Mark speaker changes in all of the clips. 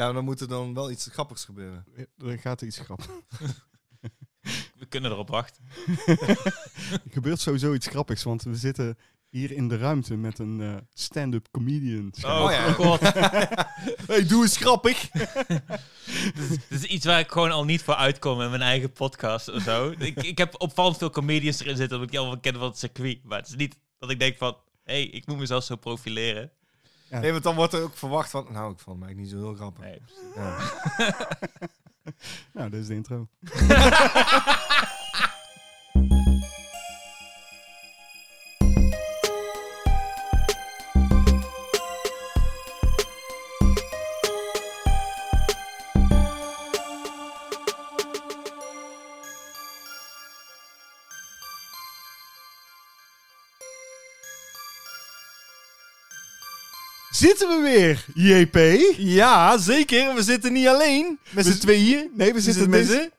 Speaker 1: Ja, dan moet er dan wel iets grappigs gebeuren.
Speaker 2: Er gaat iets grappigs.
Speaker 3: We kunnen erop wachten.
Speaker 2: Er gebeurt sowieso iets grappigs, want we zitten hier in de ruimte met een eh, stand-up comedian.
Speaker 3: Oh,
Speaker 1: Oh ja.
Speaker 3: god.
Speaker 1: hey, doe eens grappig!
Speaker 3: Dit is iets waar ik gewoon al niet voor uitkom in mijn eigen podcast of zo. ik, ik heb opvallend veel comedians erin zitten, omdat ik die allemaal ken van het circuit. Maar het is niet dat ik denk van, hé, hey, ik moet mezelf zo profileren.
Speaker 1: Nee, want dan wordt er ook verwacht van... Nou, ik vond mij niet zo heel grappig.
Speaker 3: Nee.
Speaker 1: Ja.
Speaker 2: Nou, dit is de intro. Zitten we weer, JP?
Speaker 1: ja, zeker. We zitten niet alleen. Met
Speaker 2: We
Speaker 1: z'n
Speaker 2: z-
Speaker 1: tweeën.
Speaker 2: Nee, we
Speaker 1: We zitten
Speaker 2: zitten
Speaker 1: met
Speaker 2: met
Speaker 1: z'n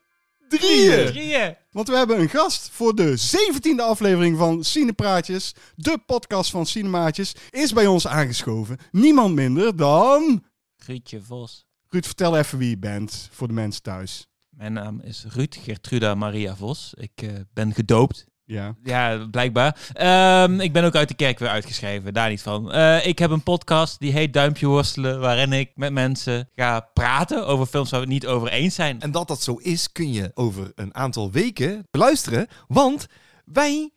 Speaker 2: drieën.
Speaker 3: Drieën.
Speaker 2: Want we hebben een gast voor de 17e aflevering van Cinepraatjes. De podcast van Cinemaatjes is bij ons aangeschoven. Niemand minder dan...
Speaker 3: Ruudje Vos.
Speaker 2: Ruud, vertel even wie je bent voor de mensen thuis.
Speaker 3: Mijn naam is Ruud Gertruda Maria Vos. Ik eh, ben gedoopt.
Speaker 2: Ja.
Speaker 3: Ja, blijkbaar. Ehm, ik ben ook uit de kerk weer uitgeschreven, daar niet van. Eh, ik heb een podcast die heet Duimpje Worstelen, waarin ik met mensen ga praten over films waar we het niet over eens zijn.
Speaker 1: En dat dat zo is, kun je over een aantal weken beluisteren. Want wij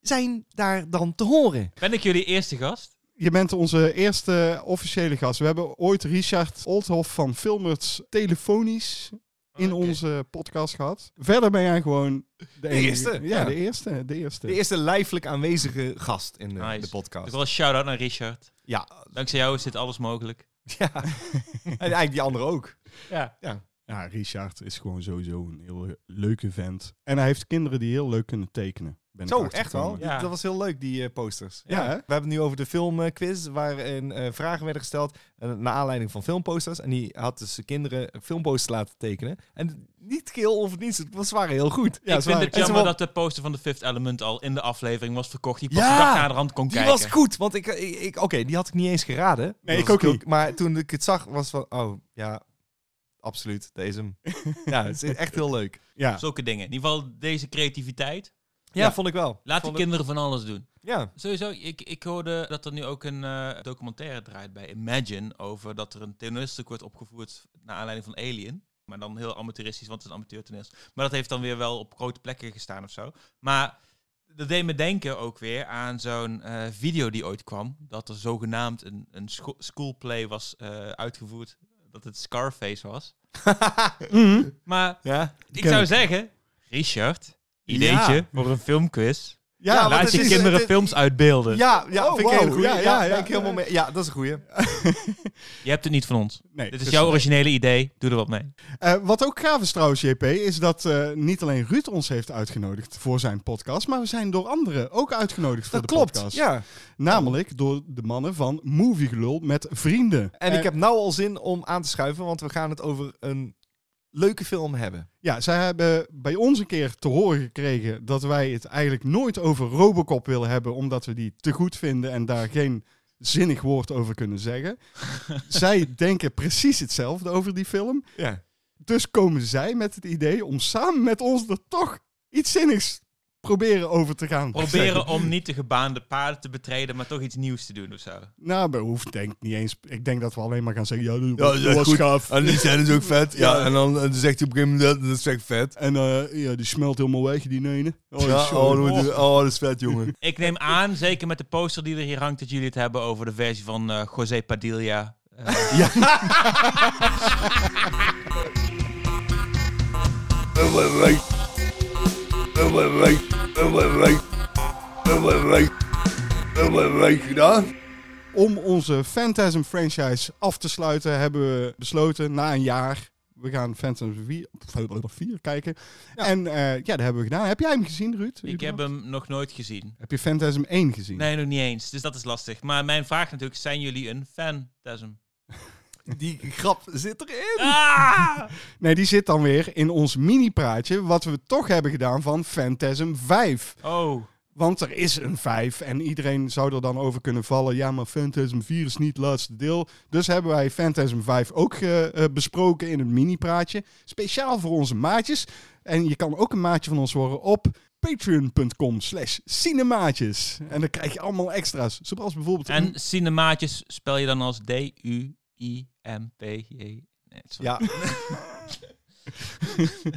Speaker 1: zijn daar dan te horen.
Speaker 3: Ben ik jullie eerste gast?
Speaker 2: Je bent onze eerste officiële gast. We hebben ooit Richard Oldhoff van Filmerts telefonisch in
Speaker 3: Oké.
Speaker 2: onze podcast gehad. Verder ben jij gewoon de, enige-
Speaker 1: eerste,
Speaker 2: Ja,
Speaker 1: ja.
Speaker 2: de eerste. De eerste.
Speaker 1: De eerste lijfelijk aanwezige gast in de,
Speaker 3: Nice.
Speaker 1: de
Speaker 3: Dus
Speaker 1: podcast.
Speaker 3: wel een shout-out naar Richard.
Speaker 1: Ja,
Speaker 3: Dankzij jou is dit alles mogelijk.
Speaker 1: ja. en eigenlijk die andere ook.
Speaker 3: Ja.
Speaker 2: Ja, Richard is gewoon sowieso een heel leuke vent. En hij heeft kinderen die heel leuk kunnen tekenen. Ben ik
Speaker 1: Zo, echt
Speaker 2: achtergekomen.
Speaker 1: wel.
Speaker 3: Ja.
Speaker 1: Die- Dat was heel leuk, die eh, posters.
Speaker 2: Ja, hè?
Speaker 1: We hebben het nu over de filmquiz, waarin eh, vragen werden gesteld eh, naar aanleiding van filmposters. En die had dus de kinderen filmposters laten tekenen. En niet geheel onverdienstelijk, want ze waren heel goed.
Speaker 2: Ja,
Speaker 3: ik
Speaker 2: is
Speaker 3: vind
Speaker 2: waar.
Speaker 3: het
Speaker 1: En ze
Speaker 3: jammer
Speaker 1: wel-
Speaker 3: dat de poster van The Fifth Element al in de aflevering was verkocht. Die pas
Speaker 1: Ja!
Speaker 3: de dag naderhand kon
Speaker 1: Die
Speaker 3: kijken.
Speaker 1: was goed, want ik, ik, ik- oké, die had ik niet eens geraden.
Speaker 2: Nee,
Speaker 1: Dat
Speaker 2: ik ook
Speaker 1: was-
Speaker 2: niet.
Speaker 1: Maar toen ik het zag, was van, oh ja, absoluut, deze hem. ja, het is echt heel leuk.
Speaker 2: Ja.
Speaker 3: Zulke dingen. In ieder geval deze creativiteit.
Speaker 1: Ja,
Speaker 2: Ja.
Speaker 1: vond ik wel.
Speaker 3: Laat
Speaker 1: Vond
Speaker 3: die
Speaker 1: ik-
Speaker 3: kinderen van alles doen.
Speaker 1: Ja,
Speaker 3: Sowieso, ik, ik hoorde dat er nu ook een eh, documentaire draait bij Imagine over dat er een toneelstuk wordt opgevoerd naar aanleiding van Alien. Maar dan heel amateuristisch, want het is een amateur toneelst. Maar dat heeft dan weer wel op grote plekken gestaan of zo. Maar dat deed me denken ook weer aan zo'n eh, video die ooit kwam. Dat er zogenaamd een, een scho- schoolplay was eh, uitgevoerd. Dat het Scarface was.
Speaker 2: mm-hmm.
Speaker 3: Maar
Speaker 1: ja.
Speaker 3: ik
Speaker 2: Ken
Speaker 3: zou
Speaker 2: ik.
Speaker 3: zeggen, Richard, ideetje
Speaker 1: Ja.
Speaker 3: voor een filmquiz.
Speaker 2: Ja,
Speaker 1: Ja, want
Speaker 3: Laat
Speaker 1: het
Speaker 3: je
Speaker 1: is-
Speaker 3: kinderen
Speaker 1: het-
Speaker 3: films uitbeelden.
Speaker 1: Ja, ja,
Speaker 2: Oh,
Speaker 1: vind ik een
Speaker 2: wauw.
Speaker 1: hele goeie.
Speaker 2: Ja,
Speaker 1: Ja,
Speaker 2: ja,
Speaker 1: ja,
Speaker 2: ja.
Speaker 1: ben ik helemaal mee. Ja, dat is een goeie.
Speaker 3: Je hebt het niet van ons.
Speaker 2: nee,
Speaker 3: Dit is
Speaker 2: dus-
Speaker 3: jouw originele idee. Doe er wat mee.
Speaker 2: Eh, wat ook gaaf is trouwens, JP, is dat eh, niet alleen Ruud ons heeft uitgenodigd voor zijn podcast, maar we zijn door anderen ook uitgenodigd voor
Speaker 1: Dat
Speaker 2: de
Speaker 1: klopt,
Speaker 2: podcast.
Speaker 1: ja.
Speaker 2: Namelijk door de mannen van Movie Gelul met vrienden.
Speaker 1: En
Speaker 2: Eh,
Speaker 1: ik heb nou al zin om aan te schuiven, want we gaan het over een leuke film hebben.
Speaker 2: Ja, zij hebben bij ons een keer te horen gekregen dat wij het eigenlijk nooit over Robocop willen hebben, omdat we die te goed vinden en daar geen zinnig woord over kunnen zeggen. zij denken precies hetzelfde over die film.
Speaker 1: Ja.
Speaker 2: Dus komen zij met het idee om samen met ons er toch iets zinnigs proberen over te gaan. zeggen.
Speaker 3: Proberen om niet de gebaande paden te betreden, maar toch iets nieuws te doen of zo.
Speaker 2: Nou, dat hoeft denk ik niet eens. Ik denk dat we alleen maar gaan zeggen, ja, dat
Speaker 1: dat
Speaker 2: was,
Speaker 1: is
Speaker 2: dat was
Speaker 1: goed.
Speaker 2: gaaf.
Speaker 1: die zijn dus ook vet.
Speaker 2: Ja, Ja.
Speaker 1: en dan, zegt hij op een gegeven moment, dat is echt vet.
Speaker 2: En eh, ja, die smelt helemaal weg, die nene. Oh, sorry.
Speaker 1: oh, dat is vet, jongen.
Speaker 3: Ik neem aan, zeker met de poster die er hier hangt, dat jullie het hebben over de versie van eh José Padilla. Eh,
Speaker 2: Oh. Om onze Phantasm franchise af te sluiten, hebben we besloten na een jaar. We gaan Phantasm 4, 4 kijken. En eh, ja, dat hebben we gedaan. Heb jij hem gezien, Ruud?
Speaker 3: ik heb hem nog nooit gezien.
Speaker 2: Heb je Phantasm 1 gezien?
Speaker 3: Nee, nog niet eens. Dus dat is lastig. Maar mijn vraag natuurlijk, zijn jullie een fantasm?
Speaker 1: Die grap zit erin.
Speaker 3: Ah!
Speaker 2: Nee, die zit dan weer in ons mini-praatje. Wat we toch hebben gedaan van Phantasm 5.
Speaker 3: Oh,
Speaker 2: Want er is een 5 en iedereen zou er dan over kunnen vallen. Ja, maar Phantasm 4 is niet het laatste deel. Dus hebben wij Phantasm 5 ook eh, eh, besproken in een mini-praatje. Speciaal voor onze maatjes. En je kan ook een maatje van ons worden op patreon.com slash cinemaatjes. En dan krijg je allemaal extra's. Zoals bijvoorbeeld... een-
Speaker 3: En cinemaatjes spel je dan als D-U-I-M-P-J. Nee, sorry.
Speaker 1: Ja.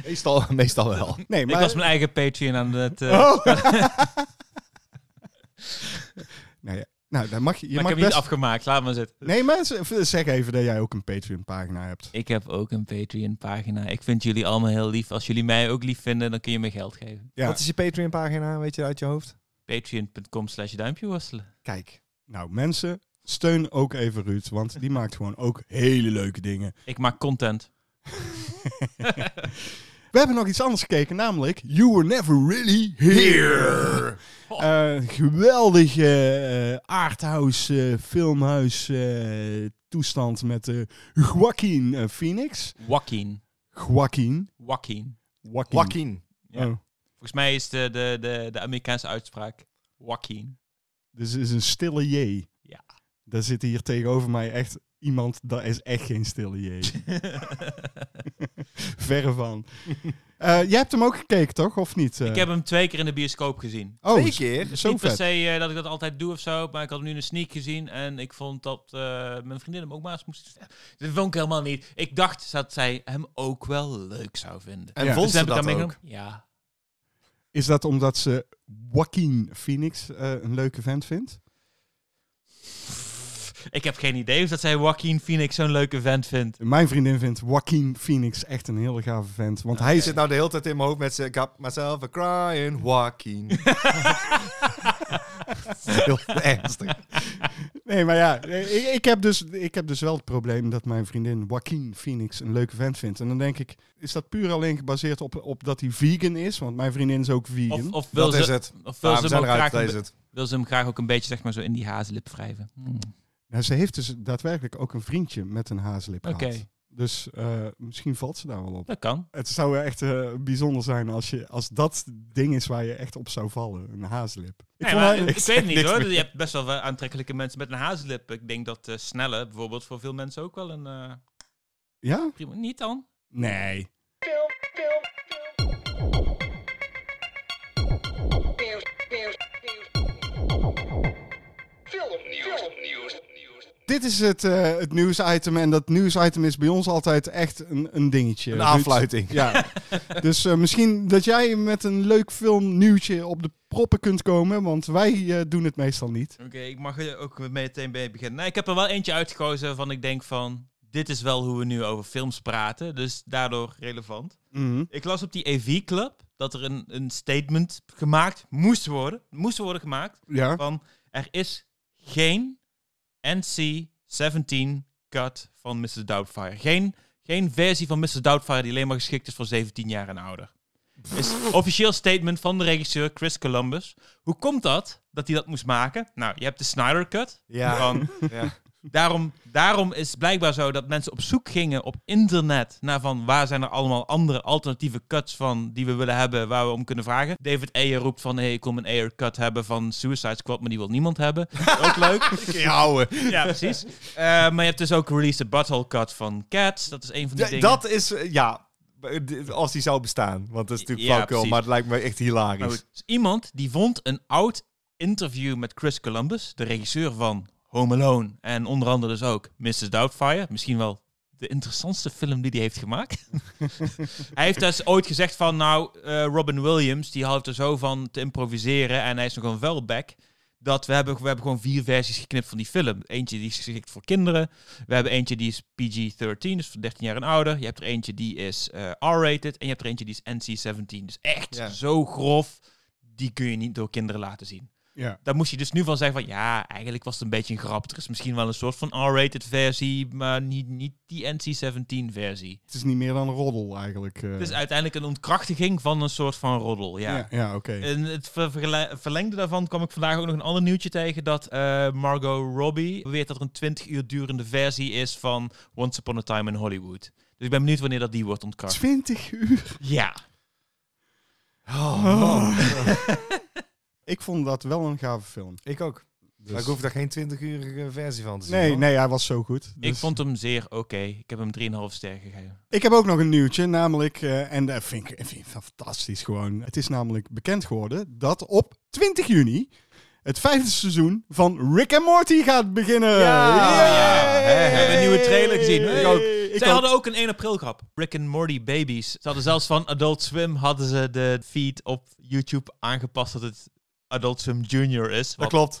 Speaker 1: meestal, meestal wel.
Speaker 2: Nee,
Speaker 3: Ik
Speaker 2: maar...
Speaker 3: was mijn eigen Patreon aan het... eh,
Speaker 2: Oh. nou ja, nou, dan mag je... je
Speaker 3: maar ik
Speaker 2: mag
Speaker 3: heb
Speaker 2: best...
Speaker 3: niet afgemaakt, laat maar zitten.
Speaker 2: Nee, mensen, v- zeg even dat jij ook een Patreon-pagina hebt.
Speaker 3: Ik heb ook een Patreon pagina. Ik vind jullie allemaal heel lief. Als jullie mij ook lief vinden, dan kun je me geld geven.
Speaker 2: Ja.
Speaker 1: Wat is je Patreon-pagina, weet je, uit je hoofd?
Speaker 3: Patreon.com slash duimpje worstelen.
Speaker 1: Kijk.
Speaker 2: Nou, mensen, steun ook even Ruud, want die maakt gewoon ook hele leuke dingen.
Speaker 3: Ik maak content.
Speaker 2: We hebben nog iets anders gekeken, namelijk You Were Never Really Here. Eh, geweldige eh arthouse, eh, filmhuis eh, toestand met eh Joaquin eh, Phoenix.
Speaker 3: Joaquin.
Speaker 2: Joaquin.
Speaker 3: Joaquin.
Speaker 2: Joaquin.
Speaker 1: Joaquin.
Speaker 3: Ja.
Speaker 2: Oh,
Speaker 3: Volgens mij is de, de, de, de Amerikaanse uitspraak Joaquin.
Speaker 2: dus het is een stille J.
Speaker 3: Ja.
Speaker 2: Daar zit hier tegenover mij echt iemand, dat is echt geen stille J. Verre van. Eh, jij hebt hem ook gekeken, toch? Of niet? Eh,
Speaker 3: Ik heb hem twee keer in de bioscoop gezien.
Speaker 2: Oh,
Speaker 1: Twee keer?
Speaker 3: Dus
Speaker 2: Zo
Speaker 3: niet per
Speaker 2: vet.
Speaker 3: se eh, dat ik dat altijd doe of zo, maar ik had hem nu in een sneak gezien en ik vond dat eh, mijn vriendin hem ook maar eens moest... Dat vond ik helemaal niet. Ik dacht dat zij hem ook wel leuk zou vinden.
Speaker 1: En
Speaker 2: Ja.
Speaker 1: vond
Speaker 3: heb
Speaker 1: ze
Speaker 3: ik
Speaker 1: dat
Speaker 3: Dus daarmee
Speaker 1: ook?
Speaker 3: genomen. Ja.
Speaker 2: Is dat omdat ze Joaquin Phoenix eh, een leuke vent vindt?
Speaker 3: Ik heb geen idee of dat zij Joaquin Phoenix zo'n leuke vent vindt.
Speaker 2: Mijn vriendin vindt Joaquin Phoenix echt een hele gave vent. Want hij
Speaker 1: Hij
Speaker 2: is...
Speaker 1: zit nou de hele tijd in mijn hoofd met zijn... Got myself a crying Joaquin. Heel ernstig.
Speaker 2: Nee, maar ja, eh, ik, ik, heb dus, ik heb dus wel het probleem dat mijn vriendin Joaquin Phoenix een leuke vent vindt. En dan denk ik, is dat puur alleen gebaseerd op, op dat hij vegan is? Want mijn vriendin is ook vegan.
Speaker 3: Of, of wil
Speaker 1: Dat
Speaker 3: ze,
Speaker 1: is het.
Speaker 3: Of wil,
Speaker 1: Ja,
Speaker 3: ze
Speaker 1: we
Speaker 3: hem
Speaker 1: zijn
Speaker 3: ook
Speaker 1: eruit,
Speaker 3: graag
Speaker 1: dat
Speaker 3: een
Speaker 1: is
Speaker 3: be-
Speaker 1: het.
Speaker 3: wil ze hem graag ook een beetje zeg maar, zo in die hazenlip wrijven. Hmm.
Speaker 2: Nou, ze heeft dus daadwerkelijk ook een vriendje met een haaslip
Speaker 3: Oké,
Speaker 2: gehad. Dus eh, misschien valt ze daar wel op.
Speaker 3: dat kan.
Speaker 2: Het zou echt eh, bijzonder zijn als, je, als dat ding is waar je echt op zou vallen. Een haaslip.
Speaker 3: Ik,
Speaker 2: vond haar-
Speaker 3: ik,
Speaker 2: zeg
Speaker 3: weet het niet
Speaker 2: niks
Speaker 3: hoor.
Speaker 2: meer.
Speaker 3: Je hebt best wel eh, aantrekkelijke mensen met een hazenlip. Ik denk dat eh snelle bijvoorbeeld voor veel mensen ook wel een eh,
Speaker 2: Ja?
Speaker 3: prima. Niet dan?
Speaker 2: Nee. Dit is het, eh, het nieuwsitem. En dat nieuwsitem is bij ons altijd echt een, een dingetje.
Speaker 1: Een
Speaker 2: Ruud.
Speaker 1: afluiting.
Speaker 2: Ja. dus eh, misschien dat jij met een leuk filmnieuwtje op de proppen kunt komen. Want wij eh, doen het meestal niet.
Speaker 3: Oké, ik mag er ook meteen bij beginnen. Nou, ik heb er wel eentje uitgekozen waarvan ik denk van... Dit is wel hoe we nu over films praten, dus daardoor relevant.
Speaker 2: Mhm.
Speaker 3: Ik las op die EV Club dat er een, een statement gemaakt moest worden. Moest worden gemaakt.
Speaker 2: Ja.
Speaker 3: Van er is geen NC-17 cut van Mrs. Doubtfire. Geen, geen versie van Mrs. Doubtfire die alleen maar geschikt is voor 17 jaar en ouder. Is een officieel statement van de regisseur Chris Columbus. Hoe komt dat dat hij dat moest maken? Nou, je hebt de Snyder Cut.
Speaker 1: Ja.
Speaker 3: Van
Speaker 1: ja.
Speaker 3: Daarom, daarom is het blijkbaar zo dat mensen op zoek gingen op internet naar van waar zijn er allemaal andere alternatieve cuts van die we willen hebben waar we om kunnen vragen. David Ayer roept van hey, ik wil een Ayer cut hebben van Suicide Squad, maar die wil niemand hebben. Ook leuk.
Speaker 1: Je houden.
Speaker 3: ja, precies. Eh, maar je hebt dus ook Release the Butthole cut van Cats. Dat is een van die dingen.
Speaker 1: dat is, eh, ja, als die zou bestaan. Want dat is natuurlijk
Speaker 3: Ja,
Speaker 1: flauwkul,
Speaker 3: precies.
Speaker 1: maar het lijkt me echt hilarisch.
Speaker 3: Maar goed, dus iemand die vond een oud interview met Chris Columbus, de regisseur van Home Alone en onder andere dus ook Mrs. Doubtfire, misschien wel de interessantste film die hij heeft gemaakt. hij heeft dus ooit gezegd van, nou, eh, Robin Williams, die houdt er zo van te improviseren en hij is nog een vuilback. Dat we hebben, we hebben gewoon vier versies geknipt van die film. Eentje die is geschikt voor kinderen. We hebben eentje die is PG-13, dus voor 13 jaar en ouder. Je hebt er eentje die is eh, R-rated. En je hebt er eentje die is NC-17. Dus echt
Speaker 1: Ja.
Speaker 3: zo grof. Die kun je niet door kinderen laten zien.
Speaker 2: ja.
Speaker 3: Daar moest je dus nu van zeggen van... Ja, eigenlijk was het een beetje een grap. Er is misschien wel een soort van R-rated versie. Maar niet, niet die NC-17 versie.
Speaker 2: Het is niet meer dan een roddel eigenlijk. eh.
Speaker 3: Het is Dus uiteindelijk een ontkrachtiging van een soort van roddel. Ja. Eh,
Speaker 2: ja, ja oké.
Speaker 3: En het ver- vergele- verlengde daarvan kwam ik vandaag ook nog een ander nieuwtje tegen. Dat eh, Margot Robbie beweert dat er een 20 uur durende versie is van Once Upon a Time in Hollywood. Dus ik ben benieuwd wanneer dat die wordt ontkracht.
Speaker 2: 20 uur.
Speaker 3: Ja.
Speaker 1: Oh, man.
Speaker 2: Ik vond dat wel een gave film.
Speaker 1: Ik ook.
Speaker 2: Dus-
Speaker 1: Maar ik hoef daar geen 20-urige versie van te zien.
Speaker 2: nee,
Speaker 1: hoor.
Speaker 2: nee, hij was zo goed.
Speaker 3: Dus- Ik
Speaker 2: Dus-
Speaker 3: vond hem zeer oké. Ik heb hem 3,5 sterren gegeven.
Speaker 2: Ik heb ook nog een nieuwtje, namelijk, eh, en dat vind ik, vind ik fantastisch gewoon. Het is namelijk bekend geworden dat op 20 juni het vijfde seizoen van Rick and Morty gaat beginnen.
Speaker 3: ja. Hè, hebben we een nieuwe trailer gezien?
Speaker 2: Ik
Speaker 3: Ik
Speaker 2: ook.
Speaker 3: ook.
Speaker 2: Ik
Speaker 3: Zij
Speaker 2: ook.
Speaker 3: hadden ook een 1 april grap. Rick and Morty Babies. Ze hadden zelfs van Adult Swim hadden ze de feed op YouTube aangepast dat het Adult Swim Junior is.
Speaker 1: Dat
Speaker 3: Wat
Speaker 1: klopt.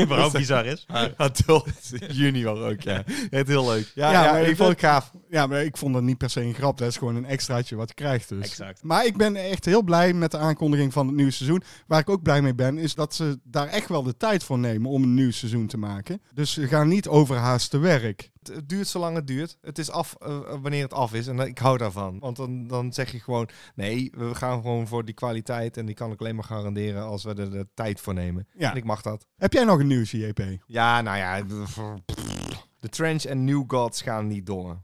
Speaker 3: überhaupt bizar is.
Speaker 1: Adult Junior ook, ja. Echt heel leuk. Ja,
Speaker 2: Ja,
Speaker 1: ja,
Speaker 2: maar
Speaker 1: ik
Speaker 2: dat-
Speaker 1: vond het gaaf.
Speaker 2: Ja, maar ik vond dat niet per se een grap. Dat is gewoon een extraatje wat je krijgt dus.
Speaker 3: Exact.
Speaker 2: Maar ik ben echt heel blij met de aankondiging van het nieuwe seizoen. Waar ik ook blij mee ben, is dat ze daar echt wel de tijd voor nemen om een nieuw seizoen te maken. Dus ze gaan niet overhaast te werk.
Speaker 1: Het- Het duurt zolang het duurt. Het is af eh, wanneer het af is. En eh, ik hou daarvan. Want dan, dan zeg je gewoon... Nee, we gaan gewoon voor die kwaliteit. En die kan ik alleen maar garanderen als we er de tijd voor nemen.
Speaker 2: Ja.
Speaker 1: En ik mag dat.
Speaker 2: Heb jij nog een nieuwtje, JP?
Speaker 1: Ja, nou ja. The Trench en New Gods gaan niet door.
Speaker 2: ik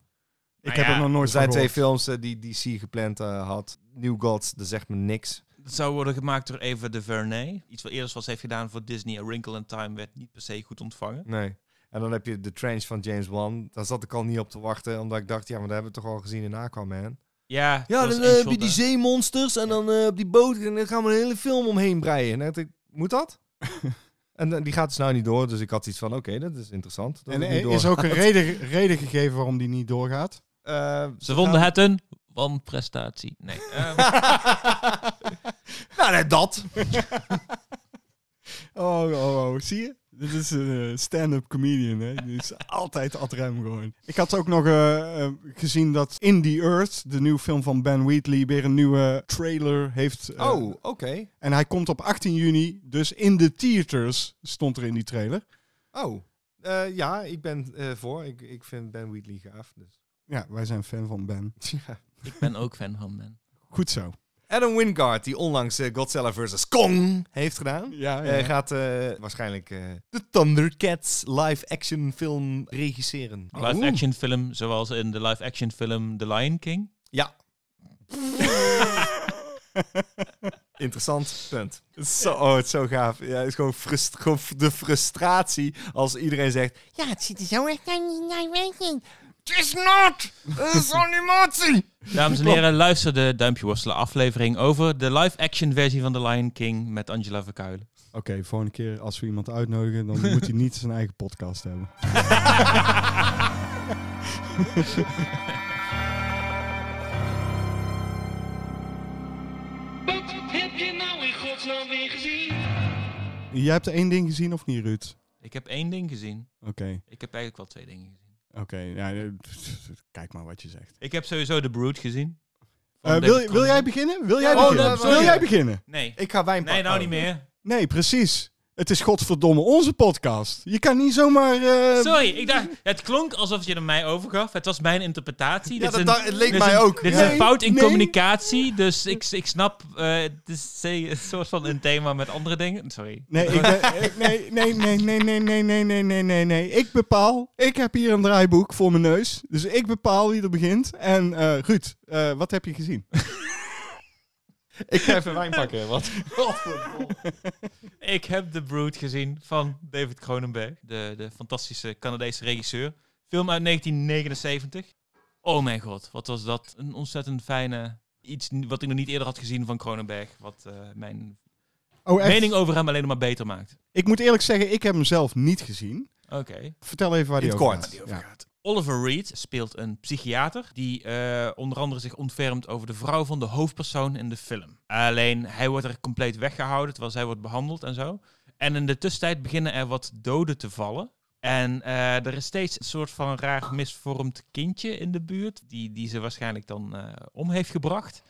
Speaker 3: Nou
Speaker 2: heb
Speaker 3: ja,
Speaker 2: er nog nooit
Speaker 1: Er zijn
Speaker 2: van
Speaker 1: twee
Speaker 2: gehoord.
Speaker 1: films eh, die DC gepland eh, had. New Gods, dat zegt me niks.
Speaker 3: Het zou worden gemaakt door Eva DuVernay. Iets wat eerder was heeft gedaan voor Disney. A Wrinkle in Time werd niet per se goed ontvangen.
Speaker 1: Nee. En dan heb je The Trench van James Wan. Daar zat ik al niet op te wachten. Omdat ik dacht, ja, maar dat hebben we toch al gezien in Aquaman.
Speaker 3: Ja,
Speaker 1: Ja,
Speaker 3: dat was
Speaker 1: dan
Speaker 3: één
Speaker 1: eh, heb
Speaker 3: shot,
Speaker 1: je die
Speaker 3: hè.
Speaker 1: zeemonsters en dan eh, op die boot en dan gaan we een hele film omheen breien. En dan dacht ik, moet dat? en eh, die gaat dus nou niet door, dus ik had iets van, oké, dat is interessant. Dat
Speaker 2: En
Speaker 1: het niet
Speaker 2: er is
Speaker 1: doorgaat.
Speaker 2: ook een reden, reden gegeven waarom die niet doorgaat.
Speaker 1: Eh,
Speaker 3: Ze vonden
Speaker 1: gaan-
Speaker 3: het een wanprestatie. Nee. ehm,
Speaker 1: nou, nee, dat.
Speaker 2: Oh, oh, oh. Zie je? Dit is een eh, stand-up comedian, hè? Dit is altijd ad rem gewoon. Ik had ook nog eh, eh, gezien dat In the Earth, de nieuwe film van Ben Wheatley, weer een nieuwe trailer heeft. eh,
Speaker 1: Oh, oké.
Speaker 2: En hij komt op 18 juni, dus in de theaters stond er in die trailer.
Speaker 1: Oh. Eh, ja, ik ben eh, voor. Ik, ik vind Ben Wheatley gaaf. Dus.
Speaker 2: Ja, wij zijn fan van Ben.
Speaker 3: ik ben ook fan van Ben.
Speaker 2: Goed zo.
Speaker 1: Adam Wingard, die onlangs eh, Godzilla vs. Kong heeft gedaan.
Speaker 2: Ja,
Speaker 1: eh, gaat eh, waarschijnlijk eh, de Thundercats live-action film regisseren.
Speaker 2: Ah,
Speaker 3: Live action film, zoals in de live action film The Lion King.
Speaker 1: Ja. Interessant punt. Zo, oh, het is zo gaaf. Ja, het is gewoon, frust, gewoon de frustratie als iedereen zegt... Ja, het ziet er zo echt uit in die werking. Het is not! Het is animatie!
Speaker 3: Dames en heren, luister de Duimpje Worstelen aflevering over de live action versie van The Lion King met Angela Verkuilen.
Speaker 2: Oké, volgende keer als we iemand uitnodigen, dan moet hij niet zijn eigen podcast hebben.
Speaker 4: Wat heb je nou in godsnaam weer gezien?
Speaker 2: Jij hebt één ding gezien of niet, Ruud?
Speaker 3: Ik heb één ding gezien.
Speaker 2: Oké,
Speaker 3: Ik heb eigenlijk wel twee dingen gezien.
Speaker 2: oké. Ja, eh, kijk maar wat je zegt.
Speaker 3: Ik heb sowieso The Brood gezien.
Speaker 2: Eh,
Speaker 3: Van David
Speaker 2: wil, je- wil
Speaker 3: Cronenberg.
Speaker 2: jij beginnen? Wil jij
Speaker 1: Oh,
Speaker 2: beginnen?
Speaker 1: dat was-
Speaker 2: wil jij beginnen? Oh.
Speaker 3: Nee.
Speaker 1: Ik ga wijn
Speaker 3: Nee,
Speaker 1: pakken.
Speaker 3: nou niet meer.
Speaker 2: Nee, precies. Het is godverdomme onze podcast. Je kan niet zomaar...
Speaker 1: Ehm,
Speaker 2: eh,
Speaker 3: Sorry, ik dacht, het klonk alsof je er mij overgaf. Het was mijn interpretatie.
Speaker 1: Ja,
Speaker 3: Dit is
Speaker 1: dat,
Speaker 3: een-
Speaker 1: dat- het leek
Speaker 3: dit is
Speaker 1: mij
Speaker 3: een-
Speaker 1: ook.
Speaker 3: Dit is
Speaker 2: Nee,
Speaker 3: een fout in
Speaker 2: nee.
Speaker 3: communicatie, dus ik, ik snap, eh, het is een soort van een thema met andere dingen. Sorry.
Speaker 2: Nee, ik ben- eh, nee, nee, nee, nee, nee, nee, nee, nee, nee, nee, nee. Ik bepaal. Ik heb hier een draaiboek voor mijn neus. Dus ik bepaal wie er begint. En eh Ruud, eh, wat heb je gezien?
Speaker 1: Ik ga even wijn pakken. Wat?
Speaker 3: Ik heb The Brood gezien van David Cronenberg, de, de fantastische Canadese regisseur. Film uit 1979. Oh mijn god, wat was dat? Een ontzettend fijne, iets n- wat ik nog niet eerder had gezien van Cronenberg. Wat eh, mijn
Speaker 2: Oh, echt?
Speaker 3: mening over hem alleen maar beter maakt.
Speaker 2: Ik moet eerlijk zeggen, ik heb hem zelf niet gezien.
Speaker 3: Oké.
Speaker 2: Vertel even waar
Speaker 1: In
Speaker 2: die
Speaker 1: het
Speaker 2: over
Speaker 1: kort.
Speaker 2: gaat. Ja.
Speaker 3: Oliver Reed speelt een psychiater die eh, onder andere zich ontfermt over de vrouw van de hoofdpersoon in de film. Alleen hij wordt er compleet weggehouden terwijl zij wordt behandeld en zo. En in de tussentijd beginnen er wat doden te vallen. En eh, er is steeds een soort van raar misvormd kindje in de buurt, die, die ze waarschijnlijk dan eh, om heeft gebracht.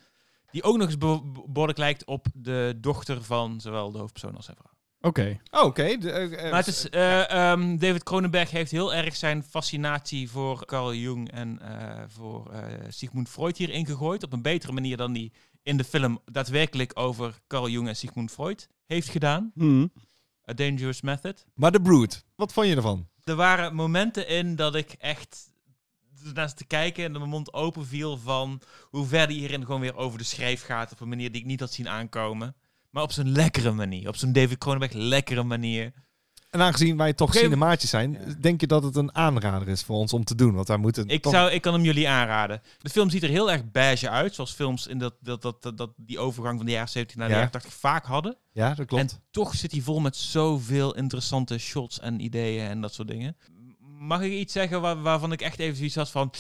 Speaker 3: Die ook nog eens be- behoorlijk lijkt op de dochter van zowel de hoofdpersoon als zijn vrouw.
Speaker 2: Oké.
Speaker 1: Oh, oké. De- eh, eh,
Speaker 3: Maar het is, eh, ehm, David Cronenberg heeft heel erg zijn fascinatie voor Carl Jung en eh, voor eh, Sigmund Freud hierin gegooid. Op een betere manier dan die in de film daadwerkelijk over Carl Jung en Sigmund Freud heeft gedaan.
Speaker 2: Hmm.
Speaker 3: A Dangerous Method.
Speaker 1: Maar The Brood, wat vond je ervan?
Speaker 3: Er waren momenten in dat ik echt naast te kijken en mijn mond open viel van hoe ver die hierin gewoon weer over de schreef gaat op een manier die ik niet had zien aankomen. Maar op zo'n lekkere manier. Op zo'n David Cronenberg lekkere manier.
Speaker 1: En aangezien wij toch
Speaker 3: Geen-
Speaker 1: cinemaatjes zijn,
Speaker 3: Ja.
Speaker 1: denk je dat het een aanrader is voor ons om te doen? Want wij moeten
Speaker 3: Ik,
Speaker 1: toch-
Speaker 3: zou, ik kan hem jullie aanraden. De film ziet er heel erg beige uit. Zoals films in dat, dat, dat, dat, dat- die overgang van de jaren 70 naar de
Speaker 1: Ja.
Speaker 3: jaren 80 vaak hadden.
Speaker 1: Ja, dat klopt.
Speaker 3: En toch zit hij vol met zoveel interessante shots en ideeën en dat soort dingen. Mag ik iets zeggen waar- waarvan ik echt even zoiets had van...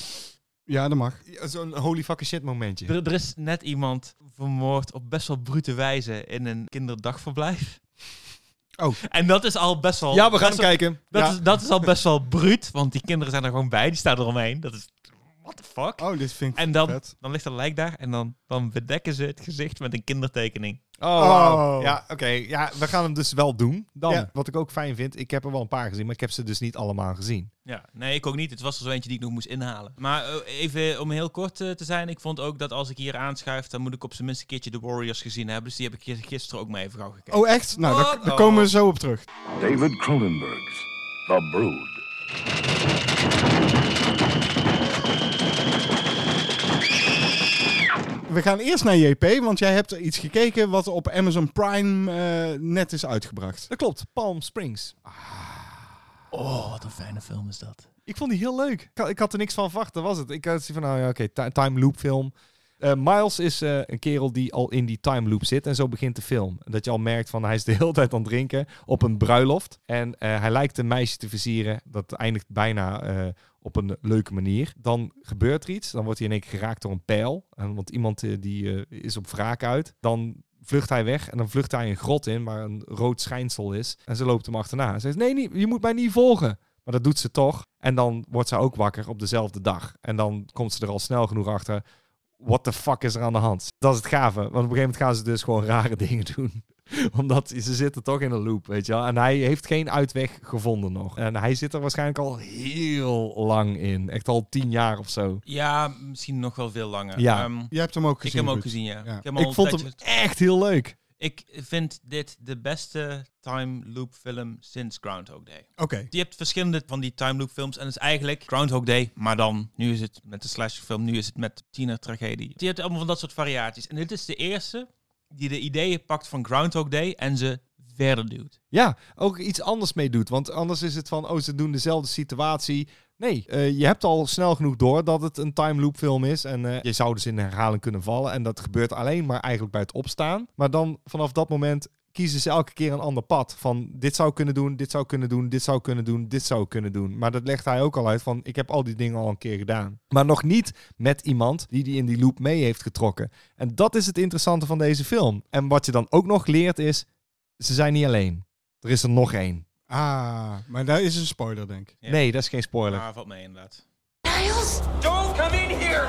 Speaker 2: Ja, dat mag.
Speaker 1: Ja, Zo'n holy fucking shit momentje.
Speaker 3: Er, er is net iemand vermoord op best wel brute wijze in een kinderdagverblijf.
Speaker 2: Oh.
Speaker 3: En dat is al best wel...
Speaker 1: ja, we gaan hem
Speaker 3: best wel-
Speaker 1: kijken.
Speaker 3: dat,
Speaker 1: Ja.
Speaker 3: is, dat is al best wel bruut, want die kinderen zijn er gewoon bij. Die staan eromheen. Dat is... What the fuck?
Speaker 2: Oh, dit vind ik
Speaker 3: En dan,
Speaker 2: vet.
Speaker 3: dan ligt er lijk daar en dan, dan bedekken ze het gezicht met een kindertekening.
Speaker 1: Oh, wauw.
Speaker 2: Oh.
Speaker 1: Ja, oké. Ja, we gaan hem dus wel doen. Dan,
Speaker 2: Ja.
Speaker 1: wat ik ook fijn vind, ik heb er wel een paar gezien, maar ik heb ze dus niet allemaal gezien.
Speaker 3: Ja, nee, ik ook niet. Het was er zo eentje die ik nog moest inhalen. Maar eh, even om heel kort eh, te zijn, ik vond ook dat als ik hier aanschuif, dan moet ik op zijn minst een keertje de Warriors gezien hebben. Dus die heb ik gis- gisteren ook maar even gauw gekeken.
Speaker 2: Oh, echt? Nou, daar,
Speaker 3: Oh.
Speaker 2: daar komen we zo op terug.
Speaker 5: David Cronenberg's The Brood.
Speaker 2: We gaan eerst naar JP, want jij hebt iets gekeken wat op Amazon Prime eh, net is uitgebracht.
Speaker 1: Dat klopt, Palm Springs.
Speaker 3: Oh, wat een fijne film is dat.
Speaker 1: Ik vond die heel leuk. Ik, had- ik had er niks van verwacht, dat was het. Ik had zoiets van, nou ja, oké, ti- time loop film. Eh, Miles is eh, een kerel die al in die time loop zit en zo begint de film. Dat je al merkt van hij is de hele tijd aan het drinken op een bruiloft. En eh, hij lijkt een meisje te versieren. Dat eindigt bijna eh, op een leuke manier. Dan gebeurt er iets. Dan wordt hij in één keer geraakt door een pijl. En, want iemand eh, die eh, is op wraak uit. Dan vlucht hij weg en dan vlucht hij een grot in waar een rood schijnsel is. En ze loopt hem achterna. Ze zegt, nee, nee, je moet mij niet volgen. Maar dat doet ze toch. En dan wordt zij ook wakker op dezelfde dag. En dan komt ze er al snel genoeg achter. What the fuck is er aan de hand? Dat is het gave. Want op een gegeven moment gaan ze dus gewoon rare dingen doen. Omdat ze zitten toch in een loop, weet je wel. En hij heeft geen uitweg gevonden nog. En hij zit er waarschijnlijk al heel lang in. Echt al tien jaar of zo.
Speaker 3: Ja, misschien nog wel veel langer.
Speaker 1: Ja.
Speaker 3: Ehm,
Speaker 2: Jij hebt hem ook
Speaker 3: ik
Speaker 2: gezien.
Speaker 3: heb hem ook
Speaker 2: Ruud.
Speaker 3: gezien, ja.
Speaker 2: Ja.
Speaker 3: Ik, heb hem al
Speaker 1: Ik
Speaker 3: een
Speaker 1: vond
Speaker 3: tijdje-
Speaker 1: hem echt heel leuk.
Speaker 3: Ik vind dit de beste time loop film sinds Groundhog Day.
Speaker 2: Oké.
Speaker 3: Je hebt verschillende van die time loop films en het is eigenlijk Groundhog Day, maar dan nu is het met de slashfilm, nu is het met tienertragedie. Je hebt allemaal van dat soort variaties en dit is de eerste die de ideeën pakt van Groundhog Day en ze verder duwt.
Speaker 1: Ja, ook iets anders mee doet. Want anders is het van, oh, ze doen dezelfde situatie. Nee, eh, je hebt al snel genoeg door dat het een time loop film is. En eh, je zou dus in herhaling kunnen vallen. En dat gebeurt alleen maar eigenlijk bij het opstaan. Maar dan vanaf dat moment kiezen ze elke keer een ander pad. Van dit zou kunnen doen, dit zou kunnen doen, dit zou kunnen doen, dit zou kunnen doen. Maar dat legt hij ook al uit van ik heb al die dingen al een keer gedaan. Maar nog niet met iemand die die in die loop mee heeft getrokken. En dat is het interessante van deze film. En wat je dan ook nog leert is, ze zijn niet alleen. Er is er nog één.
Speaker 2: Ah, maar daar is een spoiler, denk ik.
Speaker 3: Ja.
Speaker 1: Nee, dat is geen spoiler.
Speaker 3: Maar valt mee inderdaad.
Speaker 6: Niles?
Speaker 7: Don't come in here!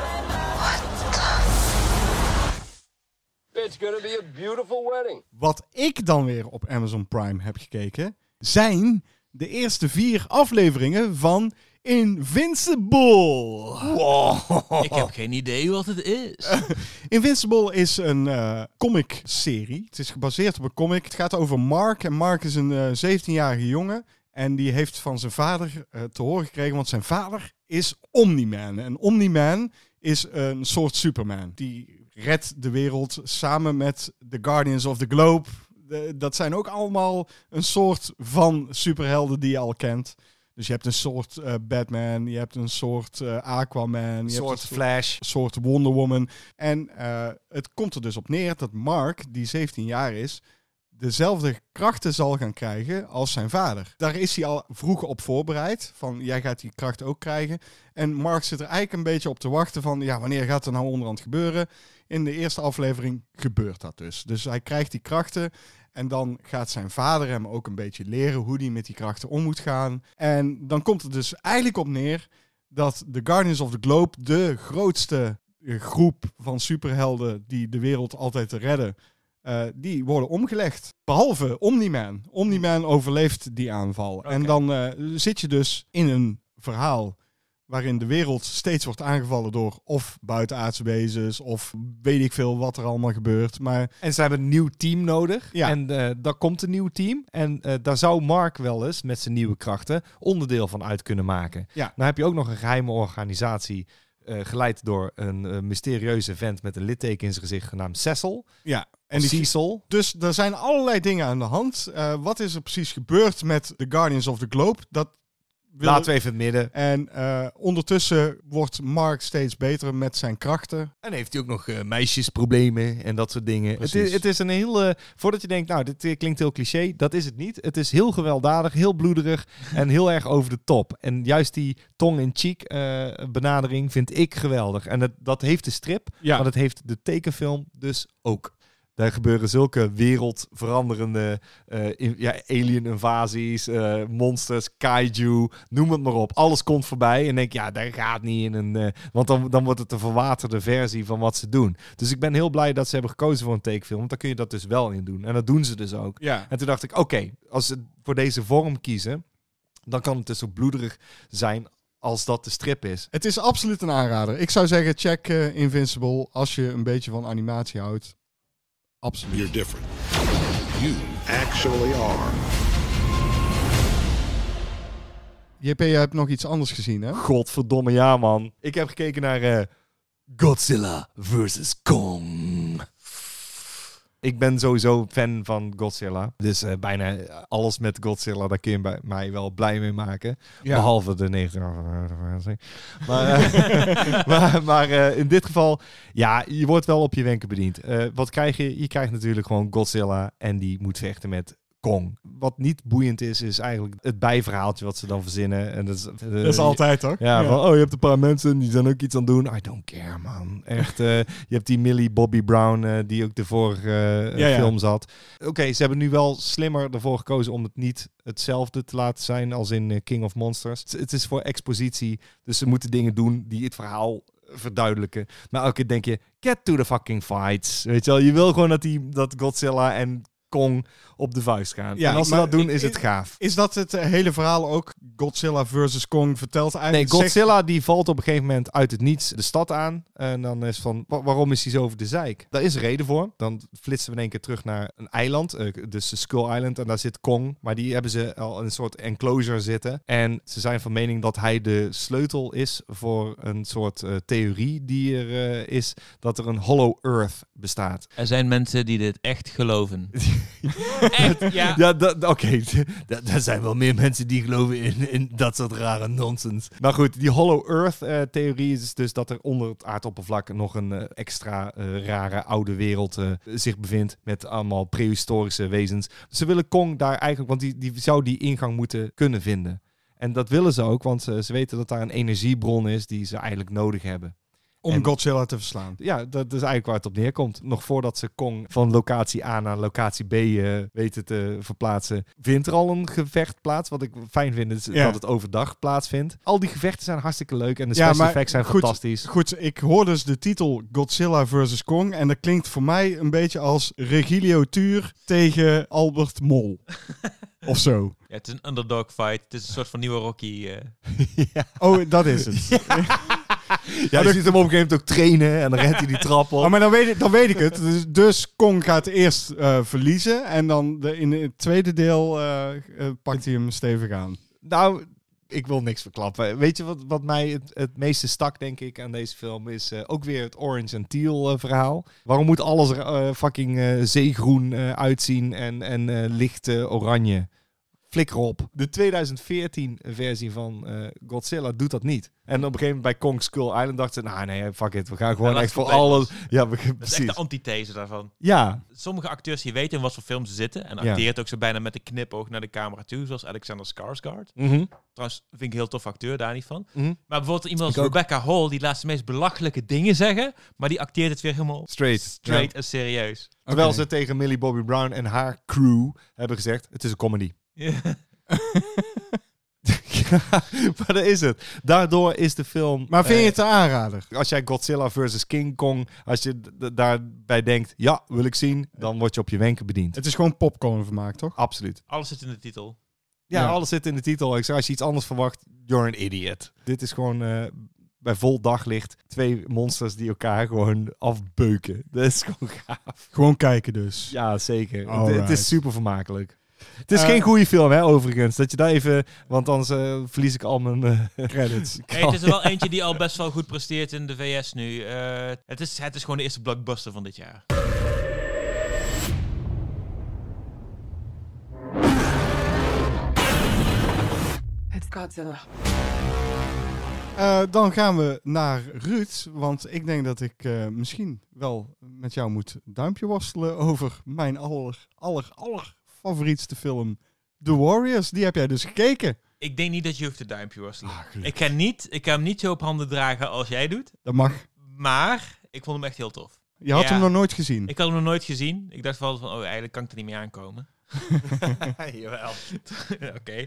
Speaker 8: It's gonna be a beautiful wedding.
Speaker 2: Wat ik dan weer op Amazon Prime heb gekeken, zijn de eerste vier afleveringen van Invincible.
Speaker 3: Ik heb geen idee wat het is.
Speaker 2: Invincible is een eh comic-serie. Het is gebaseerd op een comic. Het gaat over Mark. En Mark is een eh, 17-jarige jongen. En die heeft van zijn vader eh, te horen gekregen, want zijn vader is Omni-Man. En Omni-Man is een soort Superman. Die redt de wereld samen met de Guardians of the Globe. De- dat zijn ook allemaal een soort van superhelden die je al kent. Dus je hebt een soort eh, Batman, je hebt een soort eh, Aquaman. je
Speaker 1: Een
Speaker 2: hebt
Speaker 1: soort flash.
Speaker 2: soort Wonder Woman. En eh, het komt er dus op neer dat Mark, die 17 jaar is, dezelfde krachten zal gaan krijgen als zijn vader. Daar is hij al vroeg op voorbereid, van jij gaat die kracht ook krijgen. En Mark zit er eigenlijk een beetje op te wachten van, ja, wanneer gaat er nou onderhand gebeuren? In de eerste aflevering gebeurt dat dus. Dus hij krijgt die krachten en dan gaat zijn vader hem ook een beetje leren hoe hij met die krachten om moet gaan. En dan komt het dus eigenlijk op neer dat de Guardians of the Globe de grootste eh, groep van superhelden die de wereld altijd te redden, eh, die worden omgelegd. Behalve Omni-Man. Omni-Man overleeft die aanval. En dan eh, zit je dus in een verhaal waarin de wereld steeds wordt aangevallen door of buitenaardse wezens of weet ik veel wat er allemaal gebeurt. Maar
Speaker 1: En ze hebben een nieuw team nodig.
Speaker 2: Ja.
Speaker 1: En eh, daar komt een nieuw team. En eh, daar zou Mark wel eens met zijn nieuwe krachten onderdeel van uit kunnen maken.
Speaker 2: Ja.
Speaker 1: Nou heb je ook nog een geheime organisatie eh, geleid door een eh, mysterieuze vent met een litteken in zijn gezicht genaamd Cecil.
Speaker 2: Ja, en
Speaker 1: En
Speaker 2: die,
Speaker 1: Cecil.
Speaker 2: dus er zijn allerlei dingen aan de hand. Eh, wat is er precies gebeurd met de Guardians of the Globe? Dat wil-
Speaker 1: Laten we even in het midden.
Speaker 2: En eh, ondertussen wordt Mark steeds beter met zijn krachten.
Speaker 1: En heeft hij ook nog eh, meisjesproblemen en dat soort dingen. Het
Speaker 2: Precies.
Speaker 1: is, het is een heel... eh, voordat je denkt, nou, dit eh, klinkt heel cliché. Dat is het niet. Het is heel gewelddadig, heel bloederig en heel erg over de top. En juist die tong-in-cheek eh, benadering vind ik geweldig. En dat, dat heeft de strip,
Speaker 2: Ja.
Speaker 1: maar dat heeft de tekenfilm dus ook. Daar gebeuren zulke wereldveranderende eh, in- ja, alien-invasies, eh, monsters, kaiju, noem het maar op. Alles komt voorbij en denk, ja, daar gaat niet in. Een, eh, want dan, dan wordt het een verwaterde versie van wat ze doen. Dus ik ben heel blij dat ze hebben gekozen voor een tekenfilm, want daar kun je dat dus wel in doen. En dat doen ze dus ook.
Speaker 2: Ja.
Speaker 1: En toen dacht ik, oké, als ze voor deze vorm kiezen, dan kan het dus zo bloederig zijn als dat de strip is.
Speaker 2: Het is absoluut een aanrader. Ik zou zeggen, check eh, Invincible als je een beetje van animatie houdt. Absoluut.
Speaker 6: You're different. You actually are.
Speaker 2: JP, je hebt nog iets anders gezien, hè?
Speaker 1: Godverdomme ja, man. Ik heb gekeken naar eh, Godzilla vs. Kong. Ik ben sowieso fan van Godzilla. Dus eh, bijna alles met Godzilla, daar kun je bij mij wel blij mee maken.
Speaker 2: Ja.
Speaker 1: Behalve de 90. Maar, eh, maar, maar eh, in dit geval, ja, je wordt wel op je wenken bediend. Eh, wat krijg je? Je krijgt natuurlijk gewoon Godzilla en die moet vechten met Kong. Wat niet boeiend is, is eigenlijk het bijverhaaltje wat ze dan verzinnen. En dat is, eh,
Speaker 2: toch?
Speaker 1: ja, van, oh, je hebt een paar mensen die zijn ook iets aan het doen. I don't care, man. Echt, eh, je hebt die Millie Bobby Brown, eh, die ook de vorige eh,
Speaker 2: Ja, ja.
Speaker 1: film zat. Oké, ze hebben nu wel slimmer ervoor gekozen om het niet hetzelfde te laten zijn als in eh, King of Monsters. Het- Het is voor expositie, dus ze moeten dingen doen die het verhaal verduidelijken. Maar elke keer denk je, get to the fucking fights. Weet je wel, je wil gewoon dat, die, dat Godzilla en Kong op de vuist gaan.
Speaker 2: Ja,
Speaker 1: en als ze
Speaker 2: maar
Speaker 1: dat doen,
Speaker 2: ik-
Speaker 1: is het
Speaker 2: ik-
Speaker 1: gaaf.
Speaker 2: Is dat het eh, hele verhaal ook Godzilla versus Kong vertelt
Speaker 1: Nee,
Speaker 2: eigenlijk? zegt-
Speaker 1: Godzilla die valt op een gegeven moment uit het niets de stad aan. En dan is van, wa- waarom is hij zo over de zeik? Daar is een reden voor. Dan flitsen we in één keer terug naar een eiland. eh, dus de Skull Island. En daar zit Kong. Maar die hebben ze al in een soort enclosure zitten. En ze zijn van mening dat hij de sleutel is voor een soort eh, theorie die er eh, is. Dat er een Hollow Earth bestaat.
Speaker 3: Er zijn mensen die dit echt geloven. echt, ja.
Speaker 1: Ja, dat- oké. Da- Daar zijn wel meer mensen die geloven in, in dat soort rare nonsens. Maar goed, die Hollow Earth-theorie is dus dat er onder het aardoppervlak nog een eh, extra eh, rare oude wereld eh, zich bevindt. Met allemaal prehistorische wezens. Ze willen Kong daar eigenlijk, want die, die zou die ingang moeten kunnen vinden. En dat willen ze ook, want ze, ze weten dat daar een energiebron is die ze eigenlijk nodig hebben.
Speaker 2: om
Speaker 1: en-
Speaker 2: Godzilla te verslaan.
Speaker 1: Ja, dat is eigenlijk waar het op neerkomt. Nog voordat ze Kong van locatie A naar locatie B eh, weten te verplaatsen, vindt er al een gevecht plaats. Wat ik fijn vind is
Speaker 2: Ja.
Speaker 1: dat het overdag plaatsvindt. Al die gevechten zijn hartstikke leuk en de
Speaker 2: Ja,
Speaker 1: special
Speaker 2: maar
Speaker 1: effects zijn
Speaker 2: goed,
Speaker 1: fantastisch.
Speaker 2: Goed, ik hoor dus de titel Godzilla versus Kong en dat klinkt voor mij een beetje als Regilio Tuur tegen Albert Mol. of zo.
Speaker 3: Ja, Het is een underdog fight. Het is een soort van nieuwe Rocky. eh.
Speaker 2: Oh, dat is het.
Speaker 1: Ja, je ziet hem op een gegeven moment ook trainen en dan rent hij die trap op.
Speaker 2: Oh, maar dan weet ik, dan weet ik het. Dus, dus Kong gaat eerst eh, verliezen en dan de, in het tweede deel eh, eh, pakt hij hem stevig aan.
Speaker 1: Nou, ik wil niks verklappen. Weet je wat, wat mij het, het meeste stak, denk ik, aan deze film is eh, ook weer het orange en teal eh, verhaal. Waarom moet alles er eh, fucking eh, zeegroen eh, uitzien en, en eh, licht eh, oranje? Flikker op. De 2014 versie van eh, Godzilla doet dat niet. En op een gegeven moment bij Kong Skull Island dachten ze, nou nee, fuck it, we gaan gewoon
Speaker 3: laat
Speaker 1: echt voor
Speaker 3: het compleet
Speaker 1: alles. Ja, we,
Speaker 3: Dat is echt de
Speaker 1: precies.
Speaker 3: antithese daarvan.
Speaker 1: Ja,
Speaker 3: Sommige acteurs die weten in wat voor film ze zitten. En
Speaker 1: Ja.
Speaker 3: acteert ook zo bijna met een knipoog naar de camera toe. Zoals Alexander Skarsgård.
Speaker 1: mhm.
Speaker 3: Trouwens, vind ik een heel tof acteur, daar niet van.
Speaker 1: Mhm.
Speaker 3: Maar bijvoorbeeld iemand
Speaker 1: Ik
Speaker 3: als
Speaker 1: ook.
Speaker 3: Rebecca Hall, die laat de meest belachelijke dingen zeggen, maar die acteert het weer helemaal
Speaker 1: straight.
Speaker 3: straight en serieus.
Speaker 1: Terwijl
Speaker 2: Oké.
Speaker 1: ze tegen Millie Bobby Brown en haar crew hebben gezegd, het is een comedy. ja, maar dat is het. Daardoor is de film.
Speaker 2: Maar vind je
Speaker 1: eh,
Speaker 2: het een aanrader?
Speaker 1: als jij Godzilla versus King Kong, als je d- d- daarbij denkt, ja, wil ik zien, dan word je op je wenken bediend.
Speaker 2: Het is gewoon popcorn vermaakt, toch?
Speaker 1: Absoluut.
Speaker 3: Alles zit in de titel.
Speaker 1: Ja,
Speaker 2: Ja.
Speaker 1: alles zit in de titel. Ik zeg, als je iets anders verwacht, you're an idiot. Dit is gewoon eh, bij vol daglicht twee monsters die elkaar gewoon afbeuken. Dat is gewoon gaaf.
Speaker 2: Gewoon kijken dus.
Speaker 1: Ja, zeker. Het,
Speaker 2: Alright.
Speaker 1: het is super vermakelijk. Het is
Speaker 2: Eh,
Speaker 1: geen goede film, hè, overigens. Dat je daar even... Want anders eh, verlies ik al mijn... eh,
Speaker 2: Credits.
Speaker 3: Hey, het is er wel eentje die al best wel goed presteert in de VS nu. Eh, het, is, het is gewoon de eerste blockbuster van dit jaar.
Speaker 7: It's Godzilla.
Speaker 2: Eh, dan gaan we naar Ruud, want ik denk dat ik eh, misschien wel met jou moet duimpje worstelen over mijn aller, aller, aller favorietste film, The Warriors. Die heb jij dus gekeken.
Speaker 3: Ik denk niet dat je hoeft te duimpje
Speaker 1: Ah,
Speaker 3: worstelen. ik, ga niet, ik ga hem niet zo op handen dragen als jij doet.
Speaker 2: Dat mag.
Speaker 3: Maar ik vond hem echt heel tof.
Speaker 2: Je had
Speaker 3: Ja.
Speaker 2: hem nog nooit gezien.
Speaker 3: Ik had hem nog nooit gezien. Ik dacht wel van, oh, eigenlijk kan ik er niet meer aankomen. Jawel. Oké.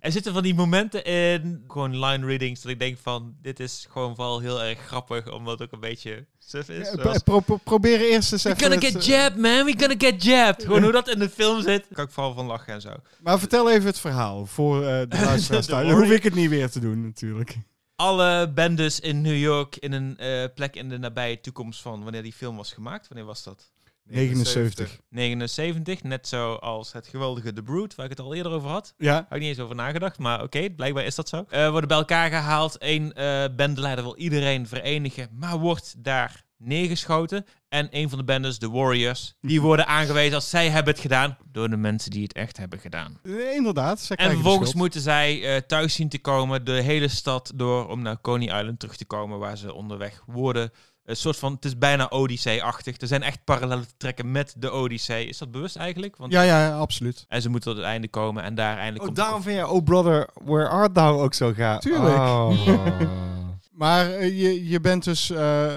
Speaker 3: Er zitten van die momenten in, gewoon line readings, dat ik denk van, dit is gewoon vooral heel erg grappig, omdat het ook een beetje suf is.
Speaker 2: Eh,
Speaker 3: Zoals-
Speaker 2: pro- pro- probeer eerst eens
Speaker 3: We
Speaker 2: even...
Speaker 3: gonna
Speaker 2: het,
Speaker 3: get
Speaker 2: eh,
Speaker 3: jabbed, man. We gonna get jabbed. Gewoon hoe dat in de film zit. Daar kan ik vooral van lachen en zo.
Speaker 2: Maar vertel even het verhaal voor eh, de luisteraars.
Speaker 3: De
Speaker 2: thuis. Dan
Speaker 3: Warriors.
Speaker 2: hoef ik het niet weer te doen natuurlijk.
Speaker 3: Alle bendes in New York in een eh, plek in de nabije toekomst van wanneer die film was gemaakt. Wanneer was dat?
Speaker 2: 79.
Speaker 3: 79, net zoals het geweldige The Brood, waar ik het al eerder over had.
Speaker 2: Ja,
Speaker 3: Had ik niet eens over nagedacht, maar oké, blijkbaar is dat zo. Eh, worden bij elkaar gehaald. Eén eh bendeleider wil iedereen verenigen, maar wordt daar neergeschoten. En een van de bendes, de Warriors, die worden aangewezen als zij hebben het gedaan door de mensen die het echt hebben gedaan.
Speaker 2: eh, inderdaad. Zij
Speaker 3: En
Speaker 2: krijgen de
Speaker 3: vervolgens
Speaker 2: schuld.
Speaker 3: moeten zij eh, thuis zien te komen, de hele stad door, om naar Coney Island terug te komen, waar ze onderweg worden. Een soort van, het is bijna Odyssey-achtig. Er zijn echt parallellen te trekken met de Odyssey. Is dat bewust eigenlijk? Want...
Speaker 2: Ja, ja, absoluut.
Speaker 3: En ze moeten tot het einde komen en daar eindelijk
Speaker 1: Oh,
Speaker 3: komt
Speaker 1: daarom vind je Oh Brother, Where Art Thou ook zo gaaf.
Speaker 2: Tuurlijk.
Speaker 1: Oh.
Speaker 2: Maar eh, je, je bent dus eh,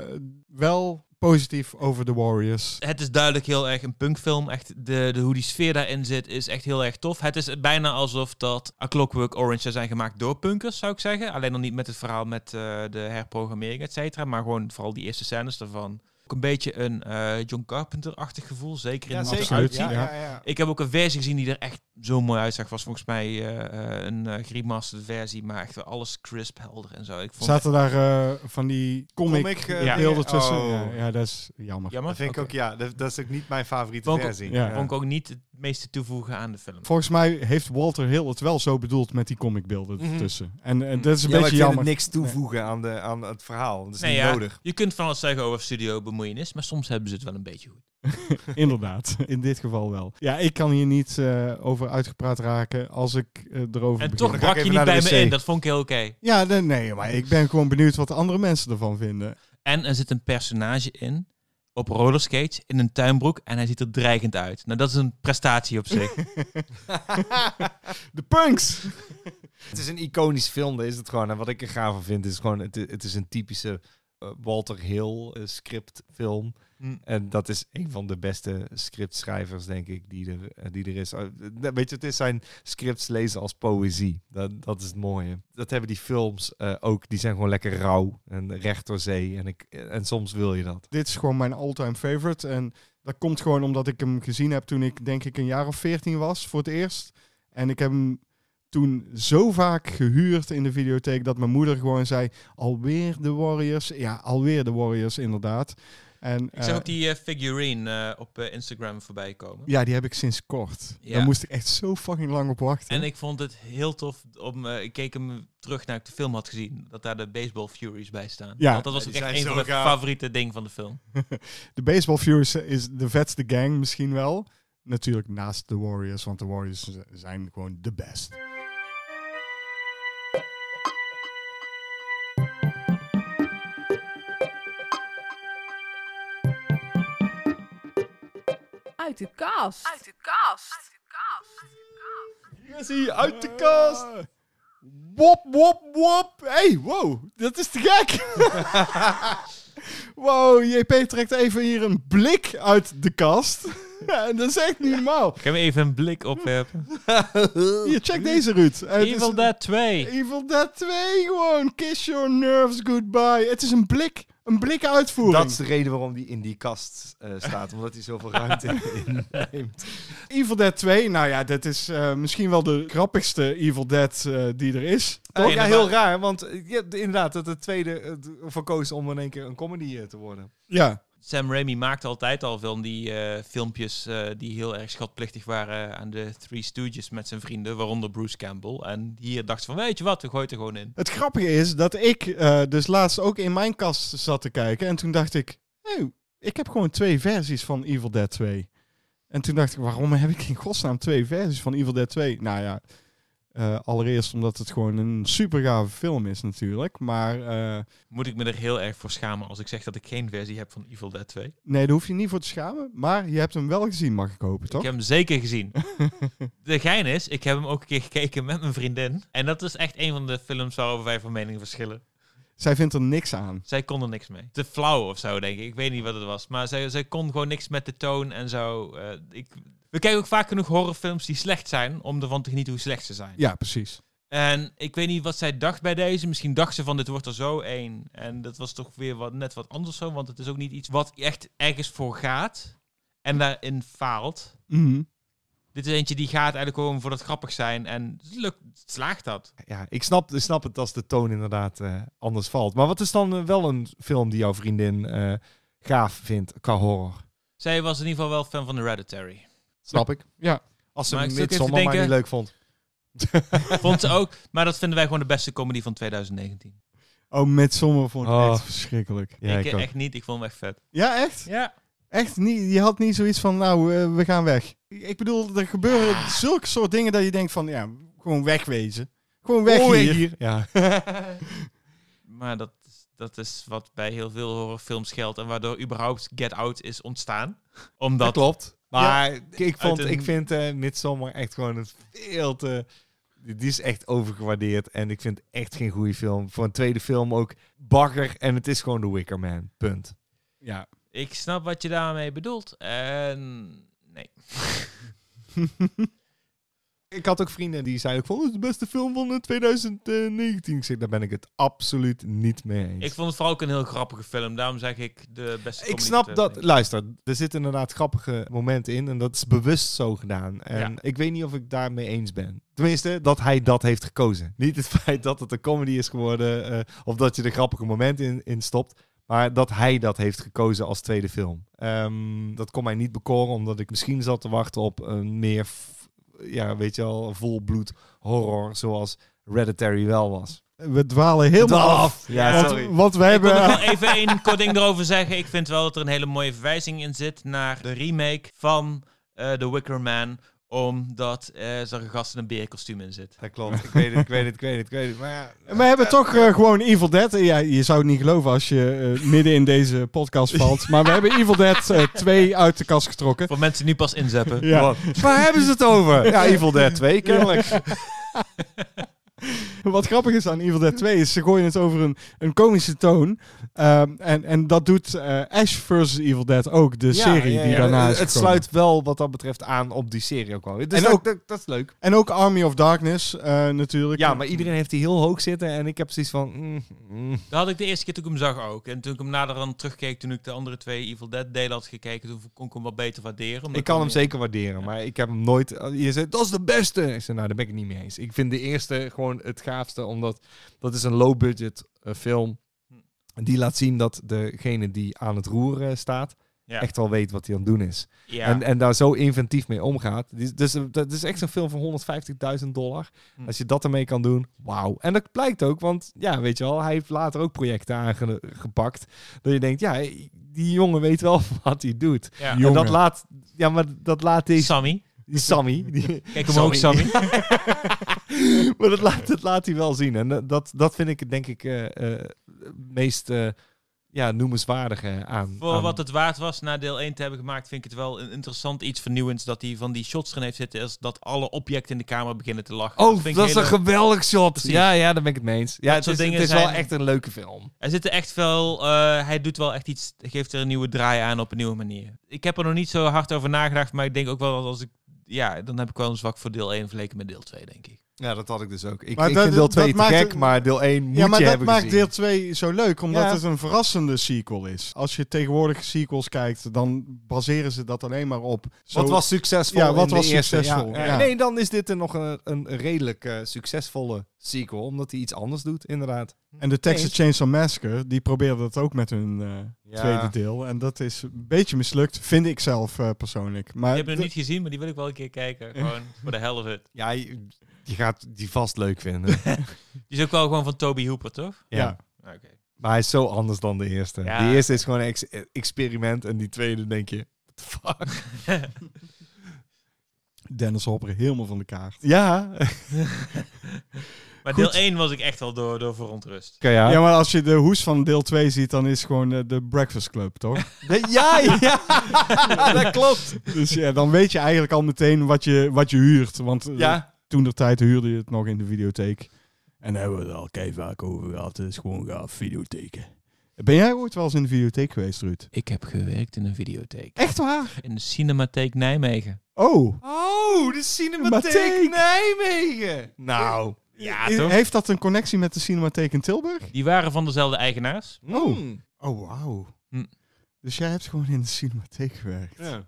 Speaker 2: wel positief over The Warriors.
Speaker 3: Het is duidelijk heel erg een punkfilm. Echt de, de, hoe die sfeer daarin zit is echt heel erg tof. Het is bijna alsof dat A Clockwork Orange zou zijn gemaakt door punkers, zou ik zeggen. Alleen nog niet met het verhaal met eh, de herprogrammering, et cetera. Maar gewoon vooral die eerste scènes daarvan. Ook een beetje een eh, John Carpenter-achtig gevoel. Zeker in
Speaker 1: Ja,
Speaker 3: de
Speaker 1: zeker.
Speaker 2: absoluut,
Speaker 1: Ja,
Speaker 2: ja.
Speaker 1: ja, ja.
Speaker 3: Ik heb ook een versie gezien die er echt zo mooi uitzag. Was volgens mij eh, eh, een eh, remastered versie, maar echt wel alles crisp, helder en zo. Ik vond
Speaker 2: Zaten daar eh, van die comic,
Speaker 1: Comic, eh,
Speaker 2: ja.
Speaker 1: dingen?
Speaker 2: tussen?
Speaker 1: Oh.
Speaker 2: Ja, ja, dat is jammer.
Speaker 3: Jammer.
Speaker 1: Dat vind ik
Speaker 3: Oké.
Speaker 1: ook, ja. Dat, dat is ook niet mijn favoriete
Speaker 3: Vond ik ook-
Speaker 1: versie.
Speaker 2: ja.
Speaker 3: Vond ik ook niet het meeste toevoegen aan de film.
Speaker 2: Volgens mij heeft Walter Hill het wel zo bedoeld met die comicbeelden
Speaker 1: Mhm.
Speaker 2: ertussen. En eh, dat is een
Speaker 1: Ja, maar
Speaker 2: beetje
Speaker 1: ik vind
Speaker 2: jammer.
Speaker 1: het niks toevoegen aan, de, aan het verhaal. Dat is
Speaker 3: Nee,
Speaker 1: niet
Speaker 3: ja,
Speaker 1: nodig.
Speaker 3: Je kunt van alles zeggen over studio bemoeienis, maar soms hebben ze het wel een beetje goed.
Speaker 2: Inderdaad, in dit geval wel. Ja, ik kan hier niet eh, over uitgepraat raken als ik eh, erover
Speaker 3: En
Speaker 2: begin.
Speaker 3: toch
Speaker 1: ga ik
Speaker 3: brak je
Speaker 1: even
Speaker 3: niet
Speaker 1: naar de
Speaker 3: bij
Speaker 1: wc.
Speaker 3: me in, dat vond ik heel oké.
Speaker 2: Ja, nee, nee, maar ik ben gewoon benieuwd wat andere mensen ervan vinden.
Speaker 3: En er zit een personage in, op rollerskates, in een tuinbroek, en hij ziet er dreigend uit. Nou, dat is een prestatie op zich.
Speaker 2: De punks!
Speaker 1: Het is een iconisch film, dat is het gewoon. En wat ik er gaaf van vind, is gewoon... Het, het is een typische eh, Walter Hill eh, scriptfilm.
Speaker 3: Mm.
Speaker 1: En dat is een van de beste scriptschrijvers, denk ik, die er, eh, die er is. Eh, Weet je, het is zijn scripts lezen als poëzie. Dat, dat is het mooie. Dat hebben die films eh, ook. Die zijn gewoon lekker rauw en recht door zee. En, ik, eh, en soms wil je dat.
Speaker 2: Dit is gewoon mijn all-time favorite. En dat komt gewoon omdat ik hem gezien heb toen ik denk ik een jaar of veertien was voor het eerst. En ik heb hem toen zo vaak gehuurd in de videotheek dat mijn moeder gewoon zei... Alweer de Warriors? Ja, alweer de Warriors, inderdaad. En,
Speaker 3: ik zag
Speaker 2: eh,
Speaker 3: ook die eh, figurine eh, op eh, Instagram voorbij komen.
Speaker 2: Ja, die heb ik sinds kort.
Speaker 3: Ja.
Speaker 2: Daar moest ik echt zo fucking lang op wachten.
Speaker 3: En ik vond het heel tof om. eh, ik keek hem terug naar ik de film had gezien. Dat daar de Baseball Furies bij staan.
Speaker 2: Ja.
Speaker 3: Want dat was
Speaker 1: Ja,
Speaker 3: ook
Speaker 1: die
Speaker 3: echt
Speaker 1: zijn
Speaker 3: een van
Speaker 1: zo
Speaker 3: mijn
Speaker 1: gaaf.
Speaker 3: favoriete dingen van de film.
Speaker 2: De Baseball Furies is de vetste gang misschien wel. Natuurlijk naast de Warriors, want de Warriors z- zijn gewoon de best.
Speaker 7: Uit de kast. Uit de kast.
Speaker 2: uit de kast! Wop, wop, wop! Hey, wow, dat is te gek! wow, JP trekt even hier een blik uit de kast. En dat is echt niet normaal.
Speaker 3: Ik heb even een blik opwerpen.
Speaker 2: Hier, check deze, Ruud. Eh, het is-
Speaker 3: Evil Dead 2.
Speaker 2: Evil Dead 2 gewoon. Kiss your nerves goodbye. Het is een blik. Een blik uitvoering.
Speaker 1: Dat is de reden waarom die in die kast eh, staat. omdat hij zoveel ruimte inneemt.
Speaker 2: Evil Dead 2, nou ja, dat is eh, misschien wel de grappigste Evil Dead eh, die er is.
Speaker 1: Toch?
Speaker 3: Eh,
Speaker 1: Ja, heel raar. Want eh, je hebt inderdaad dat het tweede eh, d- voor koos om in één keer een comedy eh, te worden.
Speaker 2: Ja.
Speaker 3: Sam Raimi maakte altijd al van die eh, filmpjes eh, die heel erg schatplichtig waren aan de Three Stooges met zijn vrienden, waaronder Bruce Campbell. En hier dacht ze van, weet je wat, we gooien het er gewoon in.
Speaker 2: Het grappige is dat ik eh, dus laatst ook in mijn kast zat te kijken. En toen dacht ik, oh, ik heb gewoon twee versies van Evil Dead 2. En toen dacht ik, waarom heb ik in godsnaam twee versies van Evil Dead 2? Nou ja, eh, allereerst omdat het gewoon een super gave film is natuurlijk. Maar eh,
Speaker 3: Moet ik me er heel erg voor schamen als ik zeg dat ik geen versie heb van Evil Dead 2?
Speaker 2: nee, daar hoef je niet voor te schamen. Maar je hebt hem wel gezien, mag ik hopen, toch?
Speaker 3: Ik heb hem zeker gezien. de gein is, ik heb hem ook een keer gekeken met mijn vriendin. En dat is echt een van de films waarover wij van mening verschillen.
Speaker 2: Zij vindt er niks aan.
Speaker 3: Zij kon er niks mee. Te flauw of zo, denk ik. Ik weet niet wat het was. Maar zij, zij kon gewoon niks met de toon en zo. Eh, ik, we kijken ook vaak genoeg horrorfilms die slecht zijn, om ervan te genieten hoe slecht ze zijn.
Speaker 2: Ja, precies.
Speaker 3: En ik weet niet wat zij dacht bij deze. Misschien dacht ze van dit wordt er zo één. En dat was toch weer wat, net wat anders zo. Want het is ook niet iets wat echt ergens voor gaat. En daarin faalt.
Speaker 2: Mhm.
Speaker 3: Dit is eentje die gaat eigenlijk gewoon voor dat grappig zijn. En het lukt, het slaagt dat.
Speaker 1: Ja, ik snap, ik snap het als de toon inderdaad eh, anders valt. Maar wat is dan eh, wel een film die jouw vriendin eh, gaaf vindt qua horror?
Speaker 3: Zij was in ieder geval wel fan van Hereditary.
Speaker 1: Snap ik.
Speaker 2: Ja.
Speaker 1: Als ze
Speaker 3: Maar ik zit even te
Speaker 1: Midsommar maar
Speaker 3: denken-
Speaker 1: niet leuk vond.
Speaker 3: Vond ze ook. Maar dat vinden wij gewoon de beste comedy van 2019.
Speaker 2: Oh, met sommigen vond ik
Speaker 1: Oh.
Speaker 2: echt verschrikkelijk.
Speaker 1: Ja,
Speaker 3: ik
Speaker 1: ik ook.
Speaker 3: echt niet. Ik vond hem echt vet.
Speaker 2: Ja, echt?
Speaker 3: Ja.
Speaker 2: Echt niet, je had niet zoiets van, nou, eh, we gaan weg. Ik bedoel, er gebeuren zulke soort dingen dat je denkt van, ja, gewoon wegwezen. Gewoon weg
Speaker 1: Oei,
Speaker 2: hier.
Speaker 1: Ja.
Speaker 3: Maar dat, is- dat is wat bij heel veel horrorfilms geldt. En waardoor überhaupt Get Out is ontstaan.
Speaker 1: Dat
Speaker 3: Omdat
Speaker 1: klopt. Maar ik- ik, vond,
Speaker 3: Uit een-
Speaker 1: ik vind eh Midsommar echt gewoon een veel te... Die is echt overgewaardeerd en ik vind het echt geen goede film. Voor een tweede film ook bagger en het is gewoon The Wicker Man. Punt.
Speaker 2: Ja.
Speaker 3: Ik snap wat je daarmee bedoelt. En nee.
Speaker 1: Ik had ook vrienden die zeiden ook van, "Oh, het is de beste film van eh, 2019. Ik zeg, daar ben ik het absoluut niet mee eens.
Speaker 3: Ik vond het vooral ook een heel grappige film. Daarom zeg ik de beste
Speaker 1: Ik
Speaker 3: comedy
Speaker 1: snap
Speaker 3: van
Speaker 1: dat.
Speaker 3: 2019.
Speaker 1: Luister, er zitten inderdaad grappige momenten in. En dat is bewust zo gedaan. En
Speaker 3: Ja.
Speaker 1: ik weet niet of ik daarmee eens ben. Tenminste, dat hij dat heeft gekozen. Niet het feit dat het een comedy is geworden. eh, of dat je er grappige momenten in, in stopt. Maar dat hij dat heeft gekozen als tweede film. Ehm, dat kon mij niet bekoren, omdat ik misschien zat te wachten op een meer. f- Ja, weet je wel, volbloed horror. Zoals Hereditary wel was.
Speaker 2: We dwalen helemaal
Speaker 1: Dwaal
Speaker 2: af.
Speaker 1: af. Ja,
Speaker 2: want,
Speaker 1: sorry.
Speaker 2: want we
Speaker 3: Ik wil
Speaker 2: hebben...
Speaker 3: nog wel even één kort ding erover zeggen. Ik vind wel dat er een hele mooie verwijzing in zit naar de remake van eh The Wicker Man. Omdat eh er een gast in een beerkostuum in zit.
Speaker 1: Dat klopt. ik weet het, ik weet het, ik weet het. Ik weet het. Maar ja,
Speaker 2: We hebben toch eh, gewoon Evil Dead. Ja, je zou het niet geloven als je eh, midden in deze podcast valt. Maar we hebben Evil Dead 2 uit de kast getrokken.
Speaker 3: Voor mensen die nu pas inzeppen.
Speaker 2: Ja.
Speaker 1: Wat? Waar hebben ze het over? Ja, Evil Dead 2, kennelijk.
Speaker 2: Wat grappig is aan Evil Dead 2 is, ze gooien het over een, een komische toon. Ehm, en, en dat doet eh, Ash vs. Evil Dead ook, de serie die daarna is
Speaker 1: Het
Speaker 2: gekomen.
Speaker 1: sluit wel wat dat betreft aan op die serie ook wel. Dus
Speaker 2: En
Speaker 1: dat,
Speaker 2: ook-
Speaker 1: dat, dat is leuk.
Speaker 2: En ook Army of Darkness eh, natuurlijk.
Speaker 1: Ja, maar iedereen heeft die heel hoog zitten en ik heb zoiets van... mm, mm.
Speaker 3: Dat had ik de eerste keer toen ik hem zag ook. En toen ik hem nader dan terugkeek, toen ik de andere twee Evil Dead delen had gekeken, toen kon ik hem wat beter waarderen. omdat
Speaker 1: Ik kan hem
Speaker 3: dan-
Speaker 1: zeker waarderen, maar ik heb hem nooit... eh, Je zegt, dat is de beste! Ik zei, nou, daar ben ik het niet mee eens. Ik vind de eerste gewoon het gaafste, omdat dat is een low-budget eh, film. Die laat zien dat degene die aan het roer eh, staat,
Speaker 3: Ja.
Speaker 1: echt wel weet wat hij aan het doen is.
Speaker 3: Ja.
Speaker 1: En, en daar zo inventief mee omgaat. Dus, dus eh, dat is echt een film van 150.000 dollar.
Speaker 3: Hm.
Speaker 1: Als je dat ermee kan doen, wauw. En dat blijkt ook, want ja, weet je wel, hij heeft later ook projecten aangepakt. Dat je denkt, ja, die jongen weet wel wat hij doet.
Speaker 3: Ja.
Speaker 1: En dat
Speaker 2: Jongen.
Speaker 1: laat, ja, maar dat laat deze
Speaker 3: Sammy.
Speaker 1: die Sammy. Die,
Speaker 3: Kijk hem ook, Sammy.
Speaker 1: maar dat laat, dat laat hij wel zien. En dat- dat, dat vind ik het, denk ik eh, eh, meest eh, ja, noemenswaardige aan.
Speaker 3: Voor
Speaker 1: aan-
Speaker 3: wat het waard was na deel 1 te hebben gemaakt, vind ik het wel een interessant iets vernieuwends dat hij van die shots erin heeft zitten, is dat alle objecten in de kamer beginnen te lachen.
Speaker 1: Oh,
Speaker 3: vind
Speaker 1: dat is
Speaker 3: ik
Speaker 1: een
Speaker 3: hele-
Speaker 1: geweldig shot.
Speaker 3: Precies.
Speaker 1: Ja, ja, daar ben ik het mee eens. Ja, het
Speaker 3: soort
Speaker 1: is, het
Speaker 3: dingen
Speaker 1: is wel
Speaker 3: zijn-
Speaker 1: echt een leuke film.
Speaker 3: Er zitten echt veel, eh, hij doet wel echt iets, geeft er een nieuwe draai aan op een nieuwe manier. Ik heb er nog niet zo hard over nagedacht, maar ik denk ook wel dat als ik, ja, dan heb ik wel een zwak voor deel 1 vergeleken met deel 2, denk ik.
Speaker 1: Ja, dat had ik dus ook. Ik,
Speaker 2: Maar
Speaker 1: ik
Speaker 2: dat-
Speaker 1: vind deel 2
Speaker 2: dat
Speaker 1: te
Speaker 2: maakt-
Speaker 1: gek, maar deel 1 moet
Speaker 2: ja, maar
Speaker 1: je
Speaker 2: dat
Speaker 1: hebben
Speaker 2: maakt
Speaker 1: gezien.
Speaker 2: deel 2 zo leuk, omdat
Speaker 1: Ja.
Speaker 2: het een verrassende sequel is. Als je tegenwoordig sequels kijkt, dan baseren ze dat alleen maar op. Zo,
Speaker 1: Wat was succesvol?
Speaker 2: Ja, wat
Speaker 1: in de
Speaker 2: was
Speaker 1: eerste?
Speaker 2: succesvol,
Speaker 1: Ja, ja.
Speaker 2: ja.
Speaker 1: Nee, dan is dit een, nog een, een redelijk eh, succesvolle sequel, omdat hij iets anders doet, inderdaad.
Speaker 2: En de Texas Chainsaw Massacre, die probeerde dat ook met hun eh,
Speaker 1: Ja.
Speaker 2: tweede deel. En dat is een beetje mislukt, vind ik zelf eh, persoonlijk. Maar
Speaker 3: Die hebben
Speaker 2: d-
Speaker 3: het niet gezien, maar die wil ik wel een keer kijken. Gewoon voor de hell of it.
Speaker 1: Ja, je, je gaat die vast leuk vinden.
Speaker 3: Die is ook wel gewoon van Toby Hooper, toch?
Speaker 2: Ja.
Speaker 1: ja.
Speaker 3: Oké.
Speaker 1: Maar hij is zo anders dan de eerste.
Speaker 3: Ja.
Speaker 1: De eerste is gewoon een ex- experiment en die tweede denk je, what the fuck?
Speaker 2: Dennis Hopper helemaal van de kaart.
Speaker 1: Ja.
Speaker 3: Maar
Speaker 2: Goed.
Speaker 3: deel 1 was ik echt al door, door verontrust.
Speaker 1: Oké, ja.
Speaker 2: Ja, maar als je de hoes van deel 2 ziet, dan is het gewoon eh, de Breakfast Club, toch?
Speaker 1: De- ja, ja. dat klopt.
Speaker 2: dus ja, dan weet je eigenlijk al meteen wat je, wat je huurt. Want eh,
Speaker 1: Ja.
Speaker 2: toen der tijd huurde je het nog in de videotheek. En daar hebben we het al kei vaak over gehad. Het is gewoon gaaf, videotheken. Ben jij ooit wel eens in de videotheek geweest, Ruud?
Speaker 3: Ik heb gewerkt in een videotheek.
Speaker 2: Echt waar?
Speaker 3: In de Cinematheek Nijmegen.
Speaker 2: Oh.
Speaker 1: Oh, de Cinematheek
Speaker 2: Matheek.
Speaker 1: Nijmegen. Nou.
Speaker 3: Ja,
Speaker 2: I-
Speaker 3: toch?
Speaker 2: Heeft dat een connectie met de Cinematheek in Tilburg?
Speaker 3: Die waren van dezelfde eigenaars.
Speaker 1: Oh.
Speaker 2: Oh, wauw.
Speaker 3: Hm.
Speaker 2: Dus jij hebt gewoon in de Cinematheek gewerkt.
Speaker 1: Ja.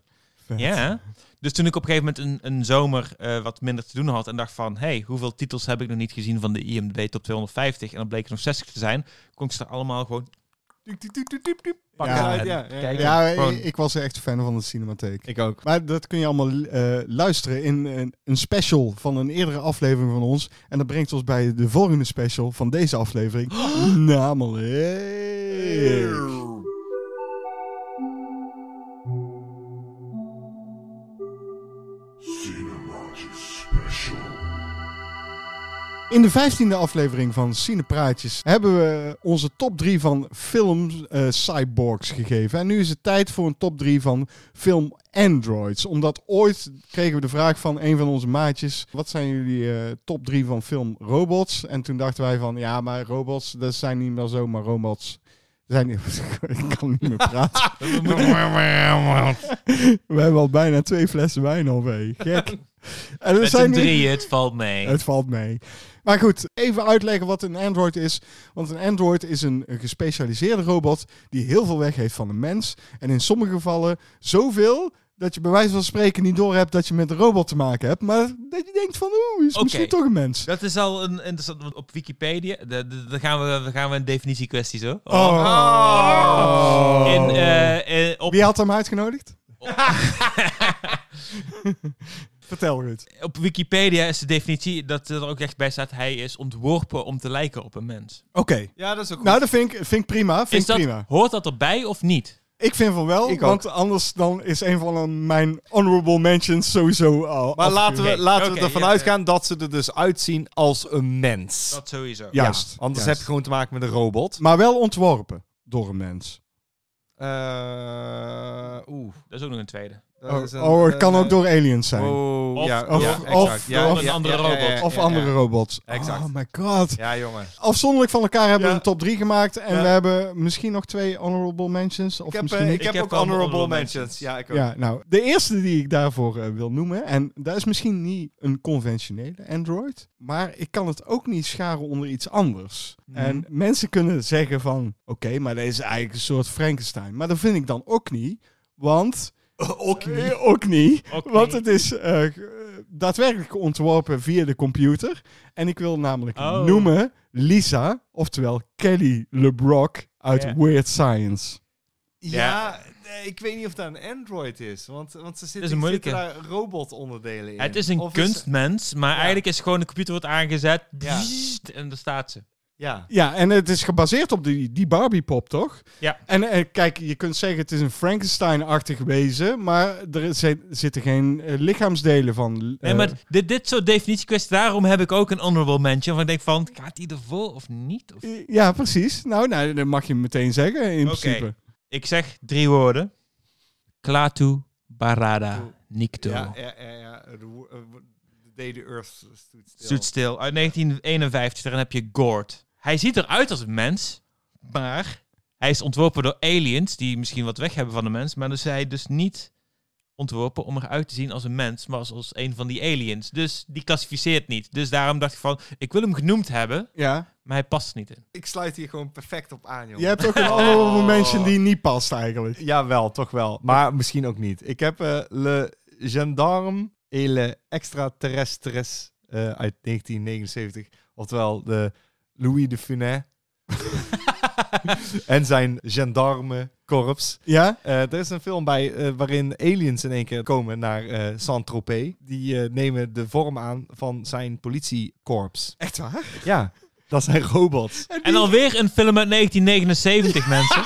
Speaker 2: Vet.
Speaker 3: Ja. Dus toen ik op een gegeven moment een, een zomer eh, wat minder te doen had en dacht van, hey, hoeveel titels heb ik nog niet gezien van de IMDb top 250? En dan bleek er nog 60 te zijn. Kon ik ze er allemaal gewoon
Speaker 1: Diep, diep, diep, diep, diep, diep. Pak
Speaker 2: Ja.
Speaker 1: eruit, ja. ja,
Speaker 3: Kijk.
Speaker 1: ja.
Speaker 2: Ja,
Speaker 3: Gewoon-
Speaker 2: ik, ik was echt fan van de Cinematheek.
Speaker 1: Ik ook.
Speaker 2: Maar dat kun je allemaal eh, luisteren in een, een special van een eerdere aflevering van ons. En dat brengt ons bij de volgende special van deze aflevering. Namelijk...
Speaker 6: Cinemagic's special.
Speaker 2: In de vijftiende aflevering van Cinepraatjes hebben we onze top 3 van film eh, cyborgs gegeven. En nu is het tijd voor een top 3 van film androids. Omdat ooit kregen we de vraag van een van onze maatjes... wat zijn jullie eh, top 3 van film robots? En toen dachten wij van, ja, maar robots, dat zijn niet meer zomaar robots. Zijn niet, ik kan niet meer praten. we hebben al bijna twee flessen wijn al mee. Gek. En er
Speaker 3: met z'n
Speaker 2: zijn niet-
Speaker 3: drieën, het valt mee.
Speaker 2: het valt mee. Maar goed, even uitleggen wat een android is. Want een android is een, een gespecialiseerde robot die heel veel weg heeft van een mens. En in sommige gevallen zoveel dat je bij wijze van spreken niet doorhebt dat je met een robot te maken hebt. Maar dat je denkt van, oeh, is
Speaker 3: Oké.
Speaker 2: misschien toch een mens.
Speaker 3: Dat is al een interessant, want op Wikipedia, de- de- daar gaan we, daar gaan we een definitie kwestie zo.
Speaker 2: Oh.
Speaker 3: In, eh, Oh. eh, op,
Speaker 2: Wie had hem uitgenodigd? Vertel, Ruud.
Speaker 3: op Wikipedia is de definitie dat er ook echt bij staat, hij is ontworpen om te lijken op een mens.
Speaker 2: Oké.
Speaker 1: Ja, dat is ook goed.
Speaker 2: Nou, dat vind ik, vind ik prima. Vind
Speaker 3: Is
Speaker 2: ik
Speaker 3: dat,
Speaker 2: prima.
Speaker 3: hoort dat erbij of niet?
Speaker 2: Ik vind van wel,
Speaker 1: Ik
Speaker 2: want anders dan is een van mijn honorable mentions sowieso al
Speaker 1: maar laten we,
Speaker 3: Oké,
Speaker 1: laten we
Speaker 3: oké,
Speaker 1: ervan
Speaker 3: ja,
Speaker 1: uitgaan dat ze er dus uitzien als een mens.
Speaker 3: Dat sowieso.
Speaker 1: Ja,
Speaker 2: Juist.
Speaker 1: Anders
Speaker 2: juist.
Speaker 1: heb je gewoon te maken met een robot.
Speaker 2: Maar wel ontworpen door een mens.
Speaker 1: Eh, Oeh.
Speaker 3: Dat is ook nog een tweede.
Speaker 1: dat
Speaker 2: oh,
Speaker 1: is een- eh,
Speaker 2: oh, het kan
Speaker 1: een-
Speaker 2: ook door aliens zijn.
Speaker 1: Oh,
Speaker 3: Of-
Speaker 1: ja,
Speaker 3: of-
Speaker 1: ja,
Speaker 2: of-
Speaker 1: exact. Ja,
Speaker 2: of
Speaker 1: ja,
Speaker 3: een andere
Speaker 1: ja, ja, ja,
Speaker 3: robot.
Speaker 2: of
Speaker 1: ja, ja.
Speaker 2: andere robots.
Speaker 1: Exact.
Speaker 2: Oh my god.
Speaker 1: Ja, jongen.
Speaker 2: Afzonderlijk van elkaar hebben we
Speaker 1: Ja.
Speaker 2: een top 3 gemaakt. En
Speaker 1: Ja.
Speaker 2: we hebben misschien nog twee honorable mentions. Of
Speaker 1: Ik heb, eh,
Speaker 2: misschien
Speaker 1: ik
Speaker 2: niet.
Speaker 1: heb
Speaker 3: heb
Speaker 1: ook
Speaker 3: wel
Speaker 1: honorable
Speaker 3: honorable
Speaker 1: mentions.
Speaker 3: mentions.
Speaker 1: Ja, ik ook.
Speaker 2: Ja, nou, de eerste die ik daarvoor eh, wil noemen. En dat is misschien niet een conventionele Android. Maar ik kan het ook niet scharen onder iets anders.
Speaker 3: Mhm.
Speaker 2: En mensen kunnen zeggen van... Oké, maar deze is eigenlijk een soort Frankenstein. Maar dat vind ik dan ook niet. Want... Ook niet. Ook niet.
Speaker 3: Ook
Speaker 2: Want
Speaker 3: niet.
Speaker 2: het is eh, daadwerkelijk ontworpen via de computer. En ik wil namelijk
Speaker 3: Oh.
Speaker 2: noemen Lisa, oftewel Kelly LeBrock uit
Speaker 3: Ja.
Speaker 2: Weird Science.
Speaker 1: Ja, nee, ik weet niet of dat een Android is. Want, want ze zitten,
Speaker 3: een moeilijke.
Speaker 1: zitten daar robotonderdelen in.
Speaker 3: Het is een
Speaker 1: Of
Speaker 3: kunstmens, maar
Speaker 1: Ja.
Speaker 3: eigenlijk is gewoon de computer wordt aangezet
Speaker 1: Ja.
Speaker 3: bzzzt, en daar staat ze.
Speaker 1: ja.
Speaker 2: Ja, en het is gebaseerd op die, die Barbie-pop, toch?
Speaker 3: Ja.
Speaker 2: En eh, kijk, je kunt zeggen het is een Frankenstein-achtig wezen, maar er is- zitten geen eh, lichaamsdelen van.
Speaker 3: Nee,
Speaker 2: eh,
Speaker 3: maar dit, dit soort definitiekwesties, daarom heb ik ook een honorable mention. Van ik denk van, gaat die ervoor of niet? Of...
Speaker 2: eh, ja, precies. Nou, nou, dat mag je meteen zeggen, in
Speaker 3: Oké.
Speaker 2: principe.
Speaker 3: Ik zeg drie woorden. Klaatu Barada Nikto.
Speaker 1: Ja, ja, ja, ja. The wo- eh, wo- the day the earth stood still.
Speaker 3: Stoet stil. Uit 1951, daarin heb je Gord. Hij ziet eruit als een mens, maar hij is ontworpen door aliens die misschien wat weg hebben van de mens, maar dus hij dus niet ontworpen om eruit te zien als een mens, maar als, als een van die aliens. Dus die klassificeert niet. Dus daarom dacht ik van, ik wil hem genoemd hebben,
Speaker 2: Ja.
Speaker 3: maar hij past er niet in.
Speaker 1: Ik sluit hier gewoon perfect op aan, joh.
Speaker 2: Je hebt ook een andere mensen die niet past eigenlijk.
Speaker 1: Jawel, toch wel. Maar misschien ook niet. Ik heb eh, Le Gendarme et le Extraterrestres eh, uit 1979. Oftewel de Louis de Funès en zijn gendarme korps.
Speaker 2: Ja?
Speaker 1: Eh, er is een film bij eh, waarin aliens in één keer komen naar eh, Saint-Tropez. Die eh, nemen de vorm aan van zijn politiekorps.
Speaker 2: Echt waar?
Speaker 1: Ja, dat zijn robots.
Speaker 3: En alweer een film uit 1979, mensen.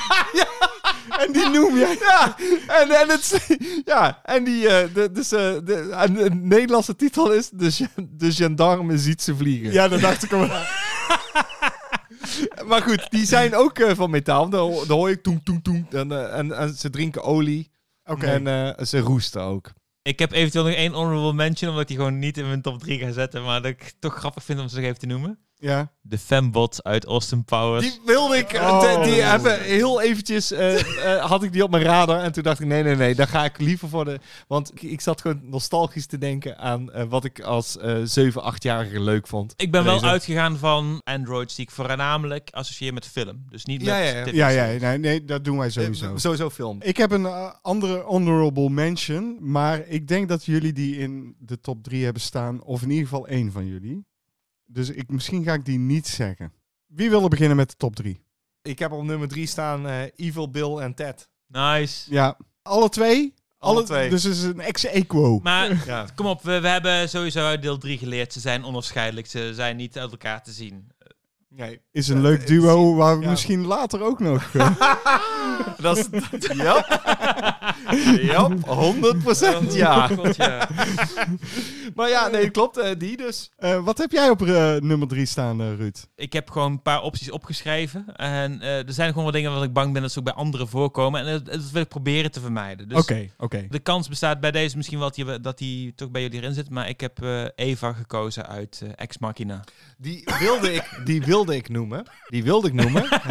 Speaker 2: En die noem jij?
Speaker 1: Ja, en, en, het, ja, en die, eh, de, dus, eh, de, en de Nederlandse titel is De, gen- de gendarme ziet ze vliegen.
Speaker 2: Ja, dat dacht ik al. wel.
Speaker 1: Maar goed, die zijn ook eh, van metaal. Dan, ho- dan hoor je toeng, toeng, toeng. En, eh, en, en ze drinken olie.
Speaker 2: Oké.
Speaker 1: En eh, ze roesten ook.
Speaker 3: Ik heb eventueel nog één honorable mention, omdat ik die gewoon niet in mijn top 3 ga zetten, maar dat ik het toch grappig vind om ze nog even te noemen.
Speaker 2: Ja.
Speaker 3: De fembot uit Austin Powers.
Speaker 1: Die wilde ik. eh,
Speaker 2: Oh.
Speaker 1: Die, die hebben heel eventjes. eh, eh, had ik die op mijn radar. En toen dacht ik: nee, nee, nee. Daar ga ik liever voor de. Want ik, ik zat gewoon nostalgisch te denken aan eh, wat ik als eh 7, 8-jarige leuk vond.
Speaker 3: Ik ben wel
Speaker 1: Deze.
Speaker 3: uitgegaan van Androids die ik voornamelijk associeer met film. Dus niet
Speaker 1: Ja,
Speaker 3: met
Speaker 1: ja, ja.
Speaker 3: tv.
Speaker 2: Ja, ja, nee, nee, dat doen wij
Speaker 1: Eh,
Speaker 2: sowieso.
Speaker 1: Sowieso film.
Speaker 2: Ik heb een eh, andere honorable mention, maar ik denk dat jullie die in de top drie hebben staan, of in ieder geval één van jullie. Dus ik, misschien ga ik die niet zeggen. Wie wil er beginnen met de top drie?
Speaker 1: Ik heb op nummer 3 staan eh, Evil Bill en Ted.
Speaker 3: Nice.
Speaker 2: Ja, alle twee?
Speaker 1: Alle twee.
Speaker 2: Dus het is een ex-equo.
Speaker 3: Maar
Speaker 1: Ja.
Speaker 3: kom op, we, we hebben sowieso uit deel 3 geleerd. Ze zijn onafscheidelijk, ze zijn niet uit elkaar te zien.
Speaker 1: Nee.
Speaker 2: Is een leuk duo waar we
Speaker 1: ja.
Speaker 2: misschien later ook nog... eh,
Speaker 1: Dat is. ja. ja, 100% ja.
Speaker 3: God, ja.
Speaker 1: Maar ja, nee, klopt. eh, die dus.
Speaker 2: eh, wat heb jij op eh, nummer drie staan, eh, Ruud?
Speaker 3: Ik heb gewoon een paar opties opgeschreven. En eh, er zijn gewoon wat dingen waar ik bang ben dat ze ook bij anderen voorkomen. En dat, dat wil ik proberen te vermijden. Dus
Speaker 2: oké.
Speaker 3: de kans bestaat bij deze misschien wel dat die, dat die toch bij jullie erin zit. Maar ik heb eh, Eva gekozen uit eh, Ex Machina.
Speaker 1: Die wilde ik, die wilde ik noemen. Die wilde ik noemen. dat,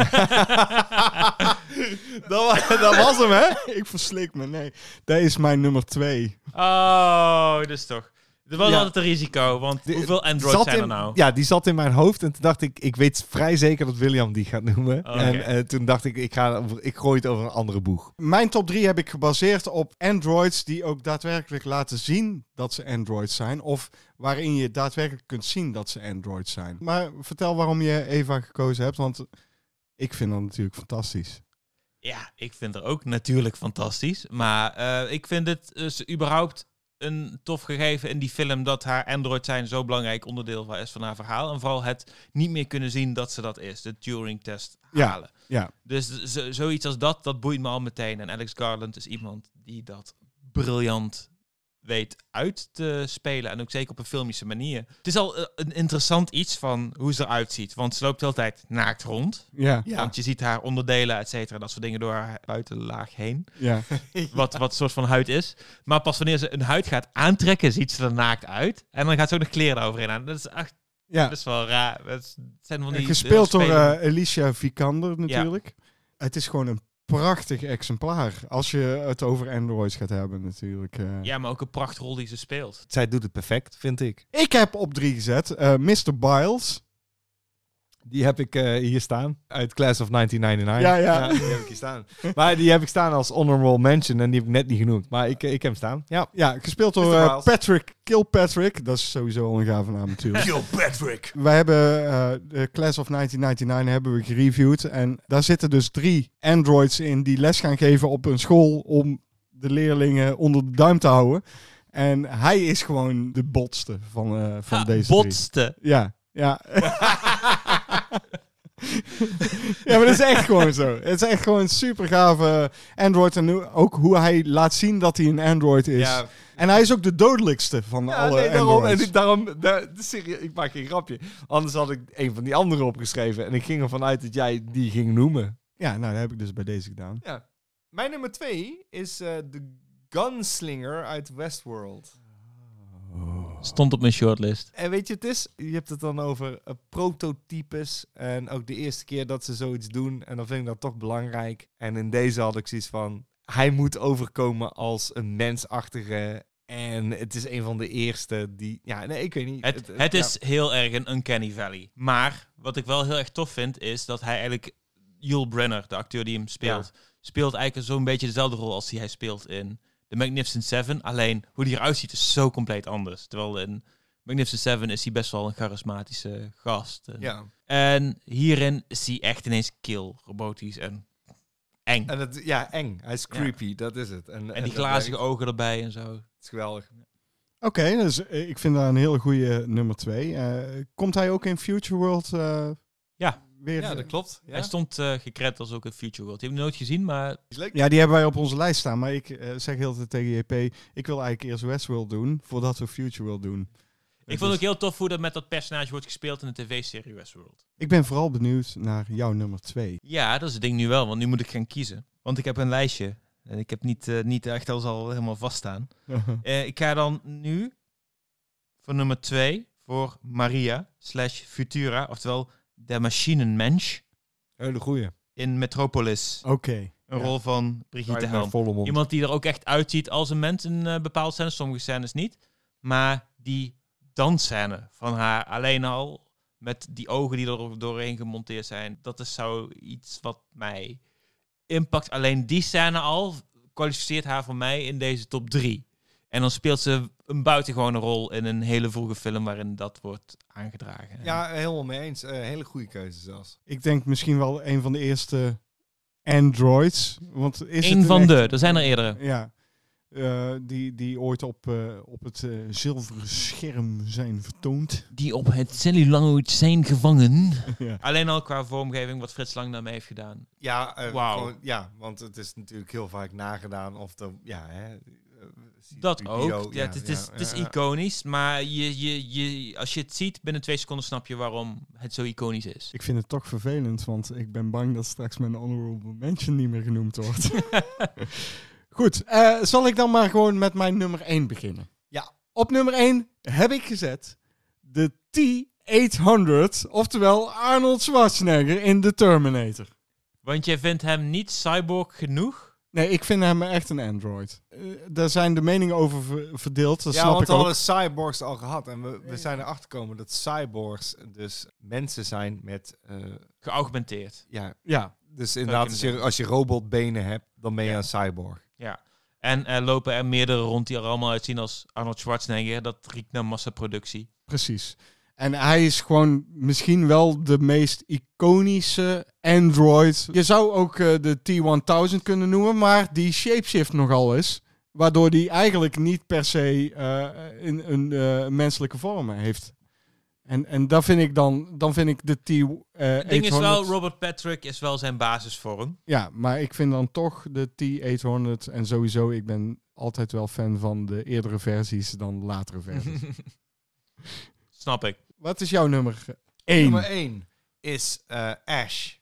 Speaker 1: wa- dat was hem, hè?
Speaker 2: ik verslik me, nee. Dat is mijn nummer twee.
Speaker 3: Oh, dus toch. Er was
Speaker 1: Ja.
Speaker 3: altijd een risico, want
Speaker 1: Die-
Speaker 3: hoeveel Androids
Speaker 1: zat
Speaker 3: zijn
Speaker 1: in-
Speaker 3: er nou?
Speaker 1: Ja, die zat in mijn hoofd en toen dacht ik, ik weet vrij zeker dat William die gaat noemen.
Speaker 3: Oké.
Speaker 1: En eh, toen dacht ik, ik, ga, over- ik gooi het over een andere boeg.
Speaker 2: Mijn top 3 heb ik gebaseerd op androids die ook daadwerkelijk laten zien dat ze androids zijn. Of waarin je daadwerkelijk kunt zien dat ze androids zijn. Maar vertel waarom je Eva gekozen hebt, want ik vind dat natuurlijk fantastisch.
Speaker 3: Ja, ik vind haar ook natuurlijk fantastisch. Maar eh, ik vind het dus überhaupt een tof gegeven in die film dat haar Android zijn zo belangrijk onderdeel wa- is van haar verhaal. En vooral het niet meer kunnen zien dat ze dat is, de Turing-test
Speaker 2: Ja,
Speaker 3: halen.
Speaker 2: ja.
Speaker 3: Dus zo- zoiets als dat, dat boeit me al meteen. En Alex Garland is iemand die dat briljant weet uit te spelen. En ook zeker op een filmische manier. Het is al eh, een interessant iets van hoe ze eruit ziet. Want ze loopt de hele tijd naakt rond.
Speaker 2: Ja,
Speaker 3: Want je ziet haar onderdelen, et cetera, dat soort dingen door haar buitenlaag heen.
Speaker 2: ja.
Speaker 3: Wat, wat soort van huid is. Maar pas wanneer ze een huid gaat aantrekken, ziet ze er naakt uit. En dan gaat ze ook nog kleren overheen aan. Dat is echt
Speaker 2: ja.
Speaker 3: best wel raar. Dat is- het zijn van die
Speaker 2: Gespeeld door
Speaker 3: spelen-
Speaker 2: eh, Alicia Vikander natuurlijk. Het is gewoon een prachtig exemplaar als je het over androids gaat hebben natuurlijk. eh.
Speaker 3: Ja, maar ook een prachtrol die ze speelt.
Speaker 1: Zij doet het perfect, vind ik.
Speaker 2: Ik heb op 3 gezet eh, Mr. Biles.
Speaker 1: Die heb ik eh, hier staan. Uit Class of 1999.
Speaker 2: Ja, ja.
Speaker 1: die heb ik hier staan. Maar die heb ik staan als honorable mention. En die heb ik net niet genoemd. Maar ik, eh, ik heb hem staan. Ja.
Speaker 2: Ja, gespeeld door
Speaker 1: Mr.
Speaker 2: eh,
Speaker 1: Miles.
Speaker 2: Patrick Kilpatrick. Dat is sowieso al een gave naam natuurlijk.
Speaker 1: Patrick.
Speaker 2: Wij hebben eh, de Class of 1999 hebben we gereviewd. En daar zitten dus drie androids in die les gaan geven op een school om de leerlingen onder de duim te houden. En hij is gewoon de botste van, eh, van
Speaker 3: Ah,
Speaker 2: deze drie.
Speaker 3: botste.
Speaker 2: Ja, ja. ja, maar dat is echt gewoon zo. Het is echt gewoon een super gave Android. En nu ook hoe hij laat zien dat hij een Android is.
Speaker 1: Ja.
Speaker 2: En hij is ook de dodelijkste van
Speaker 1: Ja,
Speaker 2: alle
Speaker 1: nee, daarom, en
Speaker 2: Androids.
Speaker 1: ik, daarom daar- serieus, ik maak geen grapje. Anders had ik een van die anderen opgeschreven. En ik ging ervan uit dat jij die ging noemen.
Speaker 2: Ja, nou, dat heb ik dus bij deze gedaan.
Speaker 1: Ja. Mijn nummer twee is eh, de Gunslinger uit Westworld.
Speaker 3: Stond op mijn shortlist.
Speaker 1: En weet je, het is, je hebt het dan over eh, prototypes en ook de eerste keer dat ze zoiets doen. En dan vind ik dat toch belangrijk. En in deze had ik zoiets van, hij moet overkomen als een mensachtige. En het is een van de eerste die. Ja, nee, ik weet niet.
Speaker 3: Het, het is heel erg een uncanny valley. Maar wat ik wel heel erg tof vind, is dat hij eigenlijk... Yul Brenner, de acteur die hem speelt... speelt eigenlijk zo'n beetje dezelfde rol als die hij speelt in The Magnificent Seven. Alleen, hoe die eruit ziet is zo compleet anders. Terwijl in Magnificent Seven is hij best wel een charismatische gast. En,
Speaker 1: Ja.
Speaker 3: en hierin is hij echt ineens kil, robotisch en eng.
Speaker 1: En het, ja, eng. Hij is creepy, dat is het. En,
Speaker 3: en die
Speaker 1: dat
Speaker 3: glazige
Speaker 1: werkt.
Speaker 3: ogen erbij en zo.
Speaker 1: Het is geweldig.
Speaker 2: Oké, dus eh, ik vind dat een hele goede nummer twee. Eh, komt hij ook in Future World eh,
Speaker 3: Ja.
Speaker 2: weer?
Speaker 1: Ja, dat klopt. Ja,
Speaker 3: Hij stond eh gekret als ook een Future World. Die heb ik nooit gezien, maar
Speaker 1: is leuk.
Speaker 2: Ja, die hebben wij op onze lijst staan. Maar ik eh, zeg heel de tijd tegen JP, ik wil eigenlijk eerst Westworld doen, voordat we Future World doen.
Speaker 3: ik vond ook heel tof hoe dat met dat personage wordt gespeeld in de tv-serie Westworld.
Speaker 2: Ik ben vooral benieuwd naar jouw nummer twee.
Speaker 3: Ja, dat is het ding nu wel, want nu moet ik gaan kiezen. Want ik heb een lijstje. En ik heb niet, eh, niet echt alles al helemaal vaststaan. Eh, ik ga dan nu voor nummer 2 voor Maria slash Futura, oftewel de machinenmensch
Speaker 1: Hele goeie.
Speaker 3: in Metropolis.
Speaker 2: Oké.
Speaker 3: Een rol van Brigitte
Speaker 1: Draait naar
Speaker 3: Helm.
Speaker 1: volle mond.
Speaker 3: Iemand die er ook echt uitziet als een mens in eh bepaalde scènes, sommige scènes niet. Maar die dansscène van haar alleen al, met die ogen die er doorheen gemonteerd zijn, dat is zoiets wat mij impact. Alleen die scène al kwalificeert haar voor mij in deze top 3. En dan speelt ze een buitengewone rol in een hele vroege film waarin dat wordt aangedragen.
Speaker 1: Ja, helemaal mee eens. Eh, hele goede keuze zelfs.
Speaker 2: Ik denk misschien wel een van de eerste androids. Want is het
Speaker 3: Eén van
Speaker 2: echt-
Speaker 3: de, er zijn er eerdere.
Speaker 2: Ja. Eh, die, die ooit op, eh, op het eh, zilveren scherm zijn vertoond.
Speaker 3: die op het celluloid zijn gevangen.
Speaker 2: Ja.
Speaker 3: Alleen al qua vormgeving, wat Frits Lang daarmee heeft gedaan.
Speaker 1: Ja, eh,
Speaker 3: Wauw.
Speaker 1: gewoon- ja, want het is natuurlijk heel vaak nagedaan of de, ja, hè, eh,
Speaker 3: Dat
Speaker 1: CPO,
Speaker 3: ook. Ja, het, het is,
Speaker 1: ja,
Speaker 3: het is
Speaker 1: ja.
Speaker 3: iconisch, maar je, je, je, als je het ziet, binnen twee seconden snap je waarom het zo iconisch is.
Speaker 2: Ik vind het toch vervelend, want ik ben bang dat straks mijn honorable mention niet meer genoemd wordt. Goed, eh, zal ik dan maar gewoon met mijn nummer 1 beginnen?
Speaker 1: Ja.
Speaker 2: Op nummer 1 heb ik gezet de T-800, oftewel Arnold Schwarzenegger in The Terminator.
Speaker 3: Want jij vindt hem niet cyborg genoeg?
Speaker 2: Nee, ik vind hem echt een android. Eh, daar zijn de meningen over ver- verdeeld, dat
Speaker 1: ja,
Speaker 2: snap
Speaker 1: want
Speaker 2: ik
Speaker 1: we
Speaker 2: ook.
Speaker 1: hadden cyborgs al gehad. En we, we zijn erachter gekomen dat cyborgs dus mensen zijn met... eh,
Speaker 3: Geaugmenteerd.
Speaker 1: ja,
Speaker 2: Ja,
Speaker 1: dus inderdaad, als je, als je robotbenen hebt, dan ben je een cyborg.
Speaker 3: Ja. En er lopen er meerdere rond die er allemaal uitzien als Arnold Schwarzenegger. Dat riekt naar massaproductie.
Speaker 2: precies. En hij is gewoon misschien wel de meest iconische android. Je zou ook eh, de T-1000 kunnen noemen, maar die shapeshift nogal is. Waardoor die eigenlijk niet per se eh, in een eh, menselijke vorm heeft. En, en dat vind ik dan, dan vind ik de eh, T-800...
Speaker 3: Het ding is wel, Robert Patrick is wel zijn basisvorm.
Speaker 2: Ja, maar ik vind dan toch de T800 en sowieso, ik ben altijd wel fan van de eerdere versies dan de latere versies.
Speaker 3: Snap ik.
Speaker 2: Wat is jouw nummer 1?
Speaker 1: Nummer 1 is eh, Ash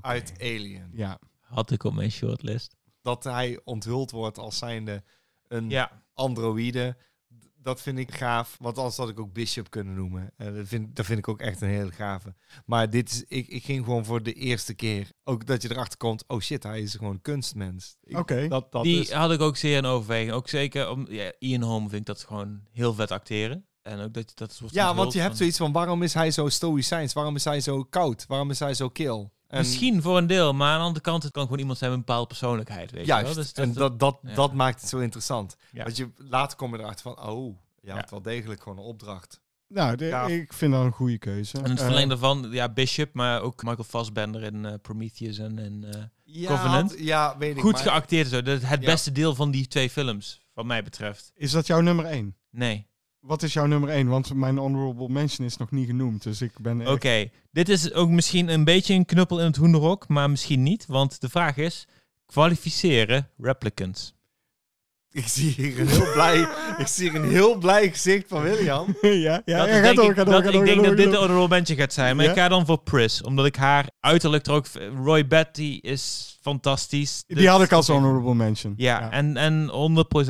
Speaker 1: uit Alien.
Speaker 2: Oh. Ja,
Speaker 3: Had ik op mijn shortlist.
Speaker 1: Dat hij onthuld wordt als zijnde een
Speaker 3: Ja.
Speaker 1: androïde. D- Dat vind ik gaaf. Want anders had ik ook Bishop kunnen noemen. En dat vind, dat vind ik ook echt een hele gave. Maar dit is, ik, ik ging gewoon voor de eerste keer. Ook dat je erachter komt, oh shit, hij is gewoon kunstmens. Ik-
Speaker 2: Oké.
Speaker 1: Dat, dat
Speaker 3: die eh,
Speaker 1: is...
Speaker 3: had ik ook zeer in overweging. Ook zeker om ja, Ian Holm vind ik dat gewoon heel vet acteren. En ook dat dat soort
Speaker 1: Ja, want
Speaker 3: onthuld
Speaker 1: je hebt
Speaker 3: van-
Speaker 1: zoiets van, waarom is hij zo stoïcijns? Waarom is hij zo koud? Waarom is hij zo kil? En-
Speaker 3: Misschien voor een deel, maar aan de andere kant het kan gewoon iemand zijn met een bepaalde persoonlijkheid. Weet
Speaker 1: Juist,
Speaker 3: Je wel? Dus
Speaker 1: en dat, dat,
Speaker 3: ja.
Speaker 1: dat maakt het zo interessant.
Speaker 3: Ja.
Speaker 1: Want je, later kom je erachter van, oh, je had
Speaker 3: Ja.
Speaker 1: wel degelijk gewoon een opdracht.
Speaker 2: nou, de-
Speaker 1: Ja.
Speaker 2: ik vind dat een goede keuze.
Speaker 3: en het
Speaker 2: Eh,
Speaker 3: verlengde van, ja, Bishop, maar ook Michael Fassbender in eh, Prometheus en, en eh,
Speaker 1: Ja,
Speaker 3: Covenant?
Speaker 1: had- Ja, weet ik.
Speaker 3: goed
Speaker 1: maar-
Speaker 3: geacteerd. Zo. Dat is het
Speaker 1: Ja.
Speaker 3: beste deel van die twee films, wat mij betreft.
Speaker 2: is dat jouw nummer 1?
Speaker 3: Nee.
Speaker 2: Wat is jouw nummer 1? Want mijn honorable mention is nog niet genoemd, dus ik ben... echt-
Speaker 3: Oké, dit is ook misschien een beetje een knuppel in het hoenderhok, maar misschien niet. Want de vraag is, kwalificeren replicants?
Speaker 1: Ik zie hier een heel blij, ik zie hier een heel blij gezicht van William.
Speaker 2: ja, ja,
Speaker 3: Dat
Speaker 2: ja
Speaker 3: is
Speaker 2: ga
Speaker 3: denk
Speaker 2: door,
Speaker 3: ik-
Speaker 2: ga door,
Speaker 3: dat
Speaker 2: ga
Speaker 3: Ik
Speaker 2: door,
Speaker 3: denk
Speaker 2: ga
Speaker 3: dat
Speaker 2: door,
Speaker 3: dit
Speaker 2: ga
Speaker 3: een honorable mention gaat zijn. Maar
Speaker 2: Ja?
Speaker 3: ik ga dan voor Pris. Omdat ik haar uiterlijk er ook... Roy Batty is fantastisch.
Speaker 2: door.
Speaker 3: Dus-
Speaker 2: Die had ik als honorable mention.
Speaker 3: Ja, En, en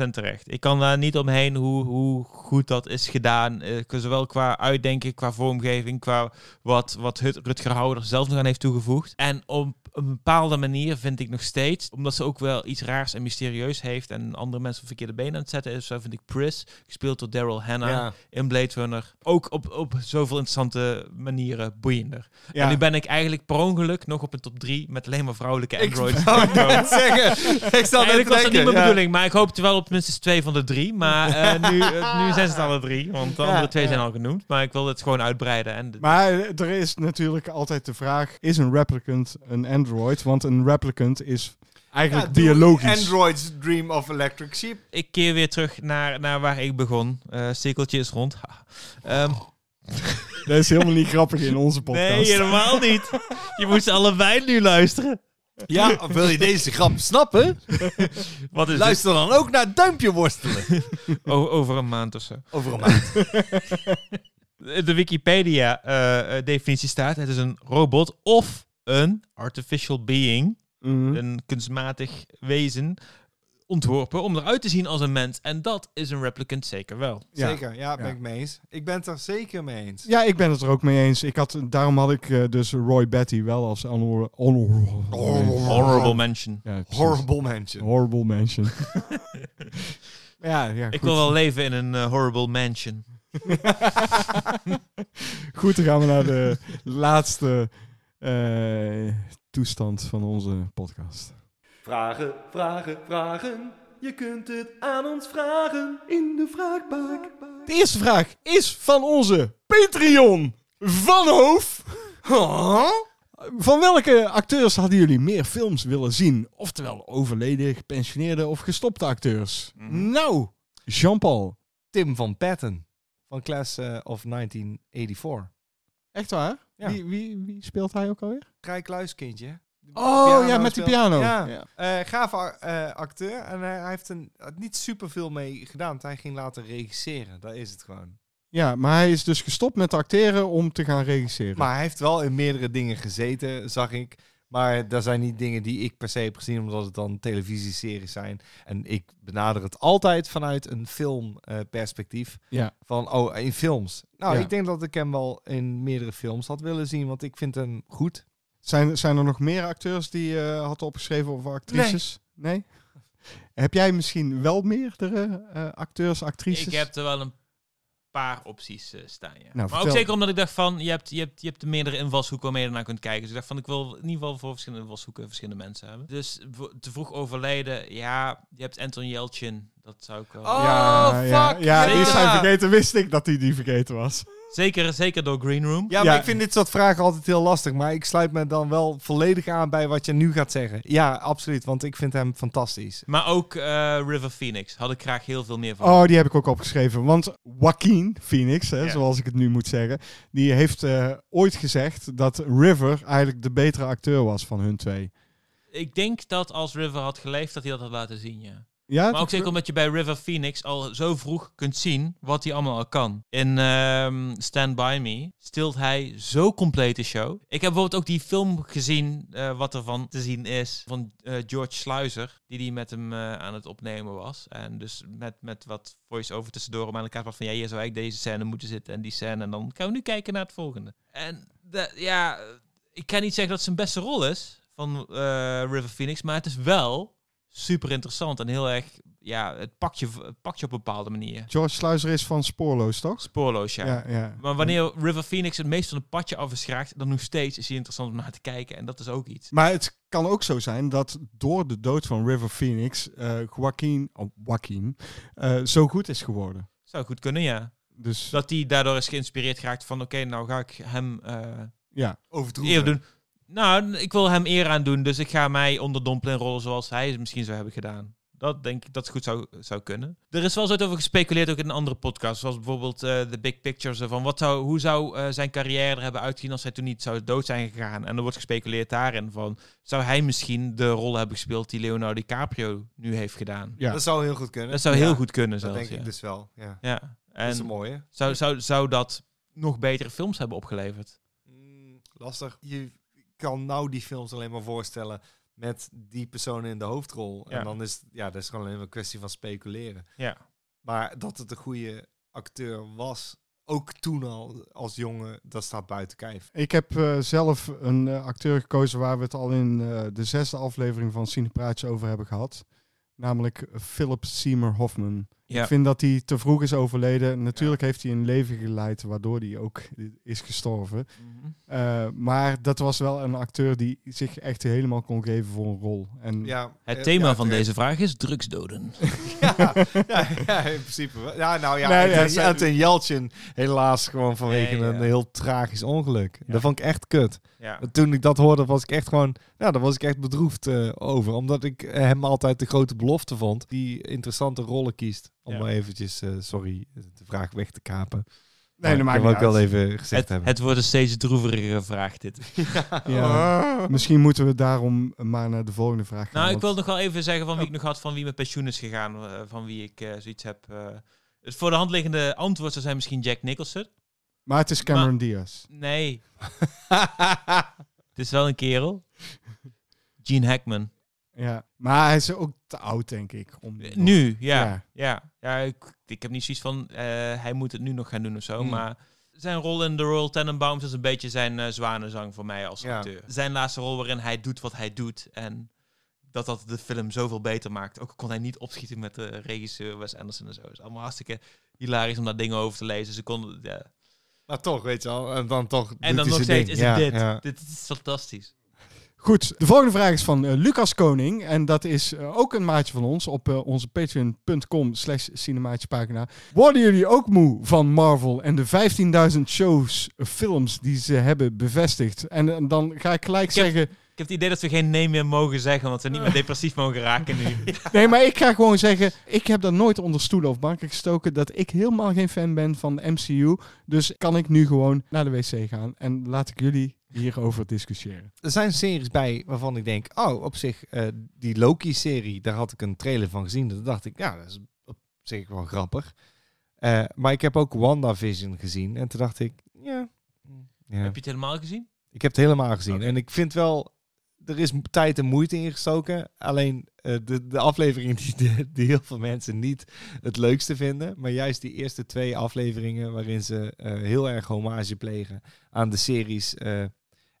Speaker 3: 100% terecht. Ik kan daar niet omheen hoe, hoe goed dat is gedaan. Eh, zowel qua uitdenken, qua vormgeving, qua wat, wat Hut- Rutger Hauer er zelf nog aan heeft toegevoegd. En om een bepaalde manier vind ik nog steeds, omdat ze ook wel iets raars en mysterieus heeft en andere mensen op verkeerde benen aan het zetten is, zo vind ik Pris, gespeeld door Daryl Hannah
Speaker 1: Ja.
Speaker 3: in Blade Runner, ook op, op zoveel interessante manieren boeiender.
Speaker 2: Ja.
Speaker 3: En nu ben ik eigenlijk per ongeluk nog op een top 3 met alleen maar vrouwelijke androids.
Speaker 1: wou net zeggen. Ik zat net te
Speaker 3: Eigenlijk was dat niet
Speaker 1: denken.
Speaker 3: mijn
Speaker 1: ja.
Speaker 3: bedoeling, maar ik hoopte wel op minstens twee van de drie. Maar eh, nu, eh, nu zijn het alle drie, want de
Speaker 1: Ja,
Speaker 3: andere twee
Speaker 1: ja.
Speaker 3: zijn al genoemd. Maar ik wil het gewoon uitbreiden. En de-
Speaker 2: Maar eh, er is natuurlijk altijd de vraag: is een replicant een android? Want een replicant is eigenlijk
Speaker 1: doe
Speaker 2: biologisch.
Speaker 1: Androids Dream of Electric Sheep.
Speaker 3: ik keer weer terug naar, naar waar ik begon. Eh cirkeltje is rond. Ha. Ehm,
Speaker 1: Oh,
Speaker 2: Dat is helemaal niet grappig in onze podcast.
Speaker 3: nee, helemaal niet. Je moest allebei nu luisteren.
Speaker 1: Ja, wil je deze grap snappen?
Speaker 3: Wat is
Speaker 1: Luister dan ook naar Duimpje Worstelen.
Speaker 3: het? O- over een maand of zo.
Speaker 1: Over een maand.
Speaker 3: De Wikipedia-definitie staat: het is een robot of een artificial being.
Speaker 2: Mhm.
Speaker 3: een kunstmatig wezen ontworpen om eruit te zien als een mens. En dat is een replicant zeker wel.
Speaker 2: Ja.
Speaker 1: Zeker, ja, ben
Speaker 2: Ja.
Speaker 1: ik mee eens. Ik ben het er zeker mee eens.
Speaker 2: Ja, ik ben het er ook mee eens. Ik had, daarom had ik eh, dus Roy Betty wel als honor- honor-
Speaker 1: Oh.
Speaker 3: Honorable mention.
Speaker 2: Ja, precies.
Speaker 1: Horrible Mansion.
Speaker 2: Horrible mansion. ja, ja
Speaker 3: Ik
Speaker 2: goed.
Speaker 3: wil wel leven in een eh, horrible mansion.
Speaker 2: Goed, dan gaan we naar de laatste eh, toestand van onze podcast.
Speaker 9: Vragen, vragen, vragen. Je kunt het aan ons vragen in de vraagbak.
Speaker 2: De eerste vraag is van onze Patreon van Hoof. Van welke acteurs hadden jullie meer films willen zien? Oftewel overleden, gepensioneerde of gestopte acteurs? Nou, Jean-Paul.
Speaker 1: Tim van Patten. Van Class eh, of 1984.
Speaker 2: Echt waar?
Speaker 1: Ja.
Speaker 2: Wie, wie, wie speelt hij ook alweer?
Speaker 1: Rijkluiskindje.
Speaker 2: Oh
Speaker 1: Piano
Speaker 2: ja, met die
Speaker 1: speelt-
Speaker 2: piano.
Speaker 1: Ja. Eh, gave a- eh, acteur. En hij- hij heeft een, had niet superveel mee gedaan. want Hij ging later regisseren. Dat is het gewoon.
Speaker 2: Ja, maar hij is dus gestopt met acteren om te gaan regisseren.
Speaker 1: Maar hij heeft wel in meerdere dingen gezeten, zag ik. Maar dat zijn niet dingen die ik per se heb gezien, omdat het dan televisieseries zijn. En ik benader het altijd vanuit een filmperspectief.
Speaker 2: ja.
Speaker 1: van, oh, in films. Nou,
Speaker 2: Ja.
Speaker 1: ik denk dat ik hem wel in meerdere films had willen zien, want ik vind hem goed.
Speaker 2: Zijn, zijn er nog meer acteurs die je had opgeschreven of actrices? Nee. Heb jij misschien wel meerdere eh, acteurs, actrices?
Speaker 3: Ik heb er wel een paar opties eh, staan. Ja. maar ook
Speaker 2: Nou, vertel.
Speaker 3: zeker omdat ik dacht van, je hebt, je hebt, je hebt de meerdere invalshoeken waarmee je ernaar kunt kijken. Dus ik dacht van, ik wil in ieder geval voor verschillende invalshoeken verschillende mensen hebben. Dus voor- te vroeg overlijden, ja, je hebt Anton Yelchin. Dat zou ik wel...
Speaker 2: Oh. ja, Ja, die
Speaker 3: Oh, Zeker.
Speaker 2: is hij vergeten. Wist ik dat hij die vergeten was.
Speaker 3: Zeker, zeker door Green Room.
Speaker 1: Ja, maar
Speaker 2: Ja.
Speaker 1: ik vind dit soort vragen altijd heel lastig. Maar ik sluit me dan wel volledig aan bij wat je nu gaat zeggen. Ja, absoluut, want ik vind hem fantastisch.
Speaker 3: Maar ook eh, River Phoenix. Had ik graag heel veel meer van.
Speaker 2: Oh, die heb ik ook opgeschreven. Want Joaquin Phoenix, hè,
Speaker 3: Ja.
Speaker 2: zoals ik het nu moet zeggen, die heeft eh, ooit gezegd dat River eigenlijk de betere acteur was van hun twee.
Speaker 3: Ik denk dat als River had geleefd, dat hij dat had laten zien, ja.
Speaker 2: Ja,
Speaker 3: Maar ook zeker omdat je bij River Phoenix al zo vroeg kunt zien wat hij allemaal al kan. In ehm, Stand By Me stilt hij zo compleet de show. Ik heb bijvoorbeeld ook die film gezien, eh, wat er van te zien is, van eh, George Sluizer, die die met hem eh, aan het opnemen was. En dus met, met wat voice-over tussendoor om aan elkaar praat van, ja, hier zou eigenlijk deze scène moeten zitten en die scène. En dan gaan we nu kijken naar het volgende. En dat- ja, ik kan niet zeggen dat het zijn beste rol is van eh, River Phoenix, maar het is wel super interessant en heel erg, ja, het pakt je, het pakt je op een bepaalde manier.
Speaker 2: George Sluizer is van Spoorloos, toch?
Speaker 3: Spoorloos, ja.
Speaker 2: ja. ja.
Speaker 3: Maar wanneer River Phoenix het meest van het padje af is geraakt, dan nog steeds is hij interessant om naar te kijken. En dat is ook iets.
Speaker 2: Maar het kan ook zo zijn dat door de dood van River Phoenix eh Joaquin, oh, Joaquin eh, zo goed is geworden.
Speaker 3: Zou goed kunnen, ja.
Speaker 2: Dus
Speaker 3: Dat hij daardoor is geïnspireerd geraakt van, oké, nou ga ik hem eh
Speaker 2: ja,
Speaker 1: Overdroegen.
Speaker 3: eer doen. Nou, ik wil hem eer aan doen, dus ik ga mij onderdompelen in rollen zoals hij het misschien zou hebben gedaan. Dat denk ik dat het goed zou, zou kunnen. Er is wel eens ooit over gespeculeerd, ook in een andere podcast. Zoals bijvoorbeeld eh The Big Pictures. eh, Van wat zou, hoe zou eh, zijn carrière er hebben uitgezien als hij toen niet zou dood zijn gegaan? En er wordt gespeculeerd daarin van... Zou hij misschien de rol hebben gespeeld die Leonardo DiCaprio nu heeft gedaan?
Speaker 2: ja.
Speaker 1: Dat zou heel goed kunnen.
Speaker 3: Dat zou heel
Speaker 1: Ja,
Speaker 3: goed kunnen
Speaker 1: Dat
Speaker 3: zelfs,
Speaker 1: denk
Speaker 3: ja.
Speaker 1: ik dus wel, ja.
Speaker 3: ja.
Speaker 1: dat is een
Speaker 3: En
Speaker 1: mooie.
Speaker 3: zou, zou, zou dat nog betere films hebben opgeleverd?
Speaker 1: Mm, lastig. Je kan nou die films alleen maar voorstellen met die personen in de hoofdrol.
Speaker 3: Ja.
Speaker 1: En dan is het- ja, dat is gewoon alleen maar een kwestie van speculeren.
Speaker 3: Ja.
Speaker 1: Maar dat het een goede acteur was, ook toen al als jongen, dat staat buiten kijf.
Speaker 2: Ik heb eh, zelf een eh, acteur gekozen waar we het al in eh, de zesde aflevering van Cinepraatje over hebben gehad. Namelijk Philip Seymour Hoffman.
Speaker 3: Ja.
Speaker 2: Ik vind dat hij te vroeg is overleden. Natuurlijk heeft hij een leven geleid waardoor hij ook is gestorven.
Speaker 3: Mhm.
Speaker 2: Eh, maar dat was wel een acteur die zich echt helemaal kon geven voor een rol. En
Speaker 1: Ja,
Speaker 3: Mm. Het
Speaker 1: eh,
Speaker 3: thema
Speaker 1: ja,
Speaker 3: van
Speaker 1: terecht.
Speaker 3: deze vraag is drugsdoden.
Speaker 1: Ja, ja, ja, in principe. wel. Ja, nou ja,
Speaker 2: Nee,
Speaker 1: het,
Speaker 2: ja,
Speaker 1: is
Speaker 2: zijn-
Speaker 1: uit een Jeltsin helaas gewoon vanwege
Speaker 3: Ja, ja, ja.
Speaker 1: een heel tragisch ongeluk. Dat vond ik echt kut.
Speaker 3: Ja.
Speaker 1: Toen ik dat hoorde, was ik echt gewoon, ja, daar was ik echt bedroefd eh, over. Omdat ik eh, hem altijd de grote belofte vond, die interessante rollen kiest. Om
Speaker 3: Ja.
Speaker 1: maar eventjes, eh, sorry, de vraag weg te kapen.
Speaker 2: nee, dat
Speaker 1: Maar
Speaker 2: maakt
Speaker 1: wil
Speaker 2: niet
Speaker 1: ik wel
Speaker 2: uit.
Speaker 1: even gezegd
Speaker 3: Het,
Speaker 1: hebben.
Speaker 3: het wordt een steeds droeverigere vraag dit.
Speaker 2: Ja. Misschien moeten we daarom maar naar de volgende vraag gaan.
Speaker 3: Nou, ik
Speaker 2: want-
Speaker 3: wil nog wel even zeggen
Speaker 1: Oh.
Speaker 3: van wie ik nog had, van wie met pensioen is gegaan, eh, van wie ik eh, zoiets heb. eh. het voor de hand liggende antwoord zou zijn misschien Jack Nicholson.
Speaker 2: Maar het is Cameron Diaz.
Speaker 3: Nee. het is wel een kerel. Gene Hackman.
Speaker 2: Ja. Maar hij is ook te oud, denk ik. Om
Speaker 3: Eh, Nu, ja.
Speaker 2: Ja.
Speaker 3: Ja, ja. ik, ik heb niet zoiets van, eh, hij moet het nu nog gaan doen of zo,
Speaker 1: Mm.
Speaker 3: maar... Zijn rol in The Royal Tenenbaums is een beetje zijn eh, zwanenzang voor mij als
Speaker 1: Ja.
Speaker 3: acteur. Zijn laatste rol waarin hij doet wat hij doet en dat dat de film zoveel beter maakt. Ook kon hij niet opschieten met de regisseur Wes Anderson en zo. Het is allemaal hartstikke hilarisch om daar dingen over te lezen. Ze konden, ja.
Speaker 1: Maar toch, weet je al, en dan toch
Speaker 3: En dan nog steeds is het dit. Dit is fantastisch.
Speaker 2: Goed, de volgende vraag is van eh, Lucas Koning. En dat is eh, ook een maatje van ons op eh, onze patreon.com slash cinemaatjespagina. Worden jullie ook moe van Marvel en de 15.000 shows, eh, films die ze hebben bevestigd? En eh, dan ga ik gelijk
Speaker 3: heb-
Speaker 2: zeggen...
Speaker 3: Ik heb het idee dat we geen nee meer mogen zeggen, want we niet meer depressief mogen raken nu.
Speaker 2: Nee, maar ik ga gewoon zeggen, ik heb dat nooit onder stoelen of banken gestoken, dat ik helemaal geen fan ben van de MCU. Dus kan ik nu gewoon naar de wc gaan en laat ik jullie hierover discussiëren.
Speaker 1: Er zijn series bij waarvan ik denk, oh, op zich, eh, die Loki-serie, daar had ik een trailer van gezien. Toen dacht ik, ja, dat is op zich wel grappig. Eh, maar ik heb ook WandaVision gezien en toen dacht ik, ja. ja.
Speaker 3: Heb je het helemaal gezien?
Speaker 1: Ik heb het helemaal gezien.
Speaker 3: Oké.
Speaker 1: En ik vind wel, er is m- tijd en moeite ingestoken. Alleen eh, de, de afleveringen die, de- die heel veel mensen niet het leukste vinden. Maar juist die eerste twee afleveringen waarin ze eh, heel erg hommage plegen aan de series. eh,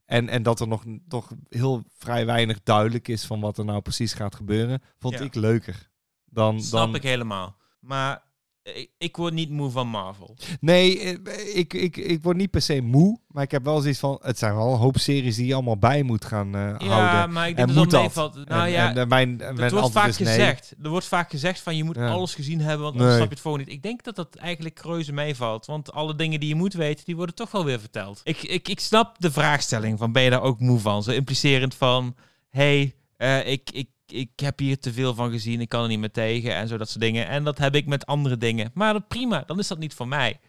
Speaker 1: en, en dat er nog n- toch heel vrij weinig duidelijk is van wat er nou precies gaat gebeuren. Vond
Speaker 3: Ja.
Speaker 1: ik leuker. Dan,
Speaker 3: Snap
Speaker 1: dan,
Speaker 3: ik helemaal. Maar eh, ik, ik word niet moe van Marvel.
Speaker 1: Nee, eh, ik, ik, ik word niet per se moe. Maar ik heb wel zoiets van, het zijn wel een hoop series die je allemaal bij moet gaan eh, houden.
Speaker 3: Ja, maar ik
Speaker 1: En
Speaker 3: denk dat
Speaker 1: moet
Speaker 3: dat
Speaker 1: dat?
Speaker 3: meevalt.
Speaker 1: En-
Speaker 3: Nou ja,
Speaker 1: en, eh, mijn, mijn
Speaker 3: het wordt
Speaker 1: antwoord
Speaker 3: vaak
Speaker 1: is nee.
Speaker 3: gezegd. Er wordt vaak gezegd van je moet
Speaker 1: Ja.
Speaker 3: alles gezien hebben, want anders
Speaker 1: Nee.
Speaker 3: snap je het volgende niet. Ik denk dat dat eigenlijk reuze meevalt. Want alle dingen die je moet weten, die worden toch wel weer verteld. Ik, ik, ik snap de vraagstelling van ben je daar ook moe van? Zo implicerend van, hé, hey, eh, ik, ik, ik heb hier te veel van gezien, ik kan er niet meer tegen en zo dat soort dingen. En dat heb ik met andere dingen. Maar dat, prima, dan is dat niet voor mij.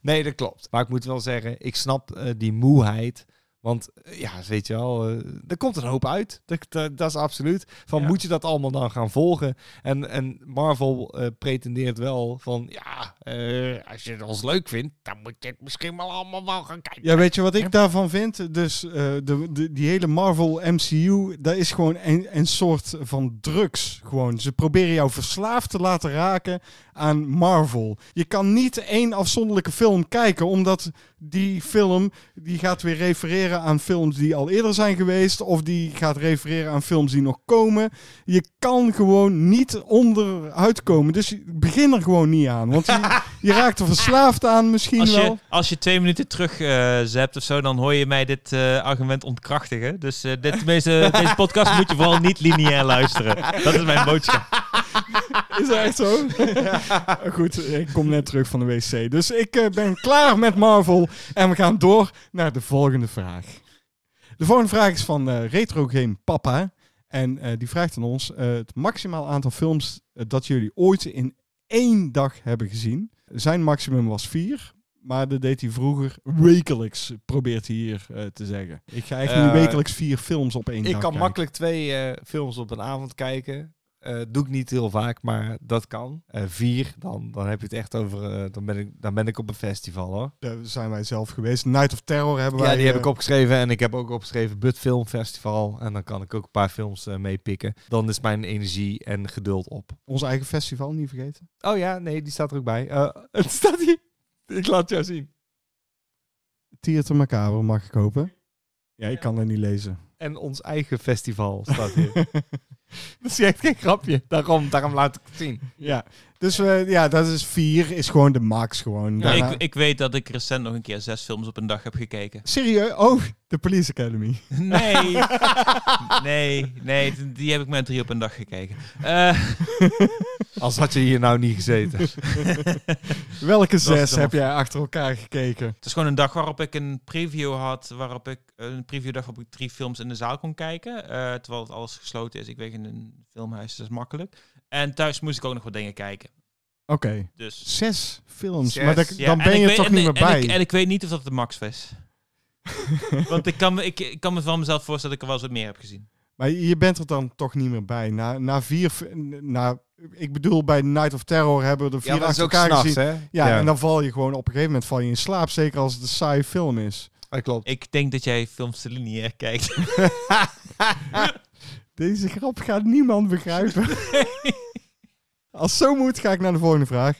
Speaker 1: Nee, dat klopt. Maar ik moet wel zeggen, ik snap eh, die moeheid. Want eh, ja, weet je wel, eh, er komt een hoop uit. Dat, dat, dat is absoluut. Van
Speaker 3: Ja.
Speaker 1: moet je dat allemaal dan gaan volgen? En, en Marvel eh, pretendeert wel van ja, eh, als je het ons leuk vindt, dan moet je het misschien wel allemaal wel gaan kijken.
Speaker 2: Ja, weet je wat ik daarvan vind? Dus eh, de, de, die hele Marvel MCU, dat is gewoon een, een soort van drugs. Gewoon. Ze proberen jou verslaafd te laten raken aan Marvel. Je kan niet één afzonderlijke film kijken, omdat die film die gaat weer refereren aan films die al eerder zijn geweest, of die gaat refereren aan films die nog komen. Je kan gewoon niet onderuit komen. Dus begin er gewoon niet aan, want je, je raakt er verslaafd aan misschien
Speaker 3: Als
Speaker 2: wel.
Speaker 3: je, als je twee minuten terug eh zapt of zo, dan hoor je mij dit eh, argument ontkrachtigen. Dus eh, dit, deze, deze podcast moet je vooral niet lineair luisteren. Dat is mijn boodschap.
Speaker 2: Is dat echt zo? Goed, ik kom net terug van de wc. Dus ik eh, ben klaar met Marvel. En we gaan door naar de volgende vraag. De volgende vraag is van eh Retro Game Papa. En eh, die vraagt aan ons eh, het maximaal aantal films eh, dat jullie ooit in één dag hebben gezien. Zijn maximum was vier. Maar dat deed hij vroeger wekelijks, eh, probeert hij hier eh, te zeggen. Ik ga echt nu
Speaker 1: Eh,
Speaker 2: wekelijks vier films op één dag
Speaker 1: Ik kan
Speaker 2: kijken.
Speaker 1: makkelijk twee eh, films op een avond kijken. Eh, doe ik niet heel vaak, maar dat kan. Eh, vier, dan, dan heb je het echt over. eh, dan, ben ik, dan ben ik op een festival hoor.
Speaker 2: Daar zijn wij zelf geweest. Night of Terror hebben wij...
Speaker 1: Ja, die heb
Speaker 2: eh,
Speaker 1: ik opgeschreven. En ik heb ook opgeschreven Bud Film Festival. En dan kan ik ook een paar films eh, meepikken. Dan is mijn energie en geduld op.
Speaker 2: Ons eigen festival, niet vergeten.
Speaker 1: Oh ja, nee, die staat er ook bij. Eh, het staat hier. Ik laat jou zien.
Speaker 2: Theater Macabre mag ik hopen. Ja, ik kan dat niet lezen.
Speaker 1: En ons eigen festival staat hier. dat is echt geen grapje. Daarom, daarom laat ik het zien.
Speaker 2: Ja, dus eh, ja, dat is vier, is gewoon de max gewoon.
Speaker 3: Ja, nou.
Speaker 2: Daarna-
Speaker 3: ik, ik weet dat ik recent nog een keer zes films op een dag heb gekeken.
Speaker 2: Serieus? Oh, de Police Academy.
Speaker 3: Nee, nee, nee, d- die heb ik met drie op een dag gekeken. Eh,
Speaker 1: Als had je hier nou niet gezeten.
Speaker 2: Welke zes
Speaker 3: dan-
Speaker 2: heb jij achter elkaar gekeken?
Speaker 3: het is gewoon een dag waarop ik een preview had, waarop ik een previewdag waarop ik drie films in de zaal kon kijken, eh, terwijl het alles gesloten is. Ik weet in een filmhuis, dus dat is makkelijk. En thuis moest ik ook nog wat dingen kijken.
Speaker 2: Oké,
Speaker 3: Dus
Speaker 2: zes films.
Speaker 1: Zes,
Speaker 2: Maar dat-
Speaker 3: ja,
Speaker 2: dan
Speaker 3: en
Speaker 2: ben
Speaker 3: ik
Speaker 2: je
Speaker 3: weet-
Speaker 2: toch
Speaker 3: en-
Speaker 2: niet meer
Speaker 3: en
Speaker 2: bij.
Speaker 3: ik- En ik weet niet of dat de max was. Want ik kan, me, ik, ik kan me van mezelf voorstellen dat ik er wel eens wat meer heb gezien.
Speaker 2: Maar je bent er dan toch niet meer bij. Na, na vier... fi- Na, ik bedoel, bij Night of Terror hebben we er vier
Speaker 1: Ja, maar dat is
Speaker 2: achter
Speaker 1: ook
Speaker 2: elkaar
Speaker 1: s'nachts,
Speaker 2: gezien.
Speaker 1: hè?
Speaker 2: Ja, en dan val je gewoon op een gegeven moment val je in slaap. Zeker als het een saaie film is.
Speaker 1: dat klopt.
Speaker 3: Ik denk dat jij films lineair kijkt.
Speaker 2: Deze grap gaat niemand begrijpen. Als zo moet, ga ik naar de volgende vraag.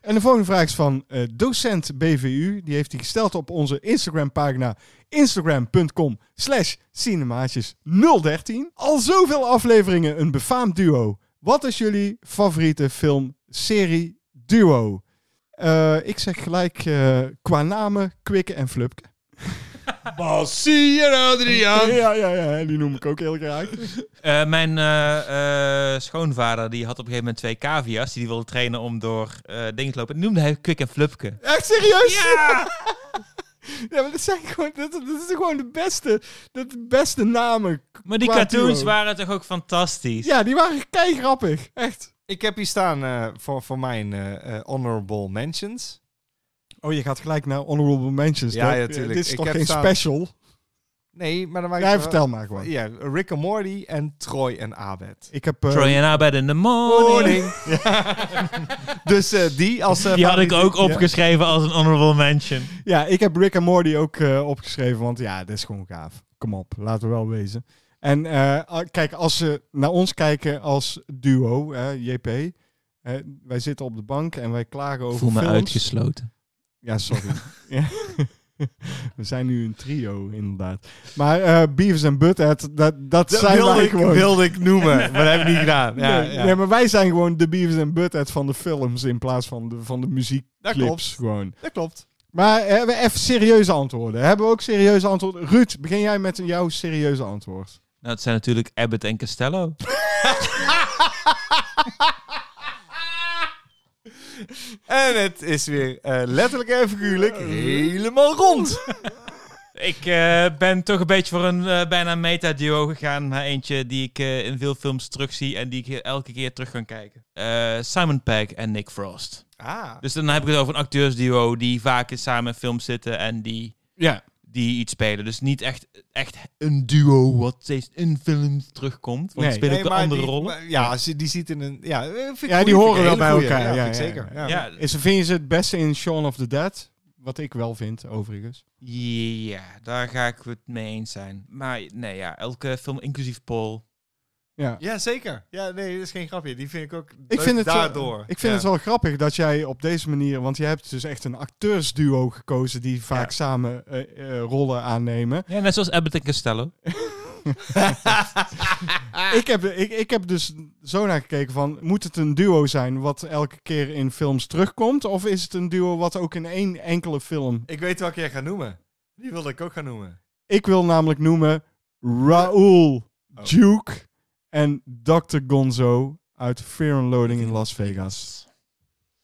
Speaker 2: En de volgende vraag is van eh, docent BVU. Die heeft hij gesteld op onze Instagram-pagina instagram.com slash cinemaatjes 013. Al zoveel afleveringen een befaamd duo. Wat is jullie favoriete film, serie, duo? Eh, ik zeg gelijk eh, qua namen Kwikke en Flupke.
Speaker 1: Zie je nou, Adriaan?
Speaker 2: Oh, Ja, ja, ja, die noem ik ook heel graag.
Speaker 3: Eh, mijn eh, eh, schoonvader die had op een gegeven moment twee cavia's die die wilde trainen om door eh, dingen te lopen. Die noemde hij Kwik en Flupke.
Speaker 2: Echt serieus? Ja! ja, maar dat zijn gewoon, dat, dat is gewoon de beste, de beste namen.
Speaker 3: Maar die
Speaker 2: qua
Speaker 3: cartoons
Speaker 2: duo.
Speaker 3: waren toch ook fantastisch.
Speaker 2: Ja, die waren kei grappig. Echt.
Speaker 1: Ik heb hier staan eh, voor, voor mijn eh, eh, honorable mentions.
Speaker 2: Oh, je gaat gelijk naar honorable mentions.
Speaker 1: Ja,
Speaker 2: hè?
Speaker 1: ja, tuurlijk.
Speaker 2: Dit is
Speaker 1: Ik
Speaker 2: toch
Speaker 1: heb
Speaker 2: geen
Speaker 1: staan-
Speaker 2: special?
Speaker 1: Nee, maar dan maak ik...
Speaker 2: Jij
Speaker 1: wel-
Speaker 2: vertel maar gewoon.
Speaker 1: Ja, Rick and Morty en Troy en Abed.
Speaker 2: Ik heb... eh,
Speaker 3: Troy and Abed in the morning.
Speaker 1: dus eh, die als... eh,
Speaker 3: Die had ik
Speaker 1: favoriete-
Speaker 3: ook opgeschreven als een honorable mention.
Speaker 2: ja, ik heb Rick en Morty ook eh, opgeschreven, want ja, dat is gewoon gaaf. Kom op, laten we wel wezen. En eh, ah, kijk, als ze naar ons kijken als duo, hè, JP, eh, wij zitten op de bank en wij klagen over films.
Speaker 3: uitgesloten.
Speaker 2: Ja, sorry. Ja. We zijn nu een trio, inderdaad. Maar eh Beavis en Butthead, dat, dat
Speaker 1: Dat
Speaker 2: zijn
Speaker 1: wilde
Speaker 2: wij
Speaker 1: ik,
Speaker 2: gewoon.
Speaker 1: wilde ik noemen, maar dat heb ik niet gedaan. Ja,
Speaker 2: nee,
Speaker 1: ja.
Speaker 2: nee, maar wij zijn gewoon de Beavis en Butthead van de films in plaats van de, van de muziekclips.
Speaker 1: klopt.
Speaker 2: Gewoon.
Speaker 1: Dat klopt.
Speaker 2: Maar hebben we even serieuze antwoorden? Hebben we ook serieuze antwoorden? Ruud, begin jij met een jouw serieuze antwoord.
Speaker 3: Nou, het zijn natuurlijk Abbott en Costello.
Speaker 1: En het is weer eh, letterlijk en figuurlijk helemaal rond.
Speaker 3: Ik eh, ben toch een beetje voor een eh, bijna meta-duo gegaan naar eentje die ik eh, in veel films terugzie en die ik elke keer terug kan kijken. Eh, Simon Pegg en Nick Frost.
Speaker 1: Ah.
Speaker 3: Dus dan heb ik het over een acteursduo die vaak eens samen in films zitten en die,
Speaker 2: Ja.
Speaker 3: die iets spelen. Dus niet echt, echt een duo wat steeds in films terugkomt. Want
Speaker 2: Nee.
Speaker 3: ze spelen ook de
Speaker 1: maar
Speaker 3: andere
Speaker 1: die-
Speaker 3: rollen.
Speaker 1: maar- ja, als je die ziet in een... Ja, eh, vind ik
Speaker 2: Ja, die
Speaker 1: goeie,
Speaker 2: horen
Speaker 1: vind ik
Speaker 2: wel
Speaker 1: hele goeie.
Speaker 2: bij elkaar.
Speaker 1: Ja,
Speaker 2: Ja,
Speaker 1: vind ik
Speaker 2: ja,
Speaker 1: zeker. Ja.
Speaker 3: ja,
Speaker 2: Is, vind je ze het beste in Shaun of the Dead? Wat ik wel vind, overigens.
Speaker 3: ja, daar ga ik het mee eens zijn. Maar nee, ja, elke film, inclusief Paul.
Speaker 2: Ja.
Speaker 1: Ja, zeker. Ja, nee, dat is geen grapje. Die vind ik ook
Speaker 2: Ik vind, het, wel-
Speaker 1: daardoor.
Speaker 2: ik vind het wel grappig dat jij op deze manier, want je hebt dus echt een acteursduo gekozen die vaak samen eh, eh, rollen aannemen.
Speaker 3: Ja, net zoals Abbott en Costello.
Speaker 2: Ik, heb, ik, ik heb dus zo naar gekeken van, moet het een duo zijn wat elke keer in films terugkomt? Of is het een duo wat ook in één enkele film...
Speaker 1: Ik weet welke jij gaat noemen. Die wilde ik ook gaan noemen.
Speaker 2: Ik wil namelijk noemen Raoul Duke en Dr. Gonzo uit Fear and Loading in Las Vegas.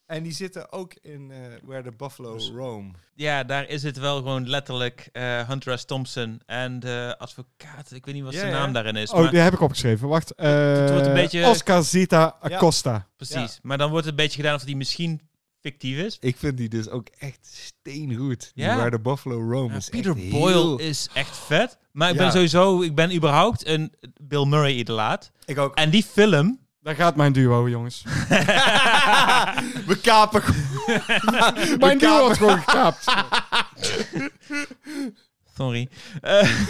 Speaker 1: En die zitten ook in eh, Where the Buffalo Roam.
Speaker 3: Ja, daar is het wel gewoon letterlijk eh, Hunter S. Thompson en de advocaat. Ik weet niet wat
Speaker 1: Ja,
Speaker 3: zijn
Speaker 1: ja.
Speaker 3: naam daarin is.
Speaker 2: Oh,
Speaker 3: maar
Speaker 2: die heb ik opgeschreven. Wacht. eh,
Speaker 3: wordt een beetje-
Speaker 2: Oscar Zita Acosta.
Speaker 3: Precies. Maar dan wordt het een beetje gedaan of die misschien fictief is.
Speaker 1: Ik vind die dus ook echt steengoed. Die
Speaker 3: Ja.
Speaker 1: Where the Buffalo Roam
Speaker 3: Ja,
Speaker 1: is
Speaker 3: Peter
Speaker 1: echt
Speaker 3: Boyle
Speaker 1: heel-
Speaker 3: is echt vet. Maar ik
Speaker 1: Ja.
Speaker 3: ben sowieso, ik ben überhaupt een Bill Murray-idolaat.
Speaker 1: Ik ook.
Speaker 3: En die film.
Speaker 2: Daar gaat mijn duo, jongens.
Speaker 1: We kapen
Speaker 2: mijn duo wordt gewoon gekaapt.
Speaker 3: Sorry. Eh,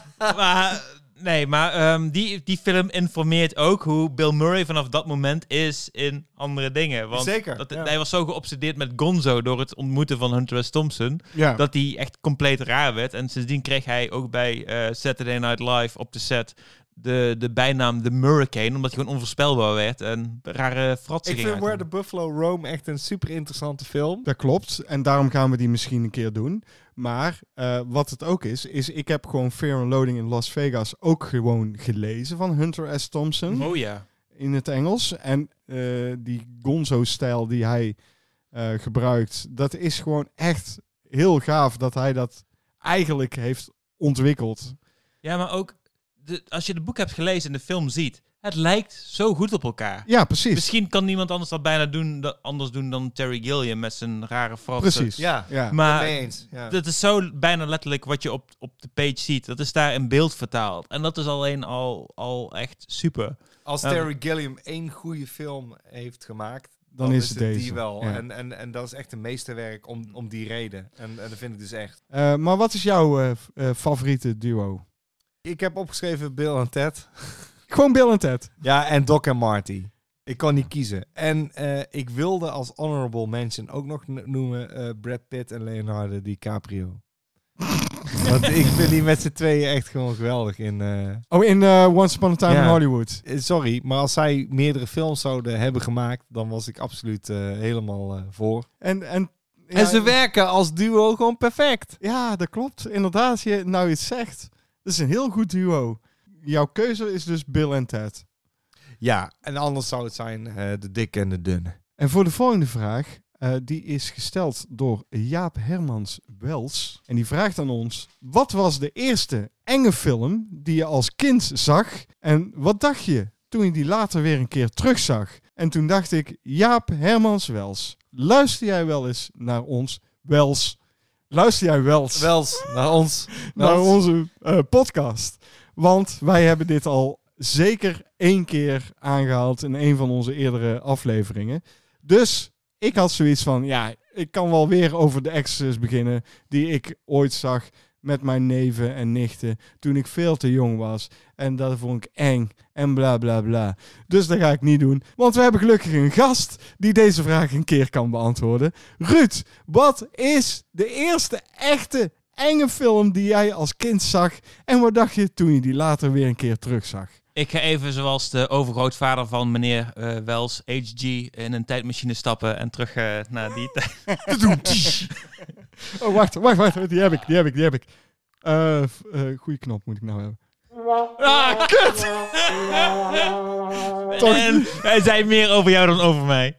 Speaker 3: maar Nee, maar ehm, die, die film informeert ook hoe Bill Murray vanaf dat moment is in andere dingen. Want
Speaker 1: Zeker,
Speaker 3: Dat,
Speaker 1: ja.
Speaker 3: Hij was zo geobsedeerd met Gonzo door het ontmoeten van Hunter S. Thompson.
Speaker 2: Ja.
Speaker 3: Dat hij echt compleet raar werd. En sindsdien kreeg hij ook bij eh, Saturday Night Live op de set de, de bijnaam The Hurricane. Omdat hij gewoon onvoorspelbaar werd en rare fratsen
Speaker 1: Ik
Speaker 3: ging
Speaker 1: vind Where the
Speaker 3: uithangen.
Speaker 1: Buffalo Roam echt een super interessante film.
Speaker 2: Dat klopt. En daarom gaan we die misschien een keer doen. Maar eh, wat het ook is, is ik heb gewoon Fear and Loading in Las Vegas ook gewoon gelezen van Hunter S. Thompson
Speaker 3: Oh ja.
Speaker 2: in het Engels. En eh, die gonzo-stijl die hij eh, gebruikt, dat is gewoon echt heel gaaf dat hij dat eigenlijk heeft ontwikkeld.
Speaker 3: Ja, maar ook de, als je het boek hebt gelezen en de film ziet, het lijkt zo goed op elkaar.
Speaker 2: Ja, precies.
Speaker 3: Misschien kan niemand anders dat bijna doen, dat anders doen dan Terry Gilliam met zijn rare fratsen.
Speaker 2: Precies.
Speaker 1: Ja.
Speaker 2: ja.
Speaker 3: Maar
Speaker 1: Mee eens. Ja.
Speaker 3: dat is zo bijna letterlijk wat je op, op de page ziet. Dat is daar in beeld vertaald. En dat is alleen al, al echt super.
Speaker 1: Als
Speaker 3: Ja.
Speaker 1: Terry Gilliam één goede film heeft gemaakt,
Speaker 2: Dan
Speaker 1: dan,
Speaker 2: is
Speaker 1: is,
Speaker 2: het
Speaker 1: het
Speaker 2: deze.
Speaker 1: die wel.
Speaker 2: Ja.
Speaker 1: En, en, en dat is echt een meesterwerk om, om die reden. En, en dat vind ik dus echt.
Speaker 2: Eh, maar wat is jouw eh, f- eh, favoriete duo?
Speaker 1: Ik heb opgeschreven Bill en Ted.
Speaker 2: Gewoon Bill en Ted.
Speaker 1: Ja, en Doc en Marty. Ik kon niet kiezen. En eh, ik wilde als honorable mention ook nog n- noemen eh, Brad Pitt en Leonardo DiCaprio. Want ik vind die met z'n tweeën echt gewoon geweldig in... eh,
Speaker 2: Oh, in eh, Once Upon a Time in
Speaker 1: Ja.
Speaker 2: Hollywood.
Speaker 1: Eh, Sorry, maar als zij meerdere films zouden hebben gemaakt, dan was ik absoluut eh, helemaal eh, voor.
Speaker 2: En, en, ja,
Speaker 1: en ze werken als duo gewoon perfect.
Speaker 2: Ja, dat klopt. Inderdaad, als je nou iets zegt. Dat is een heel goed duo. Jouw keuze is dus Bill en Ted.
Speaker 1: Ja, en anders zou het zijn eh, de dikke en de dunne.
Speaker 2: En voor de volgende vraag, eh, die is gesteld door Jaap Hermans Wels. En die vraagt aan ons, wat was de eerste enge film die je als kind zag? En wat dacht je toen je die later weer een keer terugzag? En toen dacht ik, Jaap Hermans Wels, luister jij wel eens naar ons Wels? Luister jij Wels?
Speaker 1: Wels, naar ons.
Speaker 2: naar onze eh, podcast. Want wij hebben dit al zeker één keer aangehaald in een van onze eerdere afleveringen. Dus ik had zoiets van, ja, ik kan wel weer over de Exorcist beginnen die ik ooit zag met mijn neven en nichten toen ik veel te jong was. En dat vond ik eng en bla bla bla. Dus dat ga ik niet doen, want we hebben gelukkig een gast die deze vraag een keer kan beantwoorden. Ruud, wat is de eerste echte enge film die jij als kind zag en wat dacht je toen je die later weer een keer terugzag?
Speaker 3: Ik ga even zoals de overgrootvader van meneer eh Wells, HG, in een tijdmachine stappen en terug eh, naar die tijd.
Speaker 2: Oh, wacht, wacht, wacht, die heb ik, die heb ik, die heb ik. Eh f- eh, goeie knop moet ik nou hebben.
Speaker 3: Ah, kut! en hij zei meer over jou dan over mij.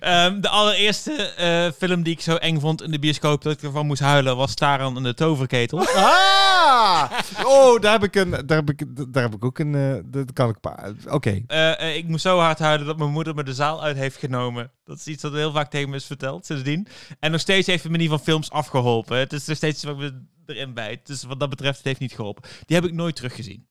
Speaker 3: Ehm, de allereerste eh, film die ik zo eng vond in de bioscoop dat ik ervan moest huilen was Taran en de Toverketel.
Speaker 1: Ah! Oh, daar heb ik, een, daar heb ik, daar heb ik ook een... eh, dat kan ik... pa- Oké.
Speaker 3: Eh, eh, ik moest zo hard huilen dat mijn moeder me de zaal uit heeft genomen. Dat is iets dat heel vaak tegen me is verteld sindsdien. En nog steeds heeft het me niet van films afgeholpen. Het is nog steeds iets wat me erin bijt. Dus wat dat betreft, het heeft niet geholpen. Die heb ik nooit teruggezien.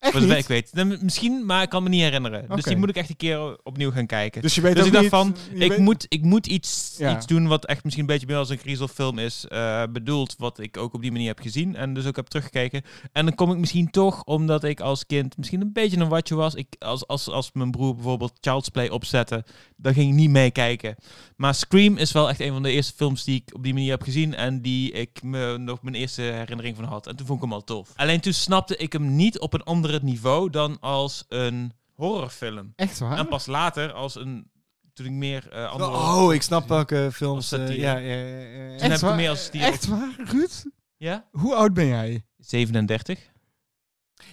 Speaker 2: Echt
Speaker 3: Voor zover
Speaker 2: niet?
Speaker 3: ik weet. Nou, Misschien, maar ik kan me niet herinneren. Dus die
Speaker 2: Oké.
Speaker 3: moet ik echt een keer opnieuw gaan kijken.
Speaker 2: Dus je weet
Speaker 3: Dus ik
Speaker 2: ook
Speaker 3: dacht
Speaker 2: niet-
Speaker 3: van,
Speaker 2: je
Speaker 3: ik,
Speaker 2: weet-
Speaker 3: moet, ik moet iets,
Speaker 2: Ja.
Speaker 3: iets doen wat echt misschien een beetje meer als een griezelfilm is eh, bedoeld. Wat ik ook op die manier heb gezien en dus ook heb teruggekeken. En dan kom ik misschien toch, omdat ik als kind misschien een beetje een watje was. Ik, als, als, als mijn broer bijvoorbeeld Child's Play opzette, dan ging ik niet meekijken. Maar Scream is wel echt een van de eerste films die ik op die manier heb gezien. En die ik me nog mijn eerste herinnering van had. En toen vond ik hem al tof. Alleen toen snapte ik hem niet op een ander niveau dan als een horrorfilm.
Speaker 2: Echt
Speaker 3: En
Speaker 2: waar?
Speaker 3: pas later, als een, toen ik meer eh andere...
Speaker 1: Oh, ik snap welke films...
Speaker 3: Of
Speaker 1: eh,
Speaker 3: satire.
Speaker 1: ja, ja, ja, ja.
Speaker 3: Toen heb ik hem
Speaker 2: waar?
Speaker 3: meer als die
Speaker 2: Echt waar, Ruud?
Speaker 3: Ja?
Speaker 2: Hoe oud ben jij?
Speaker 3: 37.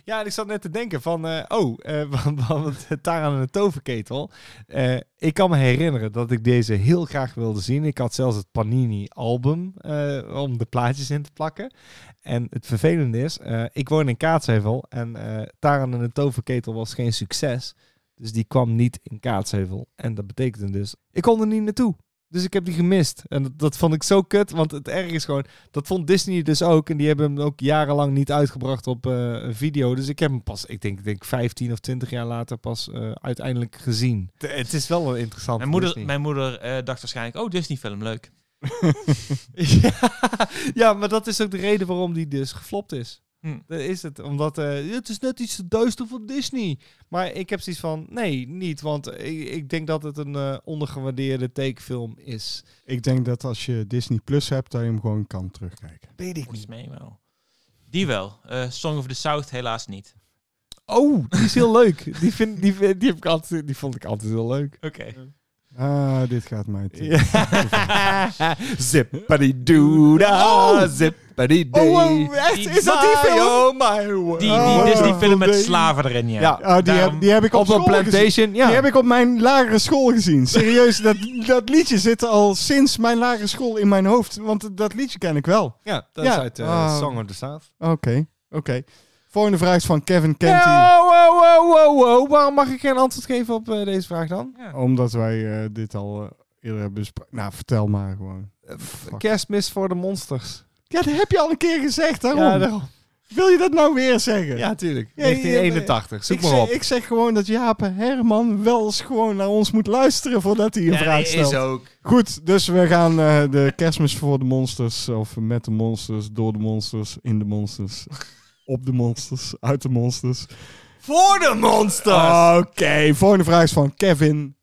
Speaker 1: Ja, en ik zat net te denken van, eh, oh, eh, want- want Taran en de toverketel. Eh, ik kan me herinneren dat ik deze heel graag wilde zien. Ik had zelfs het Panini-album eh, om de plaatjes in te plakken. En het vervelende is, eh, ik woon in Kaatsheuvel en eh Taran en de toverketel was geen succes. Dus die kwam niet in Kaatsheuvel. En dat betekende dus, ik kon er niet naartoe. Dus ik heb die gemist. En dat, dat vond ik zo kut. Want het erg is gewoon, dat vond Disney dus ook. En die hebben hem ook jarenlang niet uitgebracht op eh, een video. Dus ik heb hem pas, ik denk, ik denk 15 of 20 jaar later pas eh, uiteindelijk gezien. Het is wel een interessant.
Speaker 3: Mijn moeder, mijn moeder eh, dacht waarschijnlijk, oh, Disney film, leuk.
Speaker 1: ja, ja, maar dat is ook de reden waarom die dus geflopt is.
Speaker 3: Hm.
Speaker 1: Dat is het. Omdat eh, het is net iets te duister voor Disney. Maar ik heb zoiets van, nee, niet. Want ik, ik denk dat het een eh, ondergewaardeerde tekenfilm is.
Speaker 2: Ik denk dat als je Disney Plus hebt, dat je hem gewoon kan terugkijken.
Speaker 1: Weet ik
Speaker 3: Volgens mij wel. Die wel. Eh, Song of the South helaas niet.
Speaker 1: Oh, die is heel leuk. Die, vind, die, vind- die, heb ik altijd, die vond ik altijd heel leuk.
Speaker 3: Oké.
Speaker 2: Ah, dit gaat mij te.
Speaker 1: zippity doo
Speaker 3: Oh!
Speaker 1: da, zippity dee.
Speaker 2: Oh, echt?
Speaker 3: Is dat
Speaker 1: Oh my word.
Speaker 3: Die,
Speaker 2: Oh,
Speaker 3: die Disney Oh,
Speaker 2: wow.
Speaker 3: film met
Speaker 2: Nee.
Speaker 3: slaven erin, ja.
Speaker 1: Ja.
Speaker 2: Ah, die,
Speaker 3: Daarom-
Speaker 2: heb, die heb ik op,
Speaker 1: Op een
Speaker 2: school gezien.
Speaker 1: plantation, ja.
Speaker 2: Die heb ik op mijn lagere school gezien. Serieus, dat, dat liedje zit al sinds mijn lagere school in mijn hoofd. Want dat liedje ken ik wel.
Speaker 1: Ja, dat is
Speaker 2: Ja.
Speaker 1: uit eh,
Speaker 2: Oh.
Speaker 1: Song of the South.
Speaker 2: Oké, oké. Volgende vraag is van Kevin Kenty.
Speaker 1: Wow, wow, wow, wow, wow. Waarom mag ik geen antwoord geven op eh, deze vraag dan?
Speaker 2: Omdat wij eh, dit al eh, eerder hebben besproken. Nou, vertel maar gewoon. Fuck.
Speaker 1: Kerstmis voor de monsters.
Speaker 2: Ja, dat heb je al een keer gezegd, daarom.
Speaker 1: Ja, daarom.
Speaker 2: Wil je dat nou weer zeggen?
Speaker 1: Ja, tuurlijk.
Speaker 2: Ja,
Speaker 1: 1981. Zoek
Speaker 2: ik,
Speaker 1: maar op.
Speaker 2: zeg, ik zeg gewoon dat Jaap Herman wel eens gewoon naar ons moet luisteren voordat hij een vraag stelt.
Speaker 1: ook.
Speaker 2: Goed, dus we gaan eh, de kerstmis voor de monsters, of met de monsters, door de monsters, in de monsters, op de monsters, uit de monsters.
Speaker 1: Voor de monsters!
Speaker 2: Oké, volgende vraag is van Kevin.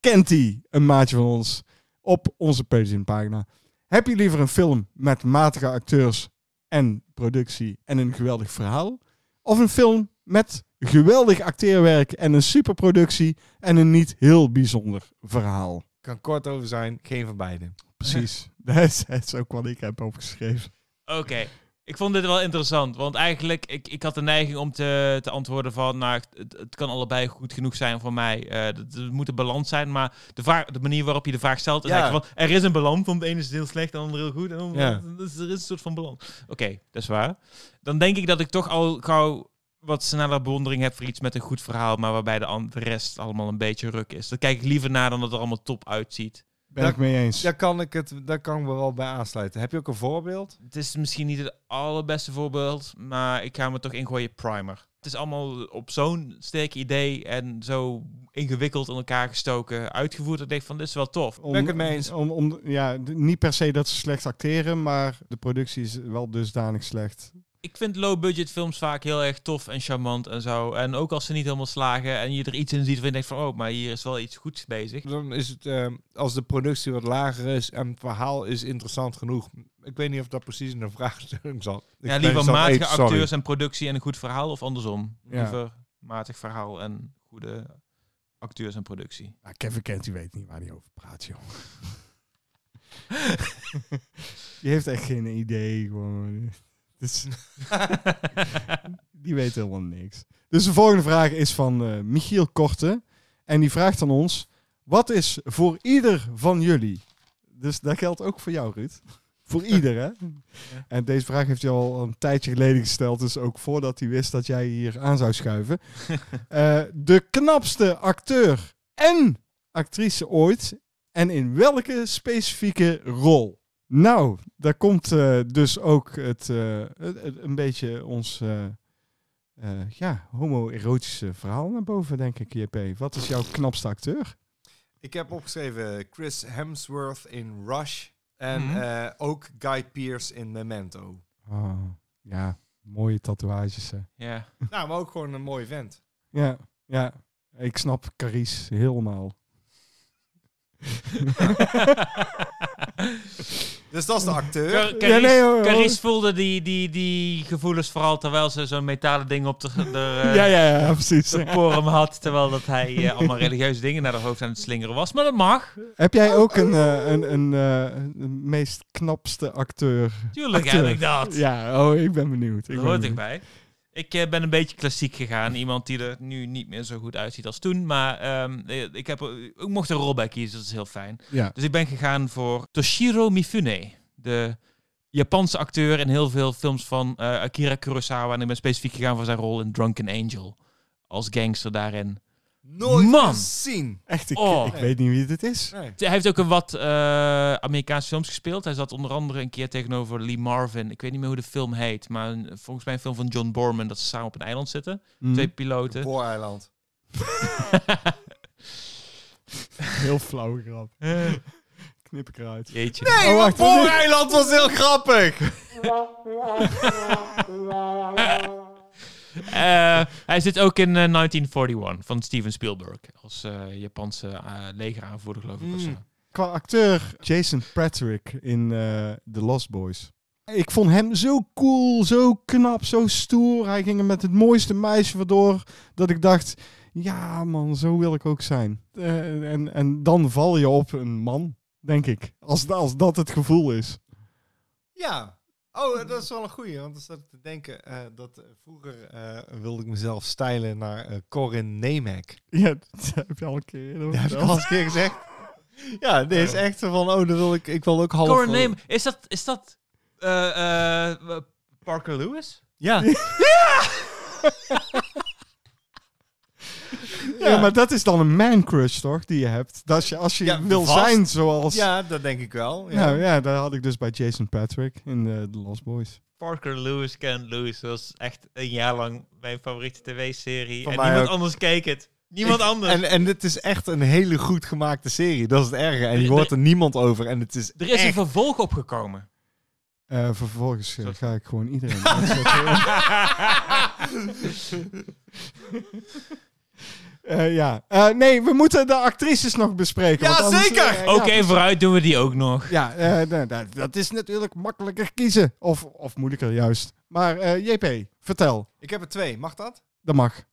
Speaker 2: Kent hij een maatje van ons op onze Patreon pagina? Heb je liever een film met matige acteurs en productie en een geweldig verhaal? Of een film met geweldig acteerwerk en een superproductie en een niet heel bijzonder verhaal?
Speaker 1: Kan kort over zijn, geen van beiden.
Speaker 2: Precies. Dat is, dat is ook wat ik heb opgeschreven.
Speaker 3: Oké. Ik vond dit wel interessant, want eigenlijk, ik, ik had de neiging om te, te antwoorden van, nou, het, het kan allebei goed genoeg zijn voor mij. Eh, dat- er moet een balans zijn, maar de, vraag, de manier waarop je de vraag stelt, is
Speaker 1: Ja.
Speaker 3: eigenlijk van, er is een balans, want het ene is heel slecht, en het andere heel goed. En dan-
Speaker 1: Ja.
Speaker 3: dus er is een soort van balans. Oké, dat is waar. Dan denk ik dat ik toch al gauw wat sneller bewondering heb voor iets met een goed verhaal, maar waarbij de, an- de rest allemaal een beetje ruk is. Dan kijk ik liever naar dan dat het er allemaal top uitziet.
Speaker 2: Ben
Speaker 1: Dat-
Speaker 2: ik mee eens.
Speaker 1: Daar kan ik, het, daar kan ik me wel bij aansluiten. Heb je ook een voorbeeld?
Speaker 3: Het is misschien niet het allerbeste voorbeeld, maar ik ga me toch ingooien primer. Het is allemaal op zo'n sterk idee en zo ingewikkeld in elkaar gestoken, uitgevoerd. Dat ik denk van, dit is wel tof.
Speaker 2: Om-
Speaker 1: Ben ik het mee eens.
Speaker 2: Om, om, ja, d- niet per se dat ze slecht acteren, maar de productie is wel dusdanig slecht.
Speaker 3: Ik vind low-budget films vaak heel erg tof en charmant en zo. En ook als ze niet helemaal slagen en je er iets in ziet van je denkt van, oh, maar hier is wel iets goeds bezig.
Speaker 1: Dan is het, eh, als de productie wat lager is en het verhaal is interessant genoeg. Ik weet niet of dat precies in de vraagstelling zat. Ik
Speaker 3: ja,
Speaker 1: ben
Speaker 3: liever
Speaker 1: iets aan het
Speaker 3: matige
Speaker 1: eten, sorry.
Speaker 3: acteurs en productie en een goed verhaal of andersom.
Speaker 2: Ja.
Speaker 3: Liever matig verhaal en goede acteurs en productie.
Speaker 2: Ah, Kevin Kent, die weet niet waar hij over praat, joh. die heeft echt geen idee. Gewoon. Dus, die weet helemaal niks. Dus de volgende vraag is van eh, Michiel Korte. En die vraagt aan ons: Wat is voor ieder van jullie? Dus dat geldt ook voor jou, Ruud. Voor ieder, hè? En deze vraag heeft hij al een tijdje geleden gesteld. Dus ook voordat hij wist dat jij hier aan zou schuiven. Eh, de knapste acteur en actrice ooit. En in welke specifieke rol? Nou, daar komt eh, dus ook het, eh, het- het- een beetje ons eh eh, ja, homoerotische verhaal naar boven, denk ik, JP. Wat is jouw knapste acteur?
Speaker 1: Ik heb opgeschreven Chris Hemsworth in Rush. En
Speaker 3: Mhm.
Speaker 1: eh, ook Guy Pearce in Memento.
Speaker 2: Oh, ja, mooie tatoeages. Hè.
Speaker 3: Ja.
Speaker 1: nou, maar ook gewoon een mooi vent.
Speaker 2: Ja, ja, ik snap Carice helemaal.
Speaker 1: Dus dat is de acteur.
Speaker 3: Car
Speaker 2: Ja, nee, hoor, hoor.
Speaker 3: Carice voelde die, die, die gevoelens vooral terwijl ze zo'n metalen ding op de, de, eh,
Speaker 2: ja, ja, ja, precies.
Speaker 3: de forum had. Terwijl dat hij eh, allemaal religieuze dingen naar haar hoofd aan het slingeren was. Maar dat mag.
Speaker 2: Heb jij ook een, eh, een, een, eh, een meest knapste acteur?
Speaker 3: Tuurlijk
Speaker 2: Acteur.
Speaker 3: heb ik dat.
Speaker 2: Ja, oh, ik ben benieuwd. Ik
Speaker 3: dat
Speaker 2: ben
Speaker 3: hoort
Speaker 2: benieuwd.
Speaker 3: erbij. Ik eh, ben een beetje klassiek gegaan. Iemand die er nu niet meer zo goed uitziet als toen. Maar ehm, eh, ik, heb, eh, ik mocht een rol bij kiezen. Dat is heel fijn.
Speaker 2: Ja.
Speaker 3: Dus ik ben gegaan voor Toshiro Mifune. De Japanse acteur in heel veel films van eh, Akira Kurosawa. En ik ben specifiek gegaan voor zijn rol in Drunken Angel. Als gangster daarin.
Speaker 1: Nooit
Speaker 3: Man.
Speaker 1: gezien.
Speaker 2: Echt, ik,
Speaker 3: Oh.
Speaker 2: ik weet niet wie dit is.
Speaker 1: Nee.
Speaker 3: Hij heeft ook een wat eh, Amerikaanse films gespeeld. Hij zat onder andere een keer tegenover Lee Marvin. Ik weet niet meer hoe de film heet. Maar een- volgens mij een film van John Borman. Dat ze samen op een eiland zitten. Twee piloten.
Speaker 1: Booreiland. Eh.
Speaker 2: Heel flauw grap. knip ik eruit.
Speaker 3: Jeetje.
Speaker 1: Nee,
Speaker 2: wacht, wat is-
Speaker 1: Oh, Eiland was heel grappig.
Speaker 3: Eh, hij zit ook in eh, 1941 van Steven Spielberg. Als eh, Japanse eh, legeraanvoerder, geloof ik. of zo.
Speaker 2: Qua acteur Jason Patrick in eh, The Lost Boys. Ik vond hem zo cool, zo knap, zo stoer. Hij ging er met het mooiste meisje vandoor. Dat ik dacht, ja man, zo wil ik ook zijn. Eh, en, en dan val je op een man, denk ik. Als, da- als dat het gevoel is.
Speaker 1: Ja. Oh, dat is wel een goeie. Want dan zat ik te denken eh, dat eh, vroeger eh, wilde ik mezelf stijlen naar eh, Corin Nemek.
Speaker 2: Ja, dat heb je al een keer eerder
Speaker 1: Dat heb ik
Speaker 2: verteld.
Speaker 1: al eens een keer gezegd. Ja, dit is echt zo van, oh, dan wil ik, ik wil ook half...
Speaker 3: Corin Name. Is dat, is dat eh, eh, Parker Lewis?
Speaker 1: Ja.
Speaker 2: Ja. maar dat is dan een man crush toch, die je hebt. Dat als je, als je
Speaker 1: Ja,
Speaker 2: wil
Speaker 1: vast.
Speaker 2: zijn zoals...
Speaker 1: ja, dat denk ik wel. Ja.
Speaker 2: Nou ja, dat had ik dus bij Jason Patrick in eh, The Lost Boys.
Speaker 3: Parker Lewis Ken Lewis was echt een jaar lang mijn favoriete tv-serie.
Speaker 1: Van
Speaker 3: En
Speaker 1: mij
Speaker 3: niemand
Speaker 1: ook.
Speaker 3: anders keek het. Niemand anders.
Speaker 1: En, eh, en dit is echt een hele goed gemaakte serie. Dat is het erge. En je hoort er niemand over. En het is
Speaker 3: er is een
Speaker 1: echt...
Speaker 3: vervolg opgekomen.
Speaker 2: Eh, vervolgens eh,
Speaker 3: Soort-
Speaker 2: ga ik gewoon iedereen uitzetten. Eh, ja. Eh, nee, we moeten de actrices nog bespreken.
Speaker 1: Ja,
Speaker 2: want anders,
Speaker 1: zeker!
Speaker 2: eh, ja,
Speaker 3: Oké, vooruit doen we die ook nog.
Speaker 2: Ja, eh, nou, nou, dat is natuurlijk makkelijker kiezen. Of, of moeilijker juist. Maar eh, JP, vertel.
Speaker 1: Ik heb er twee. Mag dat?
Speaker 2: Dat mag.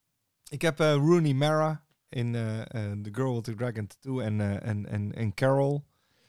Speaker 1: Ik heb eh, Rooney Mara in eh, eh, The Girl with the Dragon Tattoo en, eh, en, en, en Carol.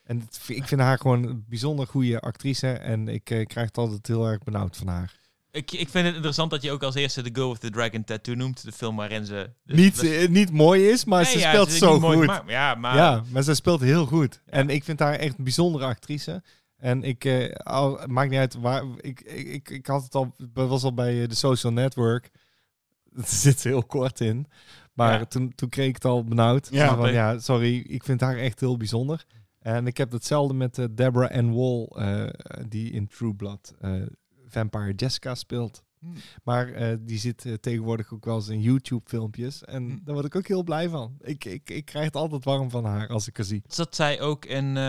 Speaker 1: En het- ik vind haar gewoon een bijzonder goede actrice. En ik eh, krijg het altijd heel erg benauwd van haar.
Speaker 3: Ik, ik vind het interessant dat je ook als eerste The Girl with the Dragon Tattoo noemt. De film waarin ze... de-
Speaker 1: Niet,
Speaker 3: de-
Speaker 1: eh, niet mooi is, maar
Speaker 3: Dus Nee,
Speaker 1: ze
Speaker 3: ja,
Speaker 1: speelt
Speaker 3: het is
Speaker 1: zo
Speaker 3: niet mooi
Speaker 1: goed.
Speaker 3: gemaakt. ja, maar...
Speaker 1: Ja, maar ze speelt heel goed. En ik vind haar echt een bijzondere actrice. En ik, eh, al, het maakt niet uit waar. Ik, ik, ik, ik had het al, was al bij eh, de Social Network. Daar zit ze heel kort in. Maar
Speaker 3: Ja.
Speaker 1: toen, toen kreeg ik het al benauwd.
Speaker 2: Ja.
Speaker 1: Ja, van,
Speaker 3: Oké.
Speaker 1: ja, sorry, ik vind haar echt heel bijzonder. En ik heb hetzelfde met eh, Deborah Ann Wall, eh, die in True Blood eh, Vampire Jessica speelt.
Speaker 3: Hmm.
Speaker 1: Maar eh, die zit eh, tegenwoordig ook wel eens in YouTube-filmpjes. En
Speaker 3: Hm.
Speaker 1: daar word ik ook heel blij van. Ik, ik, ik krijg het altijd warm van haar als ik haar zie.
Speaker 3: Zat zij ook in eh,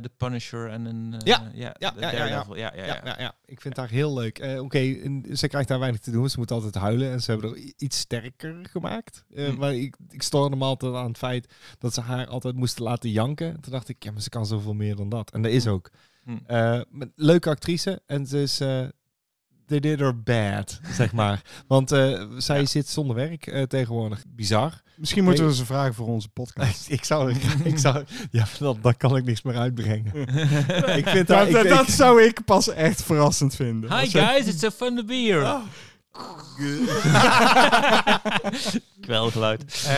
Speaker 3: The Punisher en in... eh,
Speaker 1: Ja,
Speaker 3: ja,
Speaker 1: ja,
Speaker 3: The
Speaker 1: ja, ja, ja.
Speaker 3: Daredevil. ja, ja, ja.
Speaker 1: Ik vind haar heel leuk. Eh, Oké, en ze krijgt daar weinig te doen. Ze moet altijd huilen. En ze hebben er i- iets sterker gemaakt. Eh,
Speaker 3: Hm.
Speaker 1: Maar ik, ik stoor normaal altijd aan het feit dat ze haar altijd moesten laten janken. Toen dacht ik, ja, maar ze kan zoveel meer dan dat. En dat is ook.
Speaker 3: Hm.
Speaker 1: Eh, met- leuke actrice. En ze is... eh, they did her bad, zeg maar. Want eh, zij zit zonder werk eh, tegenwoordig. Bizar.
Speaker 2: Misschien moeten
Speaker 1: Nee.
Speaker 2: we ze vragen voor onze podcast.
Speaker 1: Ik, ik zou, ik zou, ja, dan, dan kan ik niks meer uitbrengen. ik vind
Speaker 2: Dat,
Speaker 1: dat, ik,
Speaker 2: dat,
Speaker 1: ik-
Speaker 2: dat zou ik pas echt verrassend vinden.
Speaker 3: Hi
Speaker 2: Als je-
Speaker 3: guys, it's so fun to be here. Kwelgeluid.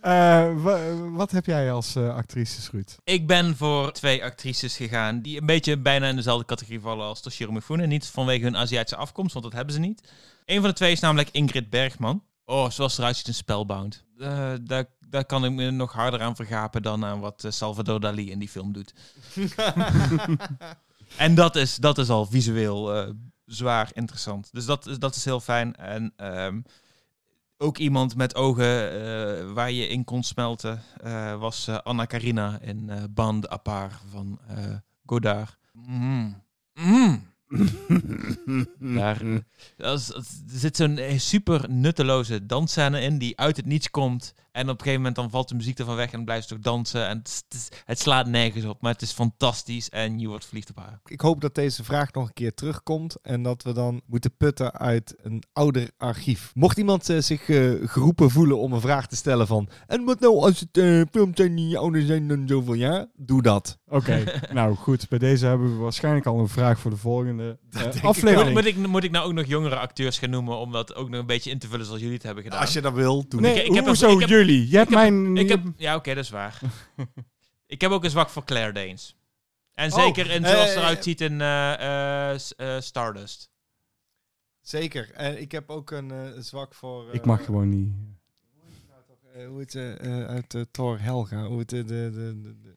Speaker 2: Eh, wa- wat heb jij als eh, actrices, Ruud?
Speaker 3: Ik ben voor twee actrices gegaan die een beetje bijna in dezelfde categorie vallen als Toshiro Mifune. Niet vanwege hun Aziatische afkomst, want dat hebben ze niet. Een van de twee is namelijk Ingrid Bergman. Oh, zoals ze eruit ziet in Spellbound. Eh, daar, daar kan ik me nog harder aan vergapen dan aan wat eh, Salvador Dali in die film doet. en dat is, dat is al visueel eh, zwaar interessant. Dus dat, is- dat is heel fijn. En ehm, ook iemand met ogen eh, waar je in kon smelten eh, was eh, Anna Karina in eh Band à part van eh, Godard. Mm. Mm. Daar dat is- dat is- er zit zo'n eh, super nutteloze dansscène in die uit het niets komt. En op een gegeven moment dan valt de muziek ervan weg en dan blijft ze toch dansen. En het, is- het is- het slaat nergens op, maar het is fantastisch en je wordt verliefd op haar.
Speaker 1: ik hoop dat deze vraag nog een keer terugkomt en dat we dan moeten putten uit een ouder archief. Mocht iemand eh, zich eh, geroepen voelen om een vraag te stellen van en wat nou als het eh films zijn die ouder zijn dan zoveel jaar? Doe dat.
Speaker 2: Oké, nou goed. Bij deze hebben we waarschijnlijk al een vraag voor de volgende eh,
Speaker 1: denk ik
Speaker 2: aflevering.
Speaker 1: wel.
Speaker 3: Moet ik, moet ik nou ook nog jongere acteurs gaan noemen om dat ook nog een beetje in te vullen zoals jullie het hebben gedaan?
Speaker 1: Als je dat wil, doe
Speaker 2: Nee,
Speaker 1: het.
Speaker 3: Ik- ik heb
Speaker 2: hoezo
Speaker 3: een- ik heb-
Speaker 2: jullie? Je hebt mijn...
Speaker 3: Ik heb, ja, oké, dat is waar. ik heb ook een zwak voor Claire Danes. En
Speaker 1: Oh,
Speaker 3: zeker in zoals
Speaker 1: eh,
Speaker 3: ze eruit ziet in eh, eh, s- eh, Stardust.
Speaker 1: Zeker. En ik heb ook een eh, zwak voor... eh,
Speaker 2: Ik mag gewoon niet.
Speaker 1: eh, hoe het uit eh, Thor Helga. Hoe het eh, de, de, de, de-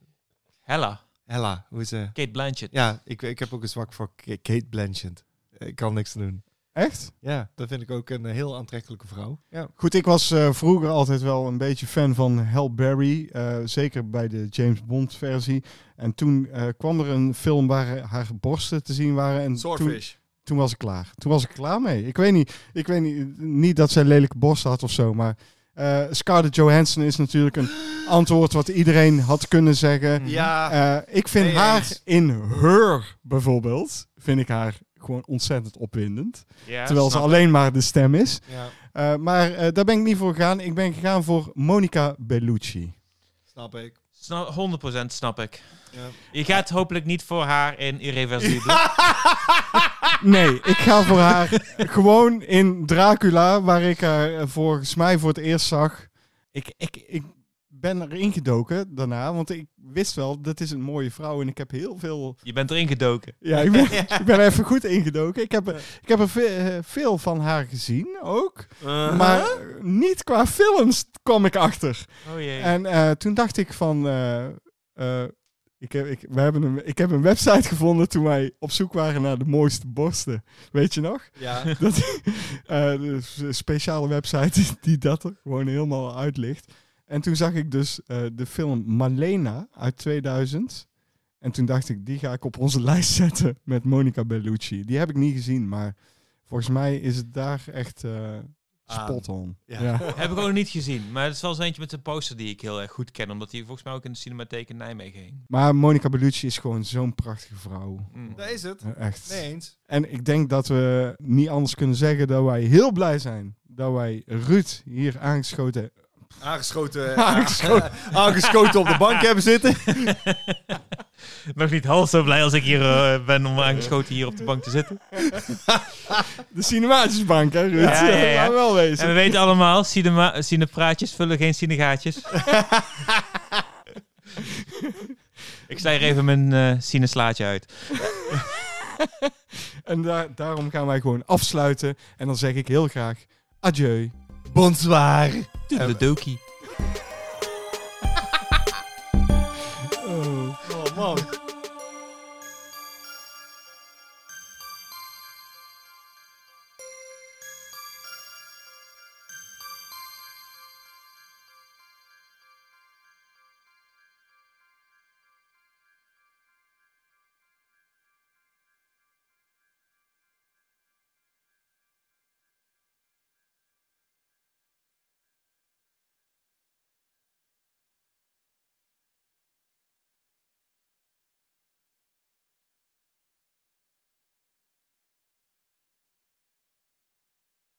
Speaker 3: Hella,
Speaker 1: Hella. Hoe het...
Speaker 3: Kate Blanchett.
Speaker 1: Ja, ik, ik heb ook een zwak voor Ka- Kate Blanchett. Ik kan niks doen.
Speaker 2: Echt?
Speaker 1: Ja, dat vind ik ook een eh, heel aantrekkelijke vrouw. Ja.
Speaker 2: Goed, ik was eh, vroeger altijd wel een beetje fan van Halle Berry. eh, zeker bij de James Bond versie. En toen eh, kwam er een film waar haar borsten te zien waren. En toen,
Speaker 10: Swordfish.
Speaker 2: toen was ik klaar. Toen was ik klaar mee. Ik weet niet, ik weet niet, niet dat zij lelijke borsten had of zo, maar eh, Scarlett Johansson is natuurlijk een antwoord wat iedereen had kunnen zeggen.
Speaker 10: Ja,
Speaker 2: Eh, ik vind
Speaker 10: Nee,
Speaker 2: haar
Speaker 10: eens.
Speaker 2: in Her bijvoorbeeld, vind ik haar gewoon ontzettend opwindend. terwijl ze alleen maar de stem is.
Speaker 1: Ja.
Speaker 2: Eh, maar eh, daar ben ik niet voor gegaan. Ik ben gegaan voor Monica Bellucci.
Speaker 1: Snap ik.
Speaker 3: Snap, 100% snap ik.
Speaker 1: Ja.
Speaker 3: Je gaat hopelijk niet voor haar in Irreversibele.
Speaker 2: Nee, ik ga voor haar gewoon in Dracula, waar ik haar eh, volgens mij voor het eerst zag. Ik, ik, ik ben erin gedoken daarna, want ik wist wel, dat is een mooie vrouw en ik heb heel veel...
Speaker 3: Je bent erin gedoken.
Speaker 2: Ja, ik ben, ik ben er even goed ingedoken. Ik heb, er- ik heb er ve- eh, veel van haar gezien ook,
Speaker 10: Eh,
Speaker 2: maar eh, niet qua films kwam ik achter.
Speaker 3: Oh jee.
Speaker 2: En eh, toen dacht ik van... eh, eh, ik, heb, ik, we hebben een, ik heb een website gevonden toen wij op zoek waren naar de mooiste borsten. Weet je nog?
Speaker 1: Ja.
Speaker 2: Dat, eh, dus een speciale website die dat er gewoon helemaal uitlicht. En toen zag ik dus eh, de film Malena uit 2000. En toen dacht ik, die ga ik op onze lijst zetten met Monica Bellucci. Die heb ik niet gezien, maar volgens mij is het daar echt eh, spot on.
Speaker 1: Ah, Ja.
Speaker 3: Heb ik ook nog niet gezien. Maar het is wel eens eentje met een poster die ik heel erg goed ken. Omdat die volgens mij ook in de Cinematheek in Nijmegen hing.
Speaker 2: Maar Monica Bellucci is gewoon zo'n prachtige vrouw.
Speaker 3: Mm.
Speaker 1: Dat is het.
Speaker 2: Eh, Echt.
Speaker 1: Nee eens.
Speaker 2: En ik denk dat we niet anders kunnen zeggen dat wij heel blij zijn dat wij Ruud hier aangeschoten
Speaker 10: Aangeschoten, eh,
Speaker 2: Aangeschoten.
Speaker 10: aangeschoten op de bank hebben zitten.
Speaker 3: Nog niet half zo blij als ik hier eh, ben om aangeschoten hier op de bank te zitten.
Speaker 2: De cinematisbank, hè, Ruud?
Speaker 3: Ja, ja, ja.
Speaker 2: Laat wel
Speaker 3: En
Speaker 2: wezen.
Speaker 3: we weten allemaal, cinema- cinepraatjes vullen geen cinegaatjes. ik sla hier even mijn eh cineslaatje uit.
Speaker 2: En daar- daarom gaan wij gewoon afsluiten. En dan zeg ik heel graag adieu.
Speaker 10: Bonsoir.
Speaker 3: De dokie.
Speaker 1: Oh man.